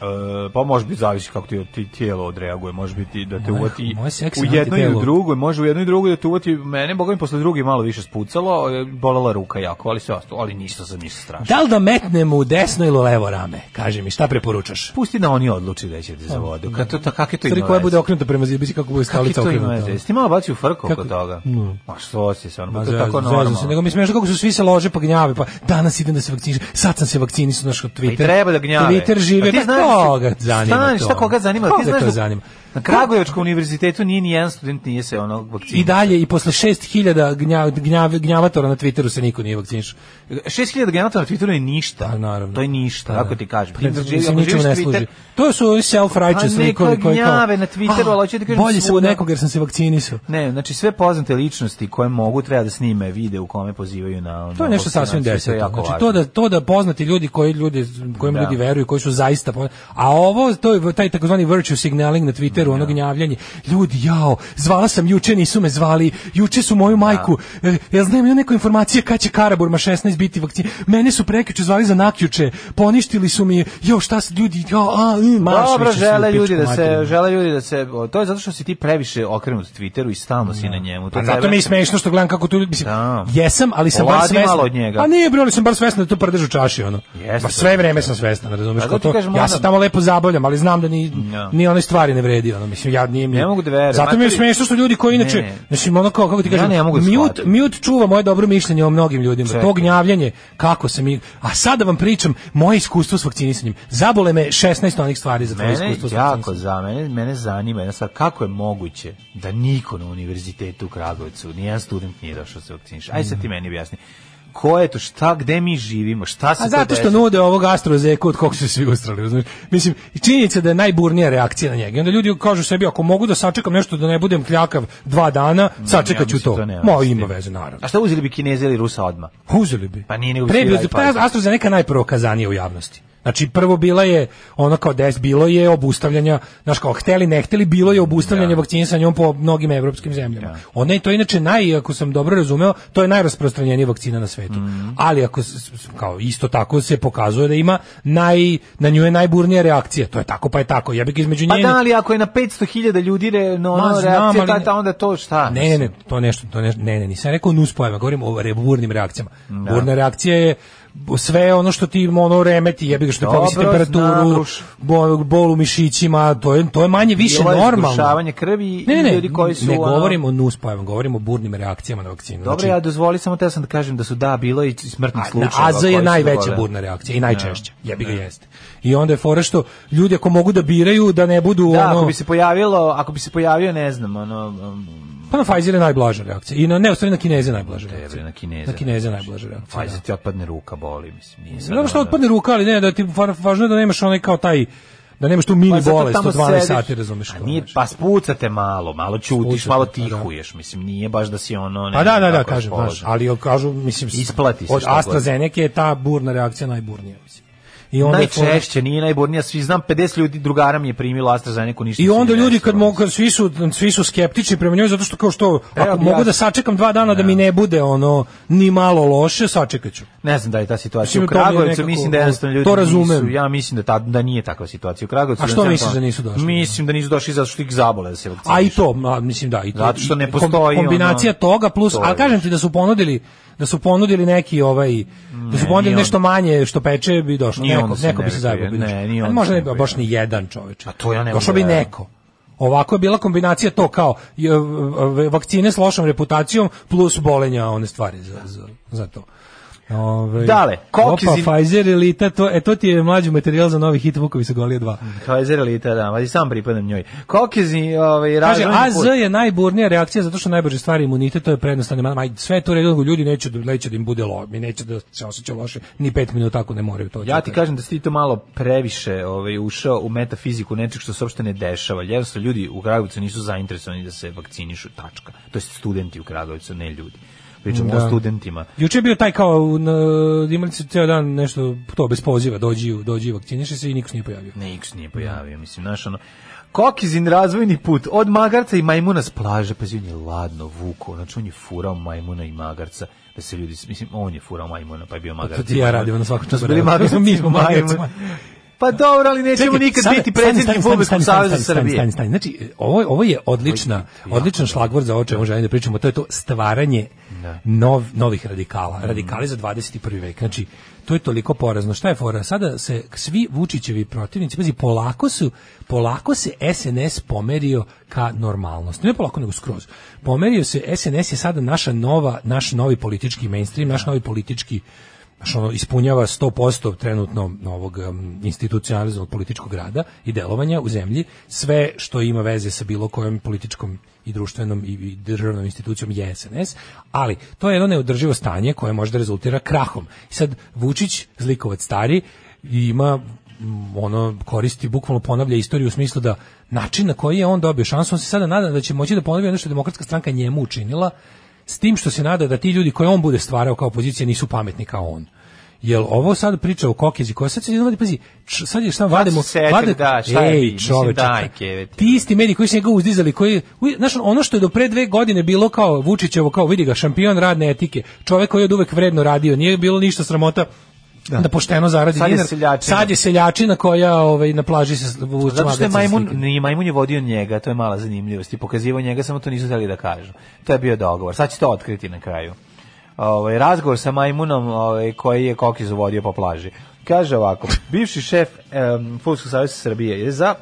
E, pa može biti zavisi kako ti, ti tijelo odreaguje, može biti da te Moje- uvati moje seksi u jednoj i u antitelo. drugoj, može u jednoj i drugoj da te uvati mene, boga mi posle druge malo više spucalo, e, bolela ruka jako, ali sve ostalo, ali ništa sam ništa strašno. Da li da metnem u desno ili u levo rame? Kaži mi, šta preporučaš? Pusti da oni odluči da će te za vodu. Kad to, to, kak je to Tri ima koja veze? bude okrenuta prema zidu, biće kako bude Kak je to skalica ima okrenuta. ono. veze? Jesi ti malo bacio u frko Kako- oko toga? No. Ma što si se, ono, Ma pa to je zezam- tako zezam normalno. se, nego mi je smiješno kako su svi se lože pa gnjave, pa danas idem da se vakcinišem, sad sam se vakcinisao, znaš, Twitter. Pa i treba da gnjave. Twitter Pa žive, ti pa znaš- koga zanima Stani, to? Šta koga zanima? Koga ti znaš to da zanima? Na Kragujevačkom univerzitetu nije ni jedan student nije se ono vakcinisao. I dalje, i posle 6000 gnja, gnjav, gnjavatora na Twitteru se niko nije vakcinišao. Pa 6000 generatora na Twitteru je ništa. Pa, naravno. To je ništa, Pa, kako da. ti kažem. Pa, Ti mislim, živi- znači, ako ničemu živiš ne Twitter- služi. To su ovi self-righteous A neka likovi koji kao... gnjave na Twitteru, ali hoću ti kažem Bolje sam od svuda- nekog jer sam se vakcinisao. Ne, znači sve poznate ličnosti koje mogu treba da snime vide u kome pozivaju na ono To je nešto sasvim deseto. Znači to da to da poznati ljudi koji ljudi kojim Da. ljudi veruju, koji su zaista pon- a ovo to je taj takozvani virtue signaling na Twitteru, ono gnjavljenje. Ljudi, jao, zvala sam juče, nisu me zvali. Juče su moju majku. e, Ja znam ja neku informaciju kad će Karaburma 16 biti vakcin. Mene su prekjuče zvali za nakjuče. Poništili su mi. Jo, šta se ljudi, jao, a, mm, marš Dobro, više svi u žele pičku ljudi da se materinu. žele ljudi da se o, to je zato što si ti previše okrenut Twitteru i stalno si na njemu. To Pa zato tebe- mi je smešno što gledam kako tu ljudi, mislim, Da. jesam, ali sam Oladi bar svestan. malo od njega. Pa nije, bre, ali sam bar svestan da to prdež u čaši, ono. Jeste. Bar sve vreme sam svestan, razumiješ? Pa zato ti to, kažem, ja onda- se tamo lepo zabavljam, ali znam da ni, Ja. ni one stvari ne vredi, ono, mislim, ja nije mi... Ne mogu da verujem. Zato mi je Materi- smešno što ljudi koji inače, Ne. mislim, ono kao, kako ti Ja kažem, ne mogu da mute, shvatim. mute čuva moje dobro mišljenje o mnogim ljudima. Čekaj. To gnjavljanje, kako se mi... A sad da vam pričam moje iskustvo s vakcinisanjem. Zabole me 16 onih stvari za to Mene iskustvo s jako vakcinisanjem. za mene, mene zanima jedna stvar, kako je moguće da niko na univerzitetu u Kragujevcu, nijedan student nije došao da se vakciniš. Aj Mm. sad ti meni objasni. Ko je to, šta, gde mi živimo, šta se A to zato što desilo? nude ovog astrozeku od kog su se svi ustrali, razumiješ? Mislim, i činjenica da je najburnija reakcija na njega. I onda ljudi kažu sebi, ako mogu da sačekam nešto da ne budem kljakav dva dana, sačekat ću mislim, to. to nema Ma, veze. ima veze, naravno. A šta uzeli bi Kineze ili Rusa odmah? Uzeli bi. Pa nije nego Pre bi svi uzeli- pa iPad. AstraZeneca je najprokazanija u javnosti. Znači, prvo bila je, ono kao des, bilo je obustavljanja, znaš kao, hteli, ne hteli, bilo je obustavljanje vakcinisanja on po mnogim evropskim zemljama. Ona je to inače naj, ako sam dobro razumeo, to je najrasprostranjenija vakcina na svetu. Mhm. Ali ako, s- s- kao, isto tako se pokazuje da ima naj, na nju je najburnija reakcija. To je tako, pa je tako. Ja bih između Pa nje... da, ali ako je na 500.000 ljudi re, no, Ma, ono, znam, reakcija, ali ta, ne- ta, onda to šta? Ne, ne, ne, to nešto, to nešto, ne, ne, nisam rekao nus pojava, govorim o re- burnim reakcijama. Burna reakcija je sve ono što ti ono remeti, jebi ga što ti Dobro, povisi temperaturu, znam, ruš- bol, bol u mišićima, to je, to je manje više Bilo je normalno. zgrušavanje krvi i Ne, ne, ne, ljudi koji su... ne ono, govorim o nus pojavama, govorim o burnim reakcijama na vakcinu. Dobro, ja dozvoli samo te sam da kažem da su da, bilo i smrtnih na slučajeva. AZ koji je su najveća dovole. burna reakcija i najčešća. Jebi ga jeste. I onda je fora što ljudi ako mogu da biraju da ne budu Da, ono ako bi se pojavilo, ako bi se pojavio, ne znam, ono... um, pa na Pfizer je najblaža reakcija. I na ne, u stvari na Kineze je najblaža Jebri, reakcija. na Kineze. Na Kineze je najblaža reakcija. da. Pfizer ti otpadne ruka, boli, mislim. Nije sad Znam što ono- otpadne ruka, ali ne, da ti va- važno je da nemaš onaj kao taj da nemaš tu mini Pa zato bolest tamo od 12 sediš. sati, razumeš A kao, Nije, znaš. pa spucate malo, malo čutiš, Spucate, malo pa da. tihuješ, mislim, nije baš da si ono... ne Pa da, znam da, da, kako kažem, raspoložen. znaš, ali kažu, mislim, s- Isplati se od šta god. AstraZeneca je ta burna reakcija najburnija, mislim. I onda je fora- Najčešće, nije najburnija, svi znam, 50 ljudi drugara mi je primilo AstraZeneca, ništa I se onda nije ljudi desilo. kad mogu kad svi su svi su skeptični prema njoj zato što kao što ako objasni. mogu da sačekam dva dana da mi ne bude ono ni malo loše, sačekaću. Ne znam da je ta situacija Mislim, u to mi je Kragujevcu, nekako- mislim da jednostavno ljudi to razumem. nisu, ja mislim da, ta, da nije takva situacija u Kragujevcu. A što znam misliš to- da nisu došli? Mislim da nisu došli zato što ih zabole da se vakcinišu. A i to, ma, mislim da, i to. Zato što ne i kom- postoji kombinacija ono- toga plus, to je ali kažem ti da su ponudili da su ponudili neki ovaj da su ponudili nije nešto manje što peče bi došlo Nije neko, onda se neko ne bi se veruje, zajebao bi ne, došao. nije Ali onda možda se ne ne bi bio veruje. baš ni jedan čoveče. A to ja ne mogu Došao bi da verujem. neko. Ovako je bila kombinacija to kao je, v- vakcine s lošom reputacijom plus bolenja one stvari za, za, za to. Ove, Dale, koliki Opa, si- Pfizer elita, to, e, to ti je mlađi materijal za novi hit Vukovi sa Golije 2. Pfizer elita, da, ali sam pripadam njoj. Kokezi, ovaj, Kaže, razvojni AZ put. je najburnija reakcija zato što najbrže stvari imunitet, to je prednostavno. Ma, ma, sve je to redno, ljudi neće da, neće da im bude lo, mi neće da se osjeća loše, ni pet minuta ako ne moraju to. Ja ti očekati. kažem da si ti to malo previše ovaj, ušao u metafiziku nečeg što se uopšte ne dešava. Jednostavno, ljudi u Kragujevcu nisu zainteresovani da se vakcinišu, tačka. To je studenti u Kragujevcu, ne ljudi. Pričamo Da. o studentima. Juče je bio taj kao, na, imali su ceo dan nešto, to bez poziva, dođi, dođi, vakciniše se i niko se nije pojavio. Ne, X nije pojavio, mislim, znaš, ono, Kokizin razvojni put, od magarca i majmuna s plaže, pa on je ladno vuko, znači on je furao majmuna i magarca, da se ljudi, mislim, on je furao majmuna, pa je bio magarac. ti i ja radimo na svakom To su času bili radimo. magarci Mi i smo majmun. magarcima. Pa dobro, ali nećemo Čekaj, nikad stani, biti stani, predsjednik stani, Fudbalskog stani, stani, saveza stani, stani, Srbije. stani, stani. Znači, e, ovo, ovo je odlična, odličan šlagvord za ovo čemu želim da pričamo, to je to stvaranje nov, novih radikala, radikali za 21. vek. Znači, to je toliko porazno. Šta je fora? Sada se svi Vučićevi protivnici, pazi, polako su, polako se SNS pomerio ka normalnosti. Ne polako, nego skroz. Pomerio se, SNS je sada naša nova, naš novi politički mainstream, naš novi politički Znaš, ono, ispunjava 100% trenutno ovog um, institucionalizovanog političkog rada i delovanja u zemlji, sve što ima veze sa bilo kojom političkom i društvenom i- i državnom institucijom je SNS, ali to je jedno neodrživo stanje koje može da rezultira krahom. I sad Vučić, zlikovac stari, ima mm, ono koristi bukvalno ponavlja istoriju u smislu da način na koji je on dobio šansu, on se sada nada da će moći da ponovi ono što je demokratska stranka njemu učinila, s tim što se nada da ti ljudi koje on bude stvarao kao opozicija nisu pametni kao on. Jel ovo sad priča o Kokezi koja sad se jednom vadi, pazi, č- sad je šta vademo, se setili, da, šta je bi, ej mislim, čoveče, dajke, vet. ti isti mediji koji su njega uzdizali, koji, uj, znaš, ono što je do pre dve godine bilo kao Vučićevo, kao vidi ga, šampion radne etike, čovek koji je od uvek vredno radio, nije bilo ništa sramota da, pošteno zaradi Sad je dinar. seljačina. Sad je seljačina koja ovaj, na plaži se vuče Zato što je magarcem majmun, slike. nije, majmun je vodio njega, to je mala zanimljivost i pokazivao njega, samo to nisu hteli da kažu. To je bio dogovor. Sad će to otkriti na kraju. Ovaj razgovor sa majmunom ovaj, koji je Kokiz vodio po plaži. Kaže ovako, bivši šef um, Fudbalskog saveza Srbije je za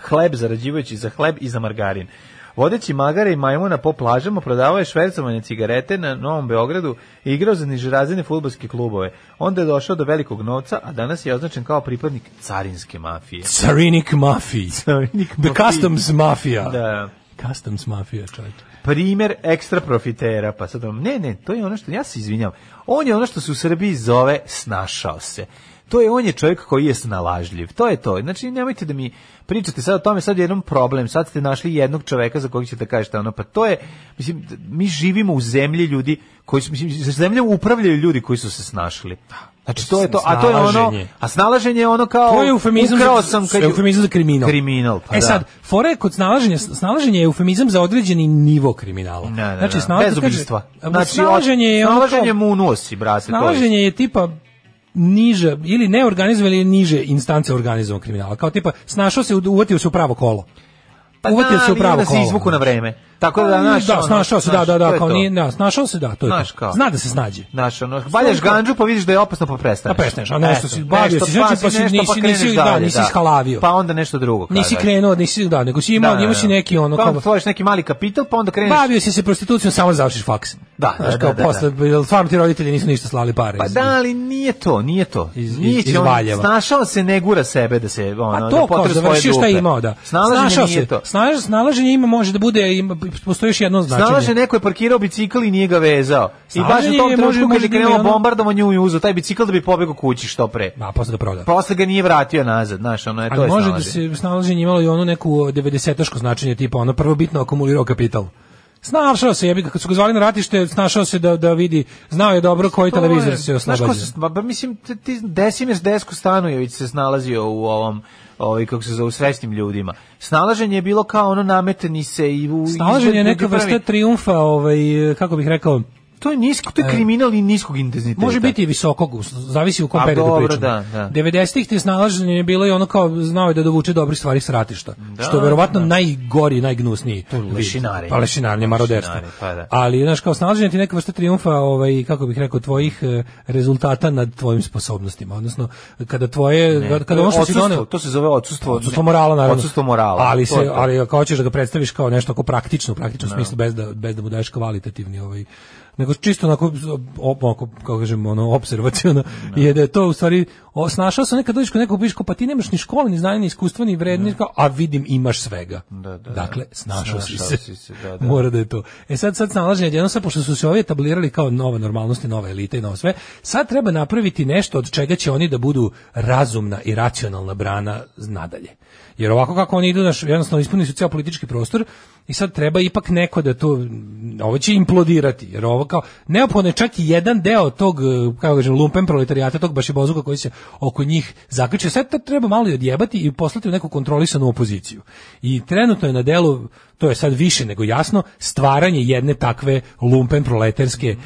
hleb zarađivajući za hleb i za margarin. Vodeći magare i majmuna po plažama prodavao je švercovane cigarete na Novom Beogradu i igrao za nižerazine futbolske klubove. Onda je došao do velikog novca, a danas je označen kao pripadnik carinske mafije. Carinik Mafiji. Carinik The mafiji. Customs Mafija. Da. Customs Mafija, čovječe. Primer ekstra profitera, pa sad vam- ne, ne, to je ono što, ja se izvinjam, on je ono što se u Srbiji zove snašao se. To je, on je čovjek koji je snalažljiv, to je to. Znači, nemojte da mi pričate sad o tome, sad je jedan problem, sad ste našli jednog čovjeka za kojeg ćete kažete ono, pa to je, mislim, d- mi živimo u zemlji ljudi koji su, mislim, sa zemljom upravljaju ljudi koji su se snašli. Znači, to je to, a to je ono, Snalaženje. a snalaženje je ono kao, To je eufemizam, ukrao za, E, sam kad je- eufemizam za kriminal. Kriminal, pa e da. sad, fora je kod snalaženja, snalaženje je eufemizam za određeni nivo kriminala. Ne, ne, ne, znači, bez snalaženje, ubistva. Znači, snalaženje je ono kao- snalaženje mu unosi, brate. to je. Snalaženje je tipa niže ili neorganizovan ili niže instance organizovanog kriminala. Kao tipa snašao se, uvatio se u pravo kolo. Pa uvatio da, se u vidim pravo da se kolo. Pa, izvuku na vreme. Tako da, znaš, da, ono, snašao se, da, znaš, da, to da, je kao to. nije, da, snašao se, da, to je Znaš to. kao. Zna da se snađe. Znaš, ono, valjaš kao- ganđu pa vidiš da je opasno pa prestaneš. Pa prestaneš, a nešto Eto, si bavio nešto, si, znači, pa si si- nešto, nisi- kreneš nisi- da, dalje, nisi ishalavio. Pa onda nešto drugo. kao Nisi da. krenuo, nisi, da, nego si imao, imao si neki ono, pa onda kao, stvoriš neki mali kapital, pa onda kreneš. bavio si se prostitucijom, samo da završiš faks. Da, Znaš, da, kao da, da, posle, jel stvarno ti roditelji nisu ništa slali pare. Pa iz- da, ali nije to, nije to. Iz- Nije iz- će iz on- Valjeva. Snašao se, ne gura sebe da se, ono, A da to kao potre svoje završio šta je dupe. imao, da. Snalaženje Snašao nije se. to. Snaž, snalaženje ima može da bude, ima, postoji još jedno značenje. Snalaže neko je parkirao bicikl i nije ga vezao. I baš u Snalaženje tom Znači- je, može- trenutku kad može je da ima i krenuo ono- bombardovanje u uzu, taj bicikl da bi pobegao kući što pre. Ma, posle da proda. Posle ga nije vratio nazad, znaš, ono je Pa, to Ali je može da snalaženje. se snalaženje imalo i ono neku 90-aško značenje, tipa ono prvo bitno akumulirao kapital. Snašao se, jebi ga, kad su ga zvali na ratište, snašao se da, da vidi, znao je dobro koji To je- televizor se Znaš ko oslobađa. se, ba, ba, mislim, ti, ti Desimir Desko Stanojević se snalazio u ovom ovaj kako se zove srećnim ljudima. Snalaženje je bilo kao ono nametani se i u Snalaženje je izgled neka ljudi pravi. vrsta triumfa, ovaj, kako bih rekao, To je nisko, to je kriminal i niskog intenziteta. E. Može biti i visokog, us- zavisi u kom A periodu dobro, pričamo. da, da. 90-ih ti snalaženje je bilo i ono kao znao je da dovuče dobre stvari s ratišta. što je verovatno najgori, najgnusniji. vid. lešinarenje. Pa lešinarnje, maroderstvo. Lešinare, pa da. Ali, znaš, kao snalaženje ti je neka vrsta triumfa, ovaj, kako bih rekao, tvojih eh, rezultata nad tvojim sposobnostima. Odnosno, kada tvoje, kada ono što si Odsustvo, doneo... to se zove odsustvo, Odsustvo morala, naravno. Odsustvo morala. Ali, to je se, to. ali ako hoćeš da ga predstaviš kao nešto ako praktično, u praktičnom smislu, bez da, bez da mu daješ kvalitativni ovaj nego čisto onako, op, onako kako kažem, ono, observacijono, je da je to u stvari, o, snašao sam nekad dođeš kod nekog piško, pa ti nemaš ni škole, ni znanje, ni iskustva, ni vredni, a vidim imaš svega. da, dakle, snašao, si Snašao se. si se, da, da. Mora da je to. E sad, sad snalaženje, jedno sad, pošto su se ovi etablirali kao nova normalnost i nova elita i novo sve, sad treba napraviti nešto od čega će oni da budu razumna i racionalna brana nadalje. Jer ovako kako oni idu, naš, jednostavno ispunili su ceo politički prostor i sad treba ipak neko da to, ovo će implodirati, jer ovo kao, neophodno je čak i jedan deo tog, eh, kako kažem, lumpen proletarijata, tog baš bozuka koji se oko njih zaključio, sad to treba malo i odjebati i poslati u neku kontrolisanu opoziciju. I trenutno je na delu, to je sad više nego jasno, stvaranje jedne takve lumpen proletarske,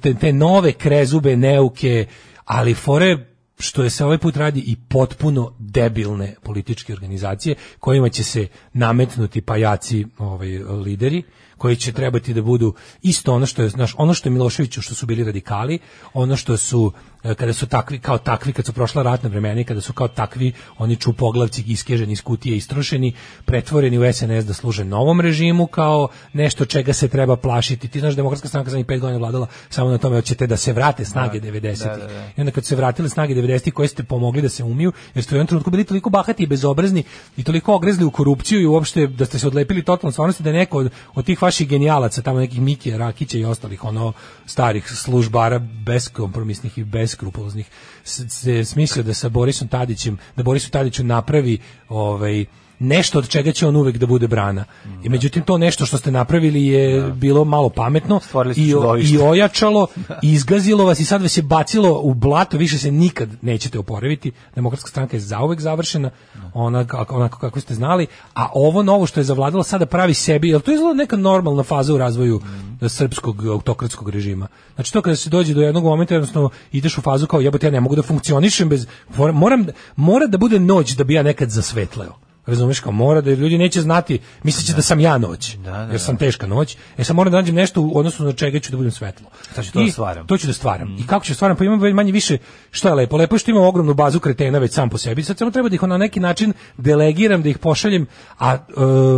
te, te nove krezube, neuke, ali fore što je se ovaj put radi i potpuno debilne političke organizacije kojima će se nametnuti pajaci ovaj lideri koji će trebati da budu isto ono što je znaš ono što je Miloševiću što su bili radikali ono što su e, kada su takvi kao takvi kad su prošla ratna vremena i kada su kao takvi oni čupoglavci iskeženi iz kutije istrošeni pretvoreni u SNS da služe novom režimu kao nešto čega se treba plašiti ti znaš demokratska stranka zadnjih pet godina je vladala samo na tome hoćete da se vrate snage 90-ih da, da. i onda kad su se vratile snage 90-ih koje ste pomogli da se umiju, jer ste u jednom trenutku bili toliko bahati i bezobrazni i toliko ogrezli u korupciju i uopšte da ste se odlepili totalno od stvarnosti da je neko od, od tih vaših genijalaca, tamo nekih Mikija, Rakića i ostalih ono starih službara beskompromisnih i beskrupuloznih s- se smislio da sa Borisom Tadićem, da Borisu Tadiću napravi ovaj nešto od čega će on uvek da bude brana. Mm, I međutim to nešto što ste napravili je bilo malo pametno Stvorili ste i, o- čudovište. i ojačalo, izgazilo vas i sad vas je bacilo u blato, više se nikad nećete oporaviti. Demokratska stranka je zauvek završena, ona, onako kako ste znali, a ovo novo što je zavladalo sada pravi sebi, jel to je izgleda neka normalna faza u razvoju eh, srpskog autokratskog režima. Znači to kada se dođe do jednog momenta, jednostavno ideš u fazu kao jebote ja ne mogu da funkcionišem bez, moram- moram, mora da bude noć da bi ja nekad zasvetleo. Razumeš kao mora da jer ljudi neće znati, misliće da sam ja noć, jer sam teška noć. E sad moram da nađem nešto u odnosu na čega ću da budem svetlo. Sad ću to I da stvaram. Mhm. To ću da stvaram. I kako ću da stvaram? Pa imam već manje više što je lepo. Lepo je što imam ogromnu bazu kretena već sam po sebi. Sad samo treba da ih na neki način delegiram, da ih pošaljem, a e,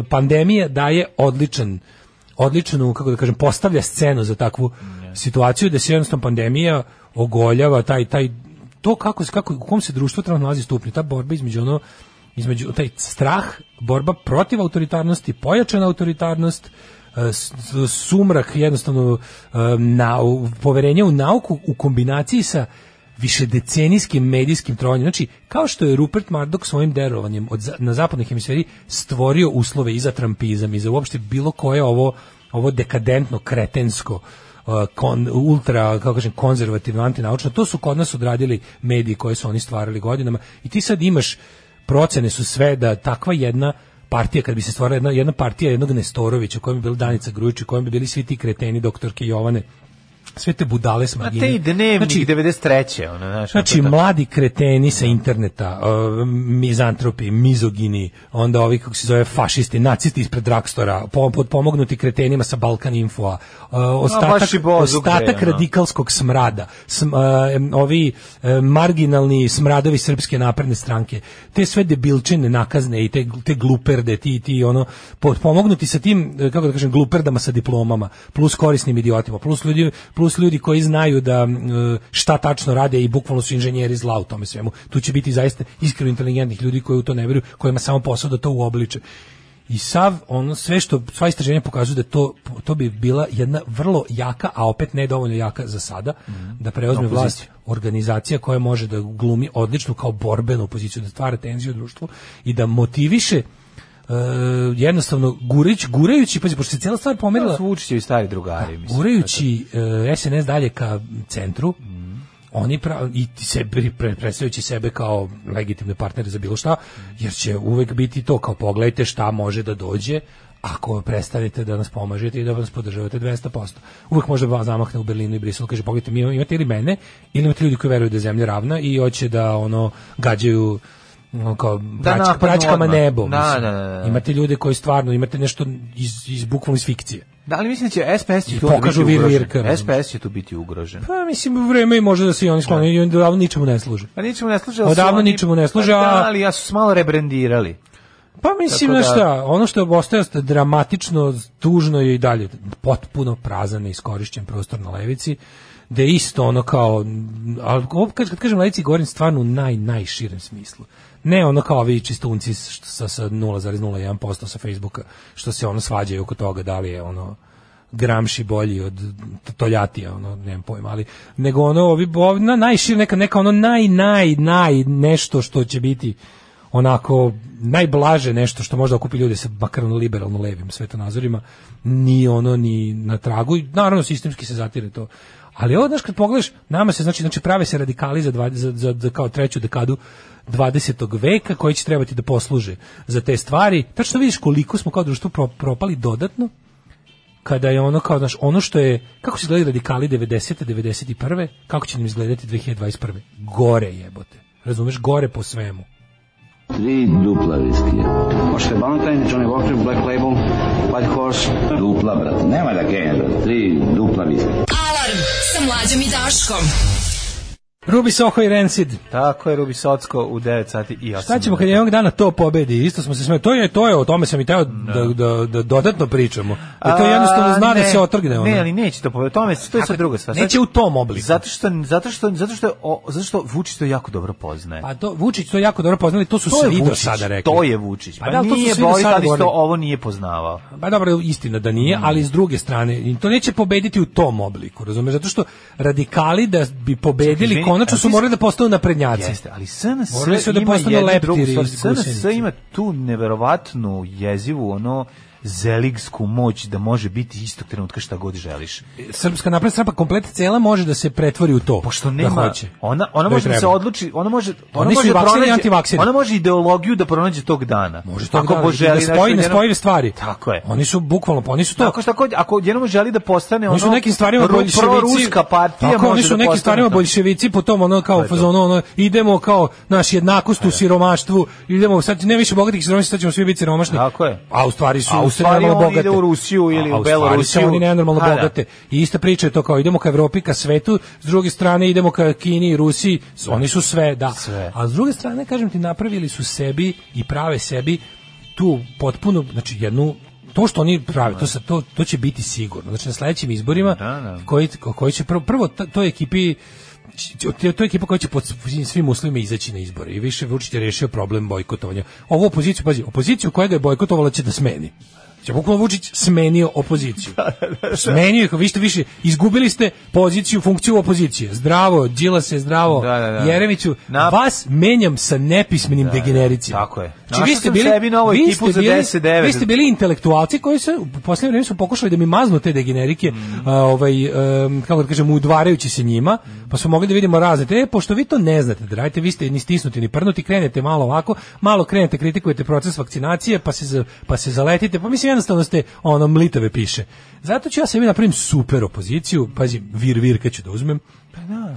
pandemija daje odličan odličnu, kako da kažem, postavlja scenu za takvu Mhm. situaciju da se jednostavno pandemija ogoljava taj, taj, to kako, se- kako, u kom se društvo trenutno nalazi stupnju, ta borba između ono, između taj strah, borba protiv autoritarnosti, pojačana autoritarnost, e, s- s- sumrak jednostavno e, na, u- poverenje u nauku u kombinaciji sa višedecenijskim medijskim trovanjem. Znači, kao što je Rupert Murdoch svojim derovanjem od, za- na zapadnoj hemisferi stvorio uslove i za trampizam i za uopšte bilo koje ovo, ovo dekadentno, kretensko, uh, kon, ultra, kako kažem, konzervativno, antinaučno. To su kod nas odradili mediji koje su oni stvarali godinama. I ti sad imaš, procene su sve da takva jedna partija, kad bi se stvorila jedna, jedna partija jednog Nestorovića, kojem bi bila Danica Grujić, u kojem bi bili svi ti kreteni, doktorke Jovane, sve te budale Ma smagine. te i dnevnik Znači, 93. Ono, znaš, Znači, ono to- mladi kreteni sa interneta, uh, mizantropi, mizogini, onda ovi, kako se zove, fašisti, nacisti ispred Drakstora, po- pod pomognuti kretenima sa Balkan Infoa, uh, baš i ostatak, Bozu gde, ostatak ono. radikalskog smrada, sm- uh, em, ovi e, marginalni smradovi srpske napredne stranke, te sve debilčine nakazne i te, te gluperde, ti, ti ono, po- pomognuti sa tim, e, kako da kažem, gluperdama sa diplomama, plus korisnim idiotima, plus ljudi, plus ljudi koji znaju da m, e, šta tačno rade i bukvalno su inženjeri zla u tome svemu. Tu će biti zaista iskreno inteligentnih ljudi koji u to ne veruju, kojima je samo posao da to uobliče. I sav, ono, sve što, sva istraženja pokazuju da to, to bi bila jedna vrlo jaka, a opet ne dovoljno jaka za sada, da preozme vlast organizacija koja može da glumi odličnu kao borbenu opoziciju, da stvara tenziju u društvu i da motiviše e, jednostavno gureć, gurajući, pazi, pošto se cijela stvar To pomerila, su Vučićevi stari drugari, mislim. gurajući e, SNS dalje ka centru, oni pra, i ti se pri- pre- predstavljajući sebe kao legitimne partnere za bilo šta, jer će uvek biti to kao pogledajte šta može da dođe ako prestanete da nas pomažete i da nas podržavate 200%. Uvek može da vas zamahne u Berlinu i Briselu, kaže pogledajte, mi imate ili mene, ili imate ljudi koji veruju da je zemlja ravna i hoće da ono gađaju ono, kao prač- napadnu pračkama odmah. nebom. Da, mislim. da, da, da. Imate ljude koji stvarno, imate nešto iz, iz bukvalno iz fikcije. Da, ali mislim da će SPS će I tu onda pokažu biti vir ugrožen. virka, razumeš. SPS će tu biti ugrožen. Pa mislim vreme i može da se i oni sklone i oni odavno ničemu ne služe. Pa ničemu ne služe, ali su Odavno oni- ničemu ne služe, Pa a- Da, ali ja su se malo rebrendirali. Pa mislim Tako na da- šta, ono što je ostaje dramatično, tužno je i dalje potpuno prazan neiskorišćen prostor na levici da je isto ono kao ali ovo kad, kad kažem levici govorim stvarno u naj najširem smislu. Ne ono kao vi čistunci s- sa sa 0,01% sa Facebooka što se ono svađaju oko toga da li je ono Gramši bolji od T- Toljatija, ono, nemam pojma, ali nego ono, ovi, ovi na, najšir, neka, neka ono naj, naj, naj nešto što će biti onako najblaže nešto što možda okupi ljude sa makar ono liberalno levim svetonazorima, ni ono ni na tragu i naravno sistemski se zatire to. Ali ovo, znaš, kad pogledaš, nama se, znači, znači prave se radikali za, dva, za, za, za kao treću dekadu 20. veka koji će trebati da posluže za te stvari. Tačno vidiš koliko smo kao društvo pro- propali dodatno kada je ono kao znaš ono što je kako su izgledali radikali 90 91 kako će nam izgledati 2021 gore jebote Razumeš, gore po svemu. Tri dupla viskija. Možete Valentine, Johnny Walker, Black Label, White Horse. Dupla, brate. Nema da genja, brate. Tri dupla viskija. Alarm sa mlađom i Daškom. Rubi Soho i Rancid. Tako je, Rubi Socko u 9 sati i 8. Šta ćemo kad jednog dana to pobedi? Isto smo se smeli. To je, to je, o tome sam i teo da, da, da dodatno pričamo. I to A, jednostavno zna da ne, se otrgne. Ono. Ne, ali neće to povedati. Tome, to je sad druga stvar. Neće u tom obliku. Zato što, zato što, zato što, o, zato što Vučić to jako dobro poznaje. Pa to, Vučić to jako dobro poznali, to su to je svi do Vučić, sada rekli. To je Vučić. Pa, Pa da, ali to su nije svi do Boris sada Tadić to govorili. ovo nije poznavao. Pa dobro, istina da nije, ali s druge strane, i to neće pobediti u tom obliku, razumeš? Zato što radikali da bi pobedili, Čekaj, izvini, konačno ali su ti- morali da postanu naprednjaci. Jeste, ali SNS Morali su da ima postanu jednu leptiri drugu stvar. i SNS gusenice. ima tu neverovatnu jezivu, ono, zeligsku moć da može biti istog trenutka šta god želiš. Srpska napredna strana, pa komplet cela može da se pretvori u to. Pošto nema, da hoće. ona, ona Da može da treba. se odluči, ona može, ona Oni su može i da vakseri i pronađe- antivakseri. Ona može ideologiju da pronađe tog dana. Može to Ako da, poželi da spoji nešto nespojive stvari. Tako je. Oni su bukvalno, pa oni su to. Ako šta god, ako jednom želi da postane ono Oni su nekim stvarima ru- boljševici. proruska partija Tako, oni može su da nekim postane stvarima to. boljševici po tom ono kao je to. fazonu ono idemo kao naš jednakost u siromaštvu. Idemo sad ne više bogatih siromašnih, sad ćemo svi biti siromašni. Tako je. A u stvari su A u stvari nenormalno on ide u Rusiju ili A, u u stvari Belorusiju. su oni nenormalno A, da. bogate. I ista priča je to kao idemo ka Evropi, ka svetu, s druge strane idemo ka Kini i Rusiji, s- oni su sve, da. Sve. A s druge strane, kažem ti, napravili su sebi i prave sebi tu potpuno, znači jednu to što oni prave, to, se, to, to će biti sigurno. Znači na sledećim izborima Da, da. koji, koji će prvo, prvo ta- toj ekipi to je ekipa koja će pod svim- svim uslovima izaći na izbore i više Vučić je rešio problem bojkotovanja. Ovu opoziciju, pazi, opoziciju koja ga je bojkotovala će da smeni. Će bukvalno Vučić smenio opoziciju. Smenio ih, vi ste više, izgubili ste poziciju, funkciju opozicije. Zdravo, Đila se zdravo, Da, da, da. Jeremiću, Na- vas menjam sa nepismenim degenericima. Tako je. Znači, vi Našao ste sam bili, sebi novu vi ekipu ste za bili, 10-9. vi ste bili intelektualci koji se u poslednje vreme su pokušali da mi maznu te degenerike, Mhm. a, ovaj em, kako da kažem, udvarajući se njima, pa smo mogli da vidimo razne. te, E, pošto vi to ne znate, da radite, vi ste ni stisnuti ni prnuti, krenete malo ovako, malo krenete, kritikujete proces vakcinacije, pa se za- pa se zaletite, pa mislim jednostavno ste ono mlitave piše. Zato ću ja sebi napravim super opoziciju, pazi, vir vir kad ću da uzmem.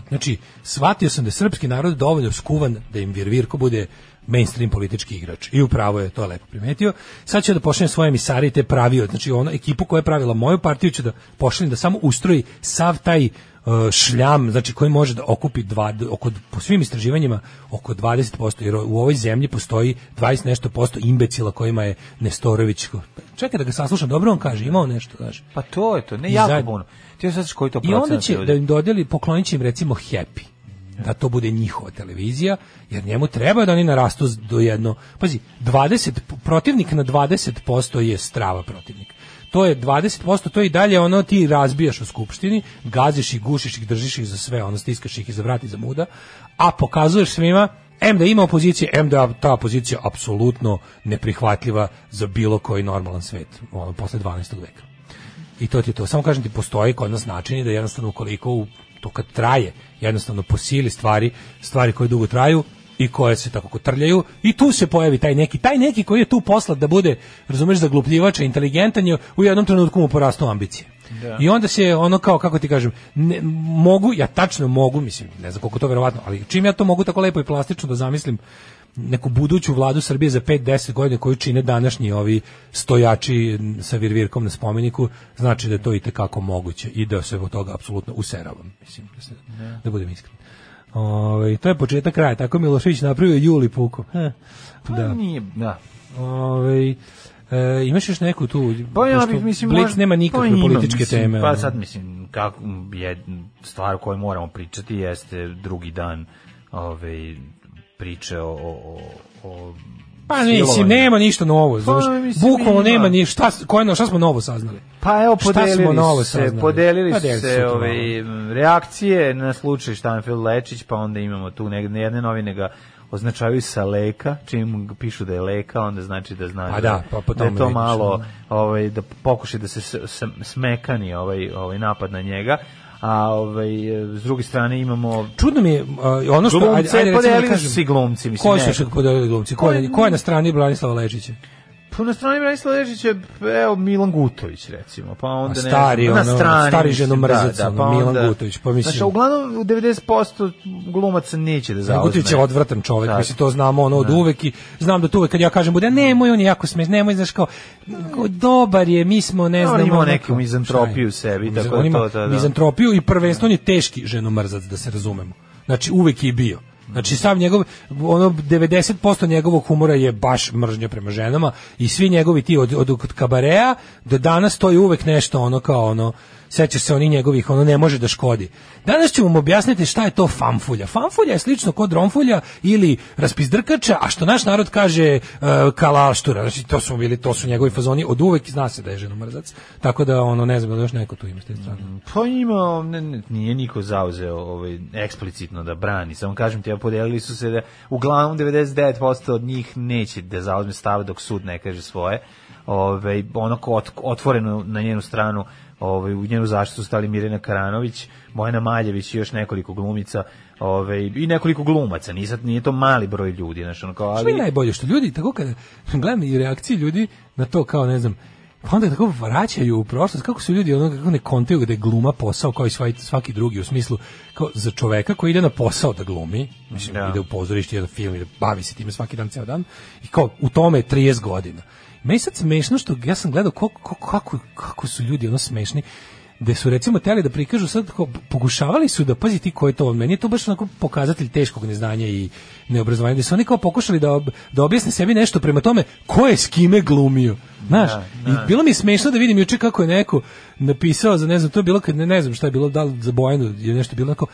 Znači, shvatio sam da je srpski narod dovoljno skuvan da im Virvirko bude mainstream politički igrač. I upravo je to lepo primetio. Sad ću da pošaljem svoje emisare i te pravio. Znači, ona ekipu koja je pravila moju partiju ću da pošaljem da samo ustroji sav taj e, šljam, znači koji može da okupi dva, oko, po svim istraživanjima oko 20%, jer u ovoj zemlji postoji 20 nešto posto imbecila kojima je Nestorović. Čekaj da ga saslušam, dobro on kaže, imao nešto, kaže. Pa to je to, ne I jako zajedno. puno. Ti sad koji to I procenat onda će ljudi? da im dodeli, poklonit će im recimo Happy. Da to bude njihova televizija, jer njemu treba da oni narastu z- do jedno... Pazi, 20, protivnik na 20% je strava protivnik. To je 20%, to je i dalje ono ti razbijaš u skupštini, gaziš ih, gušiš ih, držiš ih za sve, ono stiskaš ih i za vrat i za muda, a pokazuješ svima M da ima opozicije, M da ta opozicija apsolutno neprihvatljiva za bilo koji normalan svet, ono, posle 12. veka. I to ti je to. Samo kažem ti, postoji kod nas načini da jednostavno ukoliko u, to kad traje, jednostavno po sili stvari, stvari koje dugo traju i koje se tako kotrljaju i tu se pojavi taj neki, taj neki koji je tu poslat da bude, razumeš, zaglupljivač, inteligentan je, u jednom trenutku mu porastu ambicije. I onda se ono kao, kako ti kažem, ne, mogu, ja tačno mogu, mislim, ne znam koliko to verovatno, ali čim ja to mogu tako lepo i plastično da zamislim, neku buduću vladu Srbije za 5-10 godina koju čine današnji ovi stojači sa virvirkom na spomeniku, znači da je to i tekako moguće i da se od toga apsolutno useravam, mislim, da, se, da budem iskren. Ove, to je početak kraja, tako je Milošević napravio Juli Puko. Heh. Da. Pa Nije, da. Ove, e, imaš još neku tu? Pa ja pošto bih, mislim, Blic možda- nema pa nikakve imam, političke mislim, teme. Pa ono. sad, mislim, kako je stvar o kojoj moramo pričati jeste drugi dan ove, priče o, o, o, o pa mislim, silovanju. nema ništa novo. Pa, mislim, Bukvalno ima. nema ništa. Šta, koje, no- šta smo novo saznali? Pa evo, Šta podelili smo novo se, saznali? podelili Pa, su delili su se to ove, reakcije na slučaj Štanfil Lečić, pa onda imamo tu negde, jedne novine ga označavaju sa leka, čim pišu da je leka, onda znači da znači Pa da, pa po da je tome to vidiš, malo, ono. ovaj, da pokuša da se s- s- smekani ovaj, ovaj napad na njega, a ovaj, s druge strane imamo Čudno mi je, a, ono što... Glumce, recimo da podelili su kažem, si glumci, mislim, Koji ne. su se podelili glumci? Ko je, ko je na strani Branislava Lečića? Pa na strani Branislava Ježića, evo Milan Gutović recimo, pa onda ne. stari, znam, ono, stari ženomrzac, ono, Milan Gutović, pa mislim- Znači, uglavnom u 90% glumaca neće da zauzme. Gutović je odvratan čovjek, Da. mislim to znamo ono od uvek i znam da tu uvek kad ja kažem bude nemoj on je jako smešan, nemoj znaš kao kao, dobar je, mi smo ne On znam. ima ono, neku kao, mizantropiju šta je? u sebi, Miz- tako on da ima to, da, da. Mizantropiju i prvenstveno on je teški ženomrzac da se razumemo. Znači uvek je i bio. Znači sam njegov ono 90% njegovog humora je baš mržnja prema ženama i svi njegovi ti od od, od kabarea do danas to je uvek nešto ono kao ono sećaš se oni njegovih, ono ne može da škodi. Danas ću vam objasniti šta je to famfulja. Famfulja je slično kod romfulja ili raspizdrkača, a što naš narod kaže e, kalaštura. Znači, to su bili, to su njegovi fazoni od uvek i zna se da je ženomrzac. Tako da, ono, ne znam da li još neko tu ima s te strane. Pa ima, ne, ne, nije niko zauzeo ovaj, eksplicitno da brani, samo kažem ti, ja podelili su se da uglavnom 99% od njih neće da zauzme stav dok sud ne kaže svoje. Ove, ono ko ot- otvoreno na njenu stranu Ove, u njenu zaštitu su stali Mirjana Karanović, Bojana Maljević i još nekoliko glumica ove, i nekoliko glumaca. Nije, sad- nije to mali broj ljudi. Znaš, ono kao, Što je ali, najbolje što ljudi tako kada gledam i reakcije ljudi na to kao ne znam pa onda tako vraćaju u prošlost kako su ljudi ono kako ne kontaju da je gluma posao kao i svaki, svaki drugi u smislu kao za čoveka koji ide na posao da glumi mislim Da. ide u pozorište ide na film ide bavi se time svaki dan ceo dan i kao u tome je 30 godina meni je sad smešno što ja sam gledao kako, kako, kako su ljudi ono smešni gde su recimo teli da prikažu sad kao, pokušavali su da pazi ti ko je to meni je to baš onako pokazatelj teškog neznanja i neobrazovanja gde su oni kao pokušali da, ob- da objasne sebi nešto prema tome ko je s kime glumio znaš i bilo mi je smešno da vidim juče kako je neko napisao za ne znam to je bilo kad ne, ne znam šta je bilo da li za Bojanu je nešto bilo onako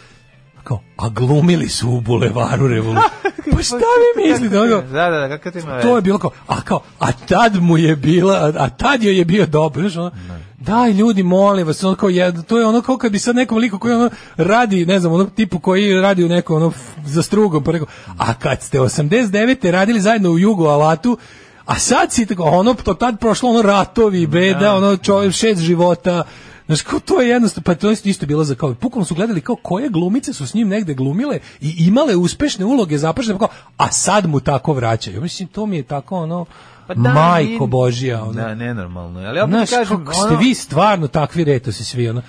kao, a glumili su u bulevaru revolucije. Pa šta vi mislite? Ono kao, Da, da, da, kako to ima to veze? je bilo kao, a kao, a tad mu je bila, a, a tad joj je bio dobro, znaš, ono, daj ljudi, molim vas, ono kao, jed- to je ono kao kad bi sad nekom liku koji ono radi, ne znam, onog tipu koji radi u nekom, ono, f- za strugom, pa rekao, a kad ste 89. radili zajedno u jugu alatu, a sad si tako, ono, to tad prošlo, ono, ratovi, beda, ono, čovjek, šest života, Znaš, kao to je jednostavno, pa to je isto bilo za kao, pukom su gledali kao koje glumice su s njim negde glumile i imale uspešne uloge zapažene, kao, a sad mu tako vraćaju. Mislim, to mi je tako ono, Pa da, majko nije- božija, ono. Da, nenormalno. je, Ali opet Znaš, kažem, kako ste ono- vi stvarno takvi retosi svi, ono.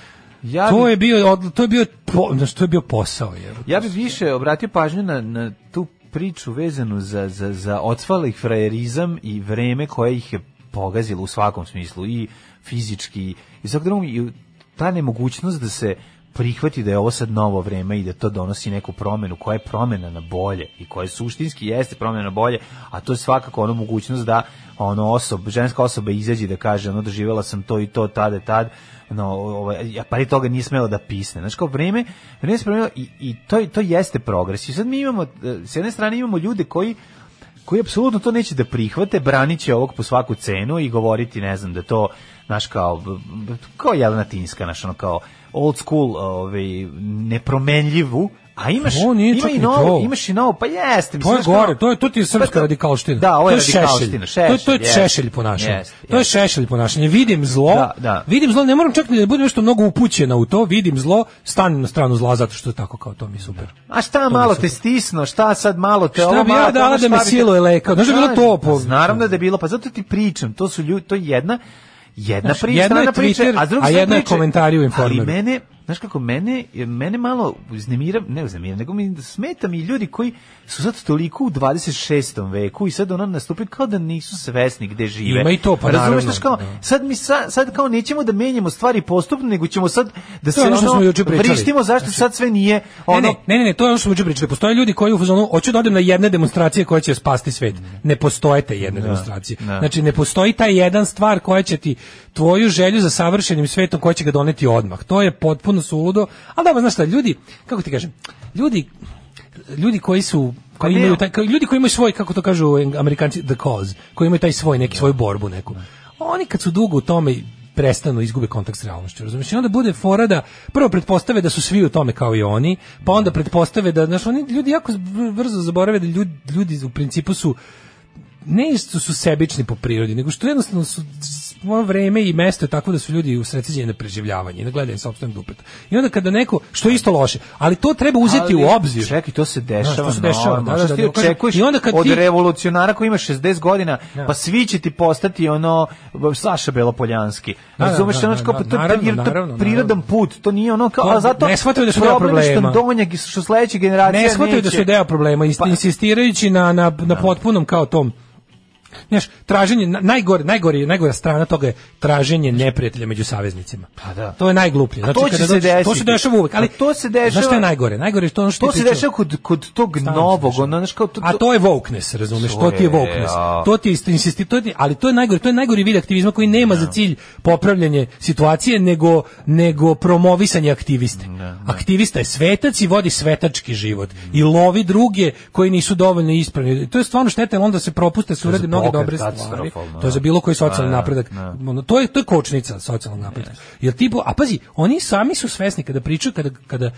Ja to, bi- je bio, odl- to je bio, po, znaš, to je bio posao, je. Ja bih više obratio pažnju na, na tu priču vezanu za, za, za odsvali frajerizam i vreme koje ih je pogazilo u svakom smislu i fizički i svak drugom i ta nemogućnost da se prihvati da je ovo sad novo vreme i da to donosi neku promenu, koja je promena na bolje i koja je suštinski jeste promena na bolje, a to je svakako ono mogućnost da ono osob, ženska osoba izađe i da kaže ono doživjela sam to i to tada tad, no, ovaj, a pari toga nije smelo da pisne. Znači, kao vreme, vreme se promenilo i, i to, to jeste progres. I sad mi imamo, eh, s jedne strane imamo ljude koji koji apsolutno to neće da prihvate, branit će ovog po svaku cenu i govoriti, ne znam, da to, naš kao, kao Jelena Tinska, naš ono kao old school, ovaj, nepromenljivu, a imaš, To nije ima čak i ni novo, to. imaš i novo, pa jeste. To mislim, je znaš, gore, kao- to je to ti je srpska Pa to- radikalština. Da, ovo je to šešelj. radikalština, šešelj. to, je, to je jeste, šešelj ponašanje. jeste, To je jeste. šešelj ponašanje. Vidim zlo, Da, da. vidim zlo, ne moram čak ni da budem nešto mnogo upućena u to, vidim zlo, stanem na stranu zla zato što je tako kao to mi je super. A šta mi malo super. te stisno, šta sad malo te Šta ovo bi ja malo te dala ono, da šta me bi te- siluje leka? Znaš da je bilo Šta? to po- Pa Naravno da je bilo, pa zato ti pričam, to su ljudi, to je jedna jedna Znaš, priča, jedno je jedna priča, Twitter, a, s druge a strane jedno je priče- komentari u Informeru. Ali mene, znaš kako, mene, mene malo uznemira, ne uznemira, nego mi smeta mi ljudi koji su sad toliko u 26. veku i sad ono nastupaju kao da nisu svesni gde žive. Ima i to, pa Razumeš, naravno, znaš, kao, da. sad, mi sa, sad kao nećemo da menjamo stvari postupno, nego ćemo sad da se je ono što smo juče pričali. Znači, vrištimo zašto sad sve nije ono Ne, ne, ne, ne, to je ono što smo juče pričali. Postoje ljudi koji u fazonu hoću da odem na jedne demonstracije koje će spasti svet. Ne postoje te jedne demonstracije. da. Znači ne postoji ta jedan stvar koja će ti tvoju želju za savršenim svetom koja će ga doneti odmah. To je potpuno suludo. Ali da, znaš šta, ljudi, kako ti kažem, ljudi ljudi koji su koji ne. imaju taj, koji- ljudi koji imaju svoj kako to kažu Eng- Amerikanci the cause, koji imaju taj svoj neki svoju borbu neku. Oni kad su dugo u tome prestanu izgube kontakt s realnošću, razumiješ? I onda bude fora da prvo pretpostave da su svi u tome kao i oni, pa onda pretpostave da, znaš, oni ljudi jako z- brzo zaborave da ljudi, ljudi u principu su ne što su sebični po prirodi, nego što jednostavno su s- ono vreme i mesto je tako da su ljudi usredsređeni na preživljavanje i na gledanje sopstvenog dupeta. I onda kada neko, što je isto loše, ali to treba uzeti Ali, u obzir. Čekaj, to se dešava. Znaš, to se dešava, normalno. da, da, Šta da, ti da, kažem, očekuješ i onda kad od ti- revolucionara koji ima 60 godina, pa svi će ti postati ono Saša Belopoljanski. Da, da, Razumeš, da, da, ono što kao, pa da, to je naravno, jer to je naravno, prirodan naravno. put, to nije ono kao, To- a zato ne shvataju da su deo problem je što problema. donjak i što sledeća generacija ne shvataju da neće. Pa- su deo problema, ist- insistirajući na, na, na potpunom kao tom Znaš, traženje, na- najgore, najgore, najgora strana toga je traženje neprijatelja među saveznicima. Pa da. To je najgluplje. Znači, A to će kada se dođeš- To desiti. se dešava uvek. Ali, A to se dešava- Znaš što je najgore? Najgore je to ono što To ti se pričao. dešava kod, kod tog Stalno se novog, dešava. ono, znaš, kao to, A to je wokeness, razumeš, to ti je wokeness. jao. To ti je insisti, to ti, ali to je najgori, to je najgori vid aktivizma koji nema za cilj popravljanje situacije, nego nego promovisanje aktiviste. Aktivista je svetac i vodi svetački život i lovi druge koji nisu dovoljno ispravni. To je stvarno šteta, jer onda se propuste su urade za mnoge pokret dobre stvari. katastrofalno, To je za da. bilo koji socijalni Da, da, napredak. da. Ono, to je to je kočnica socijalnog napretka. Jer tipo, a pazi, oni sami su svesni kada pričaju kada kada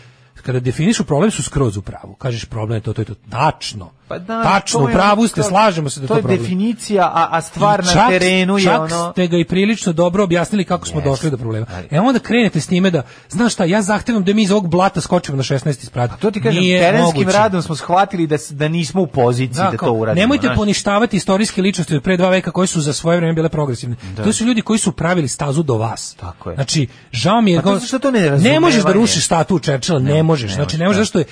kada definišu problem su skroz u pravu. Kažeš problem je to, to je to. Tačno. Pa da, Tačno, to u je pravu ono ste, kao- slažemo se da to, To je problem. definicija, a, a stvar I na terenu je čak ono... ste ga i prilično dobro objasnili kako smo došli do problema. E onda krenete s time da, znaš šta, ja zahtevam da mi iz ovog blata skočimo na 16 isprat. To ti kažem, Nije terenskim moguće. radom smo shvatili da, s- da nismo u poziciji da, kao, to uradimo. Nemojte znaš. poništavati istorijske ličnosti od pre dva veka koje su za svoje vreme bile progresivne. To su ljudi koji su pravili stazu do vas. Tako je. Znači, žao mi je... Pa to kao- zato što to ne ne možeš da razumevanje. rušiš statu Churchilla, ne, možeš. ne znači, možeš, ne možeš, da. zašto je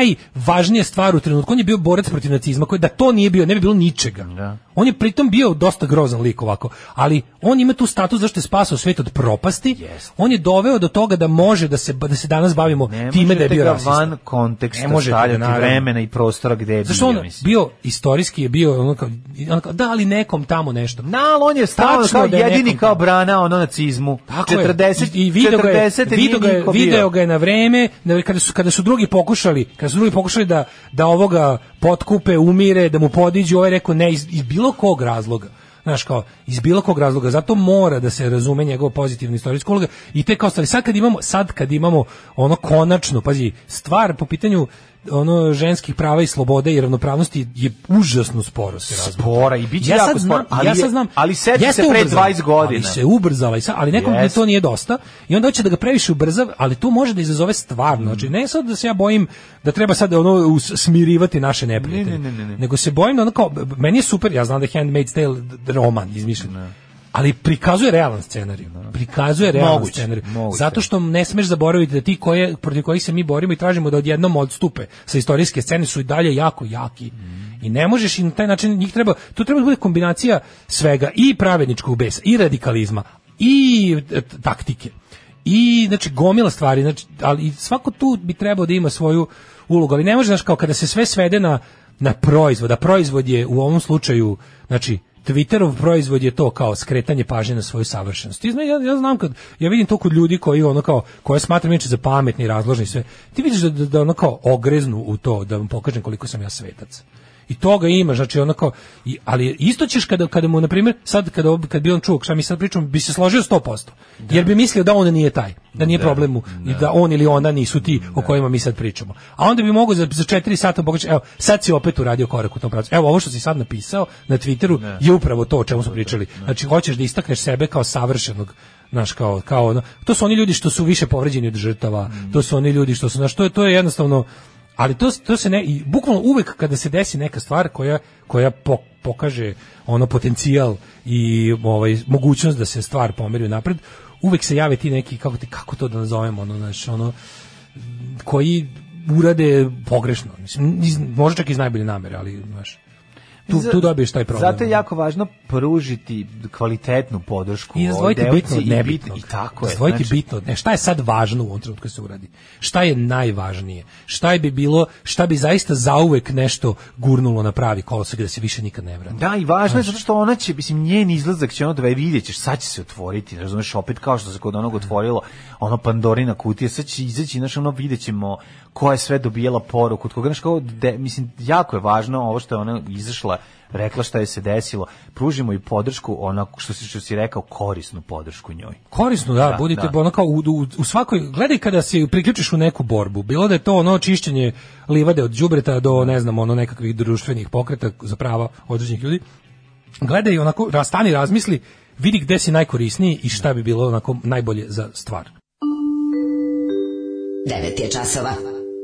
najvažnija stvar u trenutku. On je bio borac protiv nacizma, koji da to nije bio, ne bi bilo ničega. Da. On je pritom bio dosta grozan lik ovako, ali on ima tu status zašto je spasao svijet od propasti. Jeste. On je doveo do toga da može da se, da se danas bavimo Ne time da je možete bio ga rasista. van konteksta Ne možete ga, stavljati naravno. vremena i prostora gde je Zašto bio, on mislim. bio istorijski je bio ono kao, ono kao, da ali nekom tamo nešto. Na, ali on je stao Tačno kao da je jedini nekom kao tamo. brana ono nacizmu. Tako je. 40, i, i video ga je, 40 video ga, nije je, niko bio. video ga je na vreme, na- kada su kada su drugi pokušali, kada su drugi pokušali da da ovoga potkupe, umire, da mu podiđu, ovaj je rekao ne iz, iz bilo kog razloga. Znaš kao, iz bilo kog razloga, zato mora da se razume njegov pozitivni istorijski uloga i te kao stvari. Sad kad imamo, sad kad imamo ono konačno, pazi, stvar po pitanju ono ženskih prava i slobode i ravnopravnosti je užasno sporo se razvija. Spora i bit će sad jako spora. znam- Ali, ja je- sad znam, ali seća jeste se pre ubrzala, 20 godina. Ali se ubrzala i sad, ali nekom Jest. to nije dosta i onda hoće da ga previše ubrza, ali to može da izazove stvarno. Znači ne sad da se ja bojim da treba sad ono us- smirivati naše neprijatelje. Ne, ne, ne, ne, ne. Nego se bojim da ono kao b- b- meni je super, ja znam da je Handmaid's Tale d- d- roman izmišljen. Ali prikazuje realan scenarij. Prikazuje realan Moguće, scenarij. moguće. Zato što ne smeš zaboraviti da ti koje, protiv kojih se mi borimo i tražimo da odjednom odstupe sa istorijske scene su i dalje jako jaki. I ne možeš i na taj način njih treba, tu treba da bude kombinacija svega i pravedničkog besa i radikalizma i e, t- taktike. I znači gomila stvari, znači ali i svako tu bi trebao da ima svoju ulogu, ali ne može znaš kao kada se sve svede na na proizvod, a proizvod je u ovom slučaju, znači Twitterov proizvod je to kao skretanje pažnje na svoju savršenost. Ti zna, ja, ja znam kad ja vidim to kod ljudi koji ono kao koje smatram inače za pametni, razložni i sve. Ti vidiš da, da, da ono kao ogreznu u to da vam pokažem koliko sam ja svetac. I toga imaš, znači ono kao i, ali isto ćeš kada kada mu na primjer sad kada ob- kad bi on čuo šta mi sad pričamo bi se složio 100%. Jer bi mislio da on nije taj, da nije problem mu i da on ili ona nisu ti o kojima mi sad pričamo. A onda bi mogao za za 4 sata pokaći, evo, sad si opet uradio korak u tom pravcu. Evo ovo što si sad napisao na Twitteru je upravo to o čemu smo pričali. Znači hoćeš da istakneš sebe kao savršenog naš kao kao ono. To su oni ljudi što su više povređeni od žrtava. To su oni ljudi što su znaš, to je to je jednostavno ali to, to se ne, i bukvalno uvek kada se desi neka stvar koja, koja po- pokaže ono potencijal i ovaj, mogućnost da se stvar pomeri napred, uvek se jave ti neki, kako, ti, kako to da nazovemo, ono, znaš, ono, koji urade pogrešno. Mislim, iz, možda čak iz najbolje namere, ali, znaš, tu, tu dobiješ taj problem. Zato je jako važno pružiti kvalitetnu podršku I ovoj razdvojiti devojci bitno od i bit- nebitnog. I tako je. Razdvojiti znači, bitno od ne. Šta je sad važno u ovom trenutku kad se uradi? Šta je najvažnije? Šta bi bilo, šta bi zaista zauvek nešto gurnulo na pravi kolosek da se više nikad ne vrati? Da, i važno je zato što ona će, mislim, njen izlazak će ono da vidjet ćeš, sad će se otvoriti, razumeš, opet kao što se kod onog otvorilo, ono Pandorina kutija, sad će izaći, znaš, ono vidjet ćemo ko je sve dobijela poruku, od koga, znaš, kao, de, mislim, jako je važno ovo što je ona izašla, rekla šta je se desilo, pružimo i podršku, ono, što si, što si rekao, korisnu podršku njoj. Korisno, da, Da, budite da. ono kao u, u, u svakoj, gledaj kada se priključiš u neku borbu, bilo da je to ono čišćenje livade od đubreta do, ne znam, ono nekakvih društvenih pokreta za prava određenih ljudi, gledaj onako, ra- stani, razmisli, vidi gde si najkorisniji i šta bi bilo onako najbolje za stvar. 9 je časova.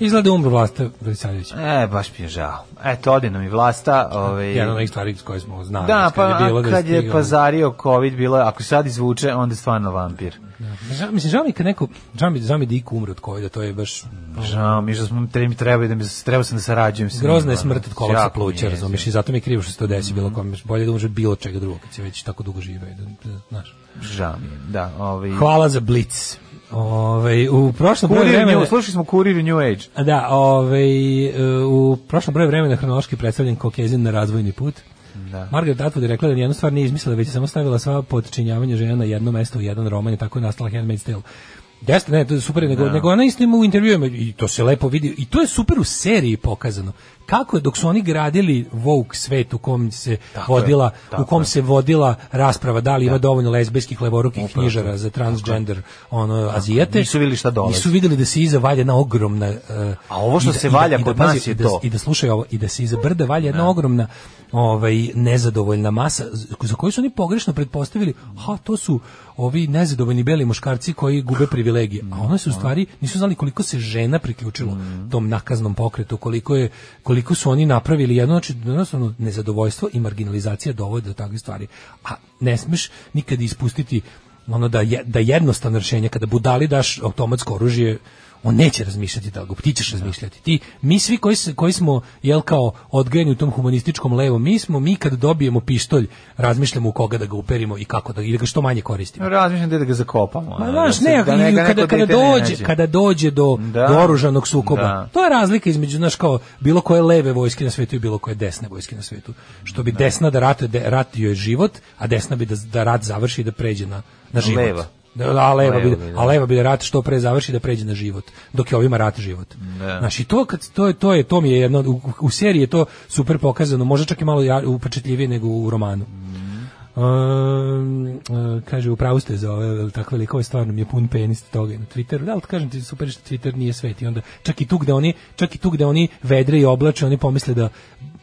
Izgleda da je umro Vlasta Velisavić. E, baš mi je žao. Eto, odi nam i Vlasta. Ovaj... Jedna od onih stvari s koje smo znali. Da, kad pa kad je, bilo da stigao. pazario COVID, bilo je, ako sad izvuče, onda je stvarno vampir. Da. Žao- Mislim, žao mi je kad neko, žao mi, žao mi je da iko umre od covida, to je baš... Žao mi je što smo treba, treba, da mi, trebao sam da sarađujem sa Grozna njima, ono. je smrt od kolapsa Jako mi je pluća, jezivo. razumiješ, i zato mi je krivo što se to desi bilo kom, bolje da umre od bilo čega drugog, kad se već tako dugo žive, da, da, znaš. Žao mi je, da. Ovaj... Hvala za Blitz. Ove, u prošlom broju Kurir vremena... New, slušali smo Kurir New Age. Da, ovaj, e, u prošlom broju vremena hronološki predstavljen kokezin na razvojni put. Da. Margaret Atwood je rekla da nijednu stvar nije izmislila, već je samo stavila sva potčinjavanja žena na jedno mesto u jedan roman i tako je nastala Handmaid's Tale. Jeste, ne, to je super, nego, Da. nego ona isto ima u intervjuima i to se lepo vidi i to je super u seriji pokazano. Kako je, dok su oni gradili woke svet u kom se Tako je, vodila, tako u kom je. se vodila rasprava da li ima dovoljno lezbijskih levorukih Upravo knjižara za transgender ono, azijete. Nisu vidjeli šta dolazi. Nisu videli da se iza valja jedna ogromna... e, A ovo što i da- se i da- valja i da- kod pazi, nas je i da- to. I da slušaj ovo, i da se iza brda valja jedna ogromna ovaj, nezadovoljna masa, z- za koju su oni pogrešno pretpostavili, ha, to su ovi nezadovoljni beli muškarci koji gube privilegije. A one su u stvari, nisu znali koliko se žena priključilo Mhm. tom nakaznom pokretu, koliko, je, koliko su oni napravili jedno, znači, jednostavno, nezadovoljstvo i marginalizacija dovode do takve stvari. A ne smeš nikada ispustiti ono da, je, da jednostavno rješenje, kada budali daš automatsko oružje, on neće razmišljati da li ga, ti ćeš razmišljati. Ti, mi svi koji, se, koji smo, jel kao, odgojeni u tom humanističkom levom, mi smo, mi kad dobijemo pištolj, razmišljamo u koga da ga uperimo i kako da, i da ga što manje koristimo. Razmišljam da da ga zakopamo. Ma ono, znaš, se- ne, da ne- i da neko kada, kada, dete ne dođe, nađe. kada dođe do, Da. do oružanog sukoba, Da. to je razlika između, znaš, kao bilo koje leve vojske na svetu i bilo koje desne vojske na svetu. Što bi desna da ratuje, de, rat joj je život, a desna bi da, da rat završi i da pređe na, na život. Leva. Da, da, a leva, Leva bi, bi, da. a leva bi da rat što pre završi i da pređe na život, dok je ovima rat život. Da. Znaš, i to, kad, to, je, to, je, to mi je jedno, u, u seriji je to super pokazano, možda čak i malo ja- upečatljivije nego u romanu. Um, uh, kaže, upravo ste za ove takve likove, stvarno mi je pun penis toga na Twitteru, da, ali kažem ti, super što Twitter nije svet i onda čak i tu gde oni, čak i tu gde oni vedre i oblače, oni pomisle da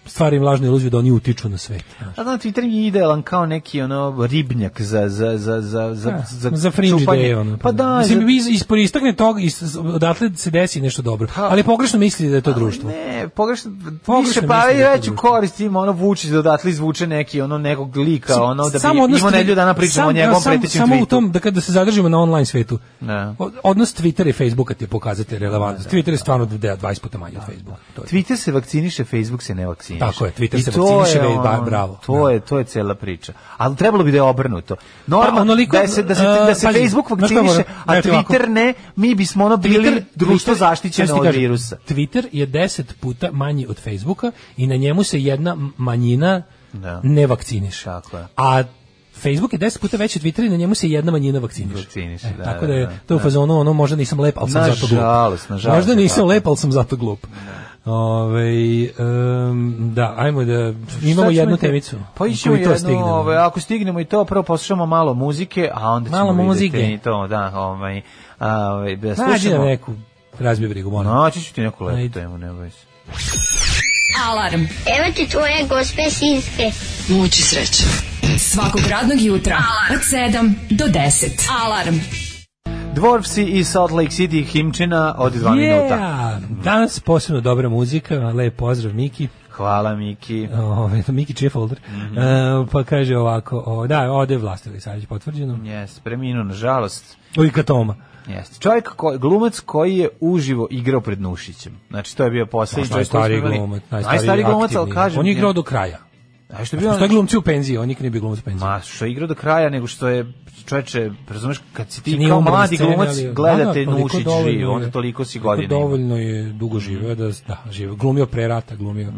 stvari im lažnu iluziju da oni utiču na svet. A znam, Twitter mi je idealan kao neki ono ribnjak za, za, za, za, za, Da, za, za fringe čupanje. ideje, ono. Pa da, Mislim, za- iz, ispod istakne toga, is, odatle se desi nešto dobro. ali pogrešno misli da je to društvo. Ne, pogrešno, Pogrešno više pa mislim i da je to veću korist ima ono vuči da odatle izvuče neki ono nekog lika, ono da bi Samo odnos imao Twitter- nedelju dana pričamo sam- o njegovom sam- pretećem Samo u tweetu. tom, da kada se zadržimo na online svetu. Da. O- Odnos Twittera i Facebooka ti je pokazatelj relevantnosti. Twitter je stvarno da 20 puta manji od Facebooka. To je. Twitter se vakciniše, Facebook se ne vakciniše. Tako je, Twitter I se to vakciniše, je ve- ba- ono, bravo. To je, to je cela priča. Ali trebalo bi da je obrnuto. Pa Normalno onoliko, da se da se e, da se pazi, Facebook znaš kako vakciniše, moram? a Evo ti ovako. Twitter ne, mi bismo ono bili društvo Twitter- zaštićeno Znaš ti od kažem, virusa. Twitter je 10 puta manji od Facebooka i na njemu se jedna manjina Da. ne vakciniše. Tako je. A Facebook je 10 puta veći od Twittera i na njemu se jedna manjina vakciniše. E, Vakciniše, da, tako da je da, da. to u fazonu ono možda nisam lep, ali sam zato glup. Nažalost, nažalost Možda je nisam tako. lep, ali sam zato glup. Ovaj, em, da, ajmo da Šta imamo ćemo jednu i te- temicu. Pa Ako ićemo i to jedno, stignemo. ovaj, ako stignemo i to, prvo poslušamo malo muzike, a onda ćemo Malo vidjeti muzike. i to, da, ovaj, a, ovaj, da Nađi slušamo. nam neku, razbij brigu, molim. Naći ću ti neku lepu Ajde. temu, ne boj se. Alarm. Evo ti tvoje gospe sinske. Muči sreće. Svakog radnog jutra od 7 do 10. Alarm. Dwarfsi i Salt Lake City himčina od 2 minuta. Danas posebno dobra muzika, lep pozdrav Miki. Hvala Miki. Ove, Miki čije folder. Mhm. E, pa kaže ovako, o, da, ovde je vlastili, sad je potvrđeno. Jes, preminuo nažalost. U Ikatoma. Jeste. Čovjek koji glumac koji je uživo igrao pred Nušićem. Znači to je bio poslednji čovjek koji Najstariji smo imali. glumac, najstariji, najstariji glumac, al aktivni. kažem. On je igrao ja- do kraja. A što je Što bio? ono- je glumci u penziji, on nikad nije bio glumac u penziji. Ma, što je igrao do kraja, nego što je čovječe, razumeš, kad si ti Nije kao umro na mladi sceni, glumac ali- Da, gledate da, toliko Nušić dovoljno živ, je- onda toliko si godina. ima. Mhm. Dovoljno je dugo živeo da, da živeo. Glumio pre rata, glumio.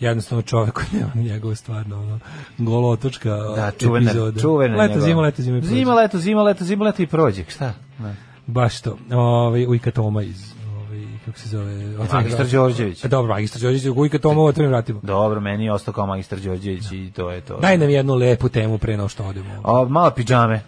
Jednostavno čovjek koji nema njegov stvarno ono, golo otočka Da, čuvena, epizoda. čuvena Leto, njegova. zima, leto, zima. i prođe. Zima, leto, zima, leto, zima, leto i prođe. Šta? Ne. Baš to. Ovaj Ujka Toma iz ovaj kako se zove? Otvorenih Magistar vrata. Đorđević. E, Dobro, Magistar Đorđević, Ujka Toma, ovo otvorim vratimo. Dobro, meni je ostao kao magistar Đorđević i to je to. Daj nam jednu lepu temu pre nego što odemo. O, malo pidžame.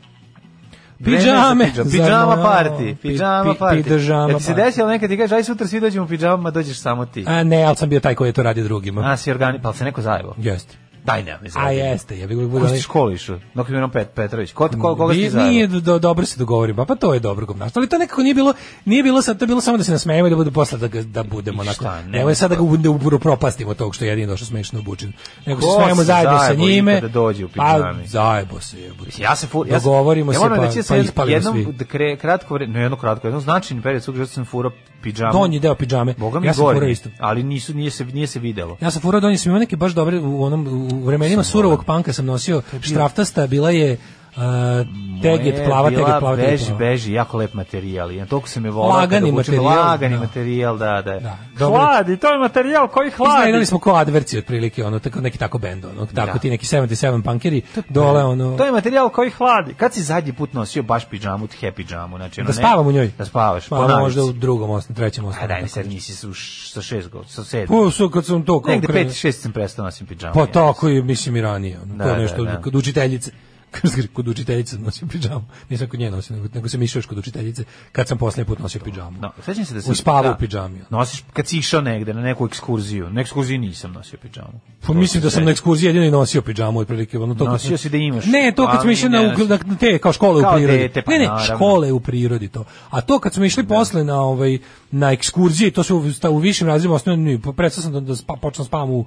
Pidžame. Vreme za pidža- Pidžama Za- party. Pidžama pi- party. pidžama Jel ti se party. desilo nekad ti kažeš, aj sutra svi dođemo u pidžamama, dođeš samo ti. A ne, ali sam bio taj koji je to radio drugima. A, si organi, pa se neko zajebo. Jeste. Daj ne, mislim. A jeste, ja bih Ko si ti školu išao? Dok je Miron Pet, Petrović. Ko, ko, koga si ti Nije- zajebo? Nije do, dobro se dogovorimo, pa to je dobro gumnaštvo. Ali to nekako nije bilo, nije bilo sad, to je bilo samo da se nasmejemo i da bude posle da, ga- da budemo onako. šta, ne. Nemoj sad da ga u- da upro- propastimo tog što je jedino došao smešno obučen. Nego se Ko smejemo se zajedno sa zajebo njime. ikada dođe u pa pidžami? zajebo se jebote. Ja se fur, ja se- Dogovorimo ja se moram pa, reći da sam pa jednom- ispalimo jednom svi. da kre- kratko vre- ne jedno kratko, jedno značajni period svog života sam furao pidžamu. Donji deo pidžame. Boga mi Ja sam gornji, furao isto. Ali nisu nije se nije se videlo. Ja sam furao donio sam imao neke baš dobre u onom u vremenima surovog panka sam nosio štraftasta, bila je uh, teget Moje je plava, teget bila plava, teget beži, plava. beži, jako lep materijal. Ja toliko sam je volao. Lagani kada obučem, materijal, Lagani da. materijal, da, da. da dobro. hladi, to je materijal koji Izgledali hladi. smo kao adverci otprilike, ono, tako, neki tako bend, ono, tako ti neki 77 punkeri, dole, ono, To je materijal koji hladi. Kad si zadnji put nosio baš pidžamu, happy pidžamu, znači ono da ne- spavam u njoj. Da spavaš. Pa po navici. možda u drugom, osnovu, trećem osnovu. A daj mi sad nisi su š- sa šest god, sa sedam. Pa, su, kad sam to kao Negde krenuo. pet, šest sam prestao nosim pidžamu. Pa ja. tako i mislim i ranije, ono, Da, kao da, nešto da. kod učiteljice. Kad se kaže, kod učiteljice sam nosio pidžamu. Nisam kod nje nosio, nego, nego sam išao još kod učiteljice kad sam posljednji put nosio pidžamu. No, sećam se da U sam spavu da, u ono. pidžami. Nosiš kad si išao negde na neku ekskurziju. Na ekskurziji nisam nosio pidžamu. Pa mislim da sam na ekskurziji jedino i nosio pidžamu otprilike, ono to. kad Nosio smo- si da imaš. Ne, to kad Ali smo išli na, ne ugl- na te kao škole Kao u prirodi. dete, pa ne, ne, naravno. škole u prirodi to. A to kad smo išli posle na ovaj na ekskurzije, to se u, sta- u višim razredima osnovne, pa prestao sam da, da spa, počnem spavam u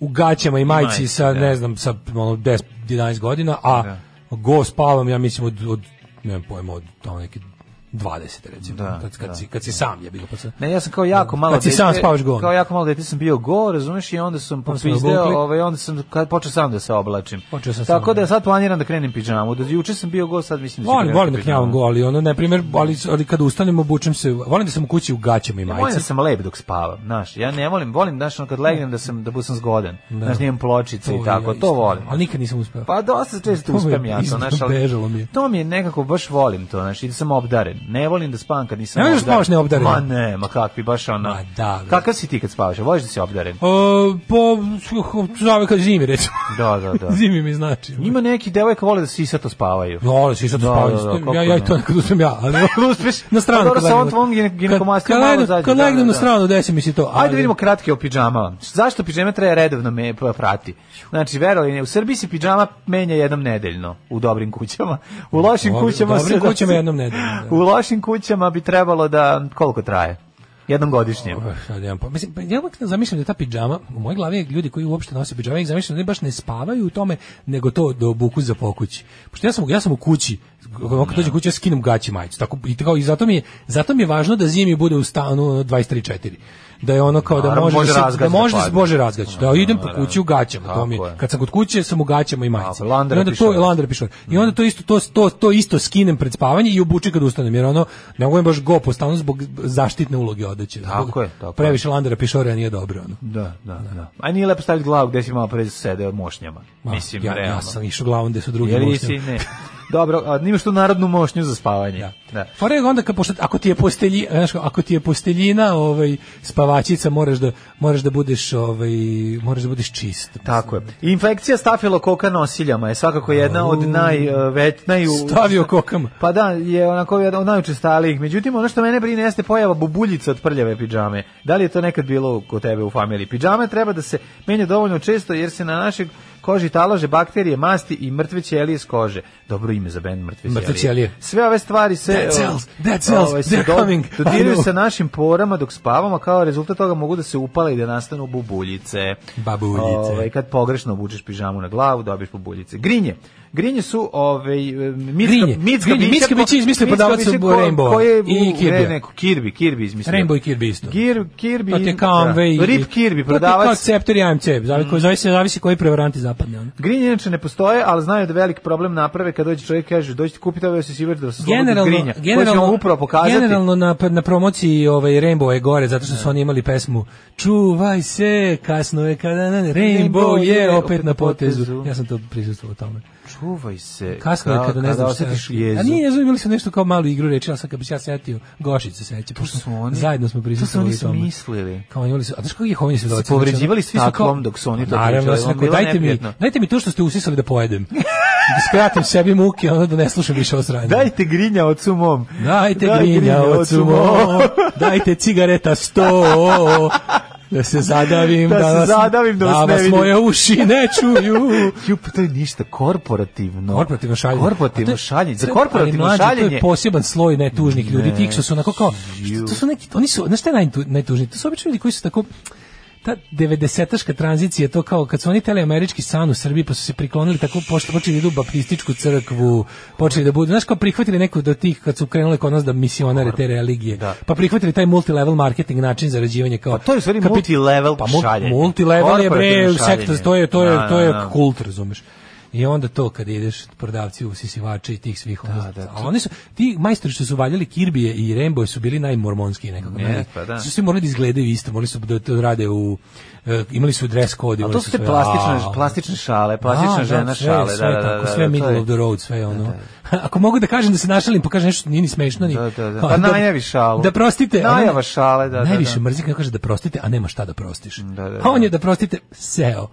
u gaćama i majici majici, sa da. ne znam sa ono 10 11 godina, a go spavam ja mislim od od nemam pojma od tamo neke 20 recimo. Da, kad kad da, si kad si sam je bilo pa se. Ne, ja sam kao jako malo Kad si sam spavaš go. Kao jako malo dete sam bio go, razumeš, i onda sam Onda smo popizdeo, obukli. ovaj, onda sam kad počeo sam da se oblačim. Počeo sam Tako sam, da sad planiram da krenem pidžamu. Da juče sam bio go, sad mislim da ću Volim, krenuti volim da pidžamu. knjavam go, ali ono, na primjer, ali, ali kada ustanem, obučem se, volim da sam u kući u gaćama i Ja volim majici. da sam lep dok spavam, znaš. Ja ne volim, volim, znaš, ono kad legnem da sam da budem zgodan. Da. Znaš, nijem pločice i To tako, ja isto. to volim. Ali nikad nisam uspeo. Pa dosta često To mi je uspem ja to, isto, znaš, ali bežalo mi je. to mi je nekako, baš volim to, znaš, i da sam obdaren. Ne volim da spavam kad nisam Ne voliš da spavaš neobdaren? Ma ne, ma kakvi, baš ono. Ma da, bre. Kakav si ti kad spavaš, a voliš da si obdaren? O, po, zove kad zimi, recimo. Da, da, da. zimi mi znači. Ima neki devojka vole da sisato spavaju. No, ali si sad Da, spavanje. da, da, kako ja, ja i to ne. nekad uspem ja. Ali, uspeš? na stranu. Pa dobro, kad sa legnem. ovom tvojom gine- Kad- ginekomastijom kad malo legnem- zađe, Kad da, legnem da, na da. stranu, desi mi se to. Ajde ali- vidimo kratke o pidžamama. Zašto pidžame traje redovno me pa, prati? Znači, verovali ne, u Srbiji se pidžama menja jednom nedeljno u dobrim kućama. U lošim Dobro, kućama... dobrim se- kućama jednom nedeljno, da. U lošim kućama bi trebalo da... Koliko traje? Jednom godišnje. Uf, ja nemam pojma. Mislim, pa ja uvek zamišljam da ta pidžama, u mojoj glavi ljudi koji uopšte nose pidžame, ja ih zamišljam da oni baš ne spavaju u tome, nego to da obuku za pokući. Pošto ja sam, ja sam u kući, ono kad dođem kući, ja skinem gaći majicu. Tako, i, tako, I zato mi, je, zato mi je važno da zimi bude u stanu 23-4 da je ono kao da Naravno, može, može da se- razgać da može da da se padne. može razgać da idem po da, kući u gaćama to mi je. Tako je. kad sam kod kuće sam u gaćama i majici Tako, landera i onda to pišoje. landera pišoje. i onda to isto to, to, to isto skinem pred spavanje i obučem kad ustanem jer ono ne mogu baš go po stanu zbog zaštitne uloge odeće Tako Zbog- je, tako je. previše landera pišorija nije dobro ono. Da, da, da. A nije lepo staviti glavu gde si malo pre sedeo mošnjama. Ma, Mislim, ja, realno. ja sam išao glavom gde su drugi Jel mošnje. nisi? Ne. Dobro, a nimaš tu narodnu mošnju za spavanje. Da. Fora je onda kad pošto, ako ti je postelji, znaš, kao, ako ti je posteljina, ovaj spavačica, moraš da moraš da budeš ovaj moraš da budeš čist. Tako je. Infekcija stafilokoka nosiljama je svakako jedna od najvet, naj... e, Stavio kokama. Pa da, je onako jedna od najučestalijih. Međutim, ono što mene brine jeste pojava bubuljica od prljave pidžame. Da li je to nekad bilo kod tebe u familiji? Pidžame treba da se menja dovoljno često jer se na našoj koži talože bakterije, masti i mrtve ćelije iz kože. Dobro ime za bend mrtve, Mrtve ćelije. Sve ove stvari se... Dead o, cells, ovaj, dead cells, se they're do- coming. I Dodiraju know. se našim porama dok spavamo, a kao rezultat toga mogu da se upale i da nastanu bubuljice. Babuljice. Ovaj, kad pogrešno obučeš pižamu na glavu, dobiješ bubuljice. Grinje. Grinje su ovaj mitska, Grinje. mitska Grinje. bića Mitska ko- bića izmislio mitska prodavac bića u ko- Rainbow. koje- I u- Kirbya. ne, neko, Kirby, Kirby izmislio. Rainbow i Kirby isto. Pa Gir, Kirby. To ti je kao da. Amway. Rip Kirby, To ti je kao prodavac. Mm. Ceptor i AMC. Zavisi, koji- zavisi, zavisi koji prevaranti zapadne. Ono. Grinje inače ne postoje, ali znaju da veliki problem naprave kad dođe čovjek i kaže dođite kupite ovaj osisivač da se slobodi Generalno, grinja. Generalno, ćemo generalno, vam upravo pokazati. generalno na, na promociji ovaj, Rainbow je gore, zato što su oni imali pesmu Čuvaj se, kasno je kada... Na, Rainbow, je opet na potezu. Ja sam to prisustuo tome. Čuvaj se. Kasno je kada ne znam šta. osjetiš jezu. A nije, ne znam, imali su nešto kao malu igru reči, ali sad kad bi se ja setio, Gošić se seća. To pošto su oni- Zajedno smo to su prisustvovali oni tome. smislili. Kao imali su, a znaš kako je hovinje svedoci? povređivali znači, svi ono, sa svi su kao- taklom dok su oni to Naravno, pričali, ja sam ono, rekao, bila dajte mi, neprijatna Apsolutno. Dajte mi to što ste usisali da pojedem. da skratim sebi muke, onda da ne slušam više o sranju. Dajte grinja ocu mom. Dajte, grinja ocu mom. Dajte cigareta sto. Da se zadavim, Da da, se vas- zadavim, da vas ne vas vidim. moje uši ne čuju. Jup, pa to je ništa korporativno. Korporativno šaljenje. Korporativno A to je- šaljenje. Za to je- korporativno ali mlađe, To šaljenje. je poseban sloj netužnih ljudi. Ti što su onako kao, ju. to su neki, oni su, znaš šta je najtu- najtužniji? To su obično ljudi koji su tako, ta 90-aška tranzicija, to kao kad su oni tele američki san u Srbiji, pa su se priklonili tako, pošto počeli da idu u baptističku crkvu, počeli da budu, znaš kao prihvatili neku od tih, kad su krenuli kod nas da misionare te religije, pa prihvatili taj multilevel marketing način zarađivanja kao... Pa to je u stvari kapit- multilevel pa mul- šaljenje. Multilevel je bre, Korporativno šaljenje. sektor, to je, to je, Da, to je da, da. kult, razumeš. I onda to kad ideš prodavci usisivača i tih svih onda, da, to- a oni su ti majstori što su valjali Kirbije i Rainbow su bili najmormonski nekako. Ne, naj- pa da. Su svi morali da izgledaju isto, morali su da to rade u e, imali su dres kod, A imali to su su te sve, plastične, a- plastične šale, plastična da, žena da, sve, šale. sve da, da, tako, da, sve da, middle to je- of the road, sve ono. Ako mogu da kažem da se našalim, pokažem nešto što nije ni smešno ni. Da, da, da. kao, Pa najavi šalu. Da prostite. ono- Najava šale, da, da, Najviše da. mrzim kad kaže da prostite, a nema šta da prostiš. Da, da, A on da. je da prostite seo.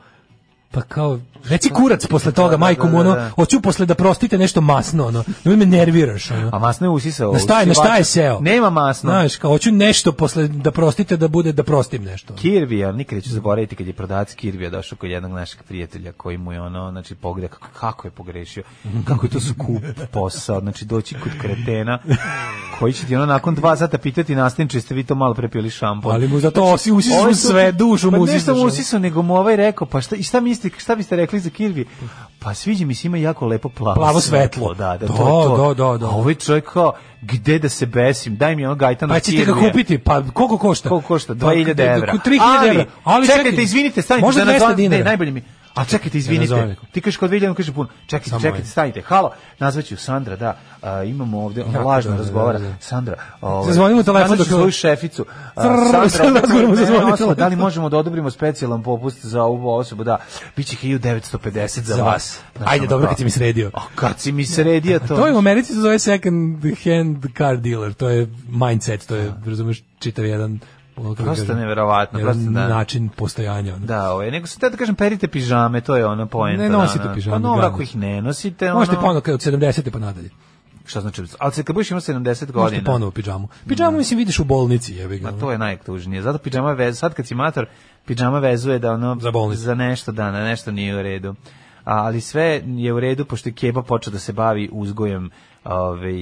Pa kao, reci kurac posle toga, da, majkom, da, da, ono, da. hoću posle da prostite nešto masno, ono, nemoj me nerviraš, ono. A masno je usisao. Na šta je, na šta je usisivač. seo? Nema masno. Znaš, kao, hoću nešto posle da prostite, da bude, da prostim nešto. ono. Kirvija, nikad neću zaboraviti kad je prodavac Kirvija došao kod jednog našeg prijatelja koji mu je ono, znači pogleda kako, kako je pogrešio, kako je to skup posao, znači doći kod kretena koji će ti ono nakon dva sata pitati nastavniče, jeste vi to malo prepili šampon. Ali mu zato osi, usisao Ovaj mu su- sve, dušu pa mu ne usisao. samo usisao, nego mu ovaj rekao, pa šta, i šta, mislite, šta biste rekli za Kirvi? Pa sviđa mi se, ima jako lepo plavo, Plavo svetlo. Da, da, Da, to, je to. da, da, da. A ovaj čovjek kao, gde da se besim, daj mi ono gajtano Pa ćete ga Kirvija. kupiti, pa koliko košta? Koliko košta? Pa, 2000 evra. ko- 3000 evra. Ali čekajte, izvinite, stanite. Možda da nazovem- 200 dinara. Ne, najbolje mi. A čekajte, nazovem izvinite. nekom. Ti kažeš kod 2000, on kaže puno. Čekajte, Samo čekajte, ovaj. stanite. Halo, nazvaću Sandra, da. A, imamo ovde, ona Jako lažno dobro, razgovara. da, da. Sandra, ovaj. Zazvonimo telefon nazvaću dok je- svoju šeficu. A, Crrrr, sad Sandra, razgovaramo, ne, zazvonimo ostalo, telefon. da li možemo da odobrimo specijalan popust za ovu osobu? Da. Biće 1950 za Za vas. vas. Ajde, dobro, kad si mi sredio. A kad si mi sredio Ah, to? To je u Americi se zove second hand car dealer, to je mindset, to je, razumeš, čitav jedan ono, kako Prosto kažem, neverovatno, jedan prosto da. način postojanja. Ono. Da, ovaj, nego sam te da kažem perite pižame, to je ona poenta. Ne nosite da, da. pižame, Pa dobro, bravo. ako ih ne nosite, ono... Možete ponovo od 70. pa nadalje. Šta znači? Ali se kad budeš imao 70 Možete godina. ponovo pidžamu. Pidžamu mislim vidiš u bolnici, jebi ga. Ma ono. to je najtužnije. Zato pidžama vez, sad kad si mator, pidžama vezuje da ono Za bolnicu. za nešto da, na nešto nije u redu. A, ali sve je u redu pošto je Keba počeo da se bavi uzgojem ovaj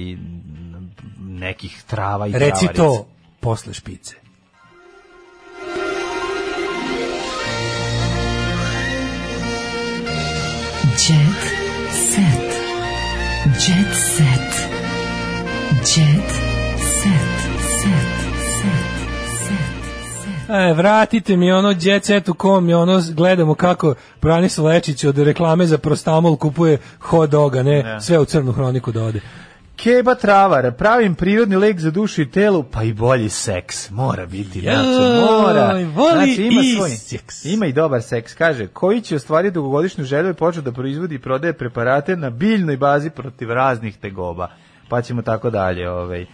nekih trava i Reci travarica. to posle špice. Jet set. Jet set. Jet set. Set. Set. E, vratite mi ono jet set u kom je ono gledamo kako Branis Lečić od reklame za prostamol kupuje hot doga, ne, Ne. sve u crnu hroniku da ode. Keba Travara, pravim prirodni lek za dušu i telu, pa i bolji seks. Mora biti, znači, mora. Joj, voli znači, ima i svoj, seks. Ima i dobar seks, kaže. Koji će ostvariti dugogodišnju želju i počeo da proizvodi i prodaje preparate na biljnoj bazi protiv raznih tegoba. Pa ćemo tako dalje, ovaj.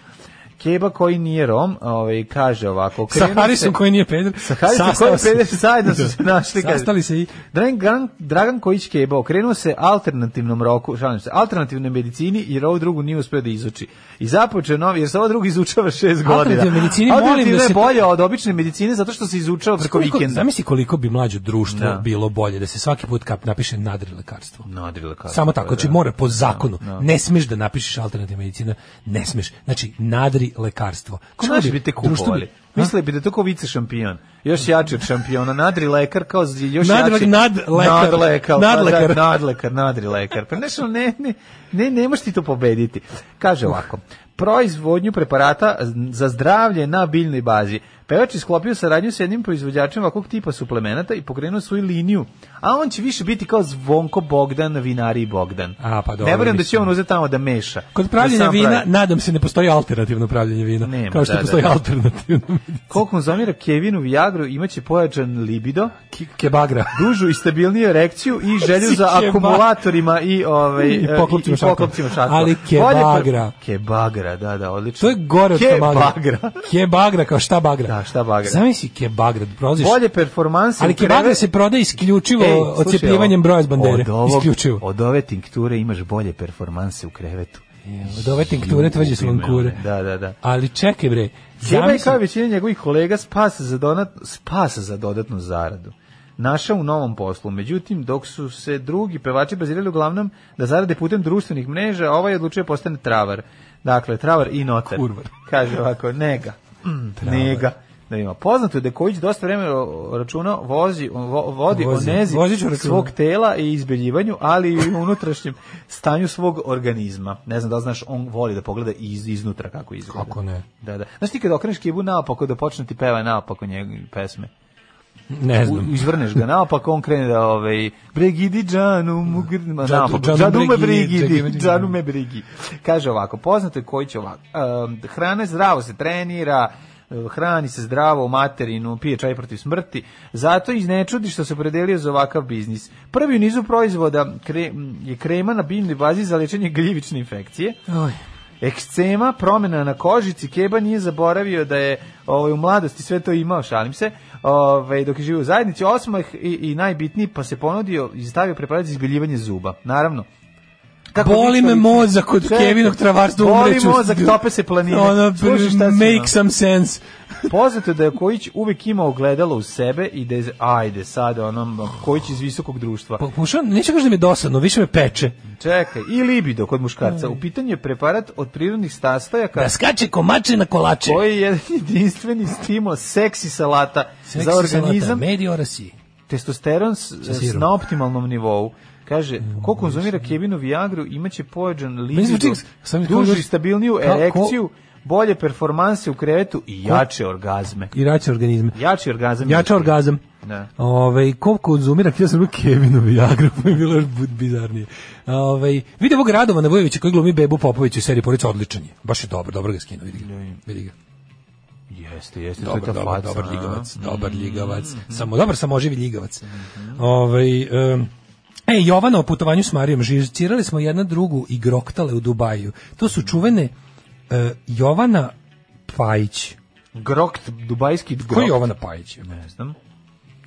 Keba koji nije Rom, ovaj, kaže ovako. Sa okrenuo Harisom ono se- koji nije peder. sa Harisom sastao koji je se. peder, zajedno su se našli, kaže. Sastali se i... Dragan, Gran- Dragan Kojić Keba okrenuo se alternativnom roku, šalim se, alternativnoj medicini jer ovo drugu nije uspio da izuči. I započeo novi, jer se ovo drugo izučava šest godina. Alternativnoj medicini, molim Alternativna da je se- bolja od obične medicine zato što se izučava preko Koliko- vikenda. Zamisli koliko bi mlađe društvo Da. bilo bolje da se svaki put kap napiše nadri lekarstvo. Nadri lekarstvo, Samo tako, da. znači mora po zakonu. Ne smeš da napišeš alternativna medicina, ne smeš. Znači nadri lekarstvo. Ko Kako naši bi te društvo kupovali? bi- Mislili bi da je to kao vice šampion. Još jači od šampiona. Nadri lekar kao z- još Nadri- jači. nadlekar. Nadlekar. Nadlekar. pa da, nadlekar, nadri lekar. Pa nešto, ne, ne, ne, ne možeš ti to pobediti. Kaže ovako. Proizvodnju preparata za zdravlje na biljnoj bazi. Pevač je sklopio saradnju s jednim proizvođačem ovakvog tipa suplemenata i pokrenuo svoju liniju. A on će više biti kao Zvonko Bogdan, vinari Bogdan. A, pa dobro, ne verujem da će mislim. on uzeti tamo da meša. Da Kod pravljenja sam vina, pravi. nadam se, ne postoji alternativno pravljenje vina. Nema, kao što da, da, postoji da. alternativno medicina. Ko konzumira Kevinu Viagru imaće pojačan libido, Kebagra. dužu i stabilniju erekciju i želju za Keba- akumulatorima i ovaj I e, poklopcima šakom. poklopcima šakom. Ali Bolje pre- kebagra. Kebagra, bagra, da, da, odlično. To je gore od Ke bagra. bagra. Ke bagra, kao šta bagra. Da, šta bagra. Zamisli ke bagra, da prolaziš. Bolje performanse. Ali ke preve- bagra se prodaje isključivo Ej, slušaj, odcepljivanjem ovo, broja s bandere. Od, ovog, isključivo. od ove tinkture imaš bolje performanse u krevetu. Od ove tinkture tvrđe su vam kure. Da, da, da. Ali čekaj bre, Zeba je kao i zamisli, većina njegovih kolega spas za, donat, spas za dodatnu zaradu. Naša u novom poslu. Međutim, dok su se drugi pevači bazirali uglavnom da zarade putem društvenih mreža, ovaj je odlučio postane travar. Dakle, travar i notar. Kurvar. Kaže ovako, nega. Mm, nega. Da ima. Poznato je da je Kojić dosta vremena o- računao vozi, vo, vodi Vozi. o nezi Voziću računa. svog tela i izbeljivanju, ali i u unutrašnjem stanju svog organizma. Ne znam da li znaš, on voli da pogleda iz, iznutra kako izgleda. Kako ne? Da, da. Znaš ti kad okreneš kibu naopako da počne ti peva naopako njegove pesme? ne znam. U- izvrneš ga naopako, on krene da ovaj, Brigidi Džanu, mugr- ma, Džadu- naopako, Džanu Džanu me Brigidi, Brigidi, Džanu- Džanu me Brigi. Kaže ovako, poznato je koji će ovako, em, hrana je zdravo se trenira, em, hrani se zdravo u materinu, pije čaj protiv smrti, zato i ne čudi što se opredelio za ovakav biznis. Prvi u nizu proizvoda kre- m, je krema na biljnoj bazi za lečenje gljivične infekcije, Oj. Ekscema, promjena na kožici, Keba nije zaboravio da je ovaj, u mladosti sve to imao, šalim se, ovaj, dok je živio u zajednici, osmah i, i najbitniji, pa se ponudio i stavio preparat za izbiljivanje zuba, naravno. Boli me mozak od Čekaj, Kevinog travarstva boli umreću. mozak, tope se planine. Ono, Slušaj šta si imao. make some sense. Poznato je da je Kojić uvijek imao ogledalo u sebe i da je, ajde, sad onom Kojić iz visokog društva. Pa, Pokušavam, neću kažem da mi je dosadno, više me peče. Čekaj, i libido kod muškarca. U pitanju je preparat od prirodnih sastojaka. Da skače komače na kolače. Koji je jedan jedinstveni stimul seksi salata Seksi za salata, organizam, Mediorasi. testosteron s, s sirom. Mm, na optimalnom nivou. Kaže, ko konzumira kebinu Viagru imaće pojačan Meni libido, zvuči- sam mi dužu kažeš- i stabilniju Ka- ko- erekciju, bolje performanse u krevetu i jače orgazme. I rače organizme. Jači orgazam. Jača orgazam. Da. Ove, ko konzumira, htio sam u Kevinu Viagra, pa mi je bilo još bud- bizarnije. Ove, vidi ovog Radovana Vujovića koji glumi Bebu Popović u seriji Porica, odličan je. Baš je dobar, dobro ga skinu, vidi ga. Vidi ga. Jeste, jeste, to je ta Dobar, dobar, faca, dobar a? Mm-hmm. ljigavac, dobar ljigavac. Samo, dobar samoživi ljigavac. Ovaj, em, E, Jovana o putovanju s Marijom, živcirali smo jedna drugu i groktale u Dubaju. To su čuvene e, Jovana Pajić. Grokt, dubajski grokt. Ko je Jovana Pajić? Ne znam.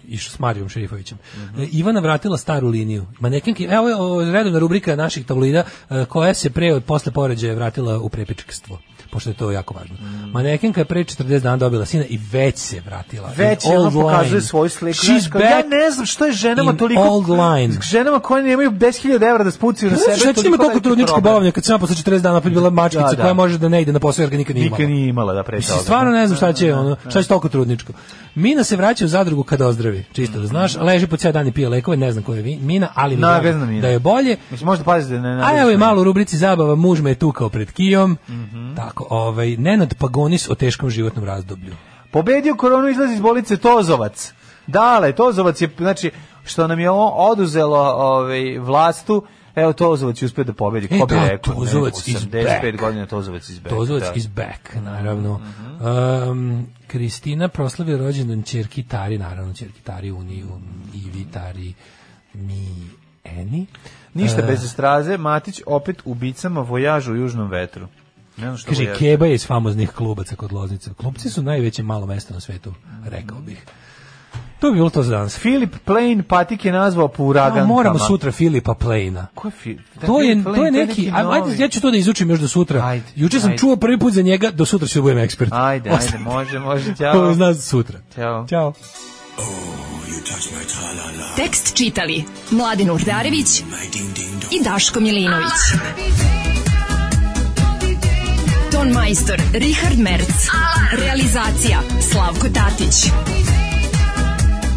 išao s Marijom Šerifovićem. Mhm. E, Ivana vratila staru liniju. Manekenke, evo je o, redovna rubrika naših tabloida e, koja se pre od posle poređaja vratila u prepičkstvo pošto je to jako važno. Mhm. Manekenka je pre 40 dana dobila sina i već se vratila. Već In ona old ono pokazuje line. svoju sliku. She's Znaš, kao, ja back ne znam što je ženama in toliko... old line. Ženama koje nemaju 10.000 evra da spucaju na sebe. Znaš, Šta će njima toliko toliko veliki trudničko problem. bolovanje kad sam ja posle 40 dana opet bila mačkica Da, da. koja može da ne ide na posao jer ga nikad nije imala. Nikad nije imala da pre Mislim, toga. stvarno ne znam šta će, ono, šta će toliko trudničko. Mina se vraća u zadrugu kada ozdravi, čisto Mhm. da znaš, leži po cijel dan i pije lekove, ne znam koja je vi- Mina, ali mi je Nagazna drago Mina. da je bolje. Mislim, možda pazite da ne... A naruši. evo je malo u rubrici zabava, muž me je tukao pred kijom, Mhm. tako, ovaj, Nenad Pagonis o teškom životnom razdoblju. Pobedio koronu izlazi iz bolice Tozovac. Dale, Tozovac je, znači, što nam je ovo oduzelo ovaj, vlastu, evo Tozovac je uspio da pobedi. E, Ko bi da, rekao? ne, Tozovac is 85 back. godina Tozovac iz back. Tozovac da. Mhm. is back, naravno. Um, Kristina proslavlja rođendan ćerki Tari, naravno ćerki Tari Uniju, Ivi Tari, Mi, Eni. Ništa E, bez straze, Matić opet u bicama vojažu u južnom vetru. Ne znam što Kaže, vojažu. Keba je iz famoznih klubaca kod Loznice. Klubci su najveće malo mesto na svetu, rekao bih. To bi bilo to za danas. Filip Plain patik je nazvao po A, uragankama. moramo sutra Filipa Plejna. Ko je Filip? To je, to je neki, a- ajde, ja ću to da izučim još do sutra. Ajde, Juče sam ajde. čuo prvi put za njega, do sutra ću da budem ekspert. Ajde, ajde, Ostanite. može, može, ćao. Zna sutra. Ćao. Ćao. Tekst čitali Mladin Urdarević i Daško Milinović. Ton majstor Richard Merc. Realizacija Slavko Tatić.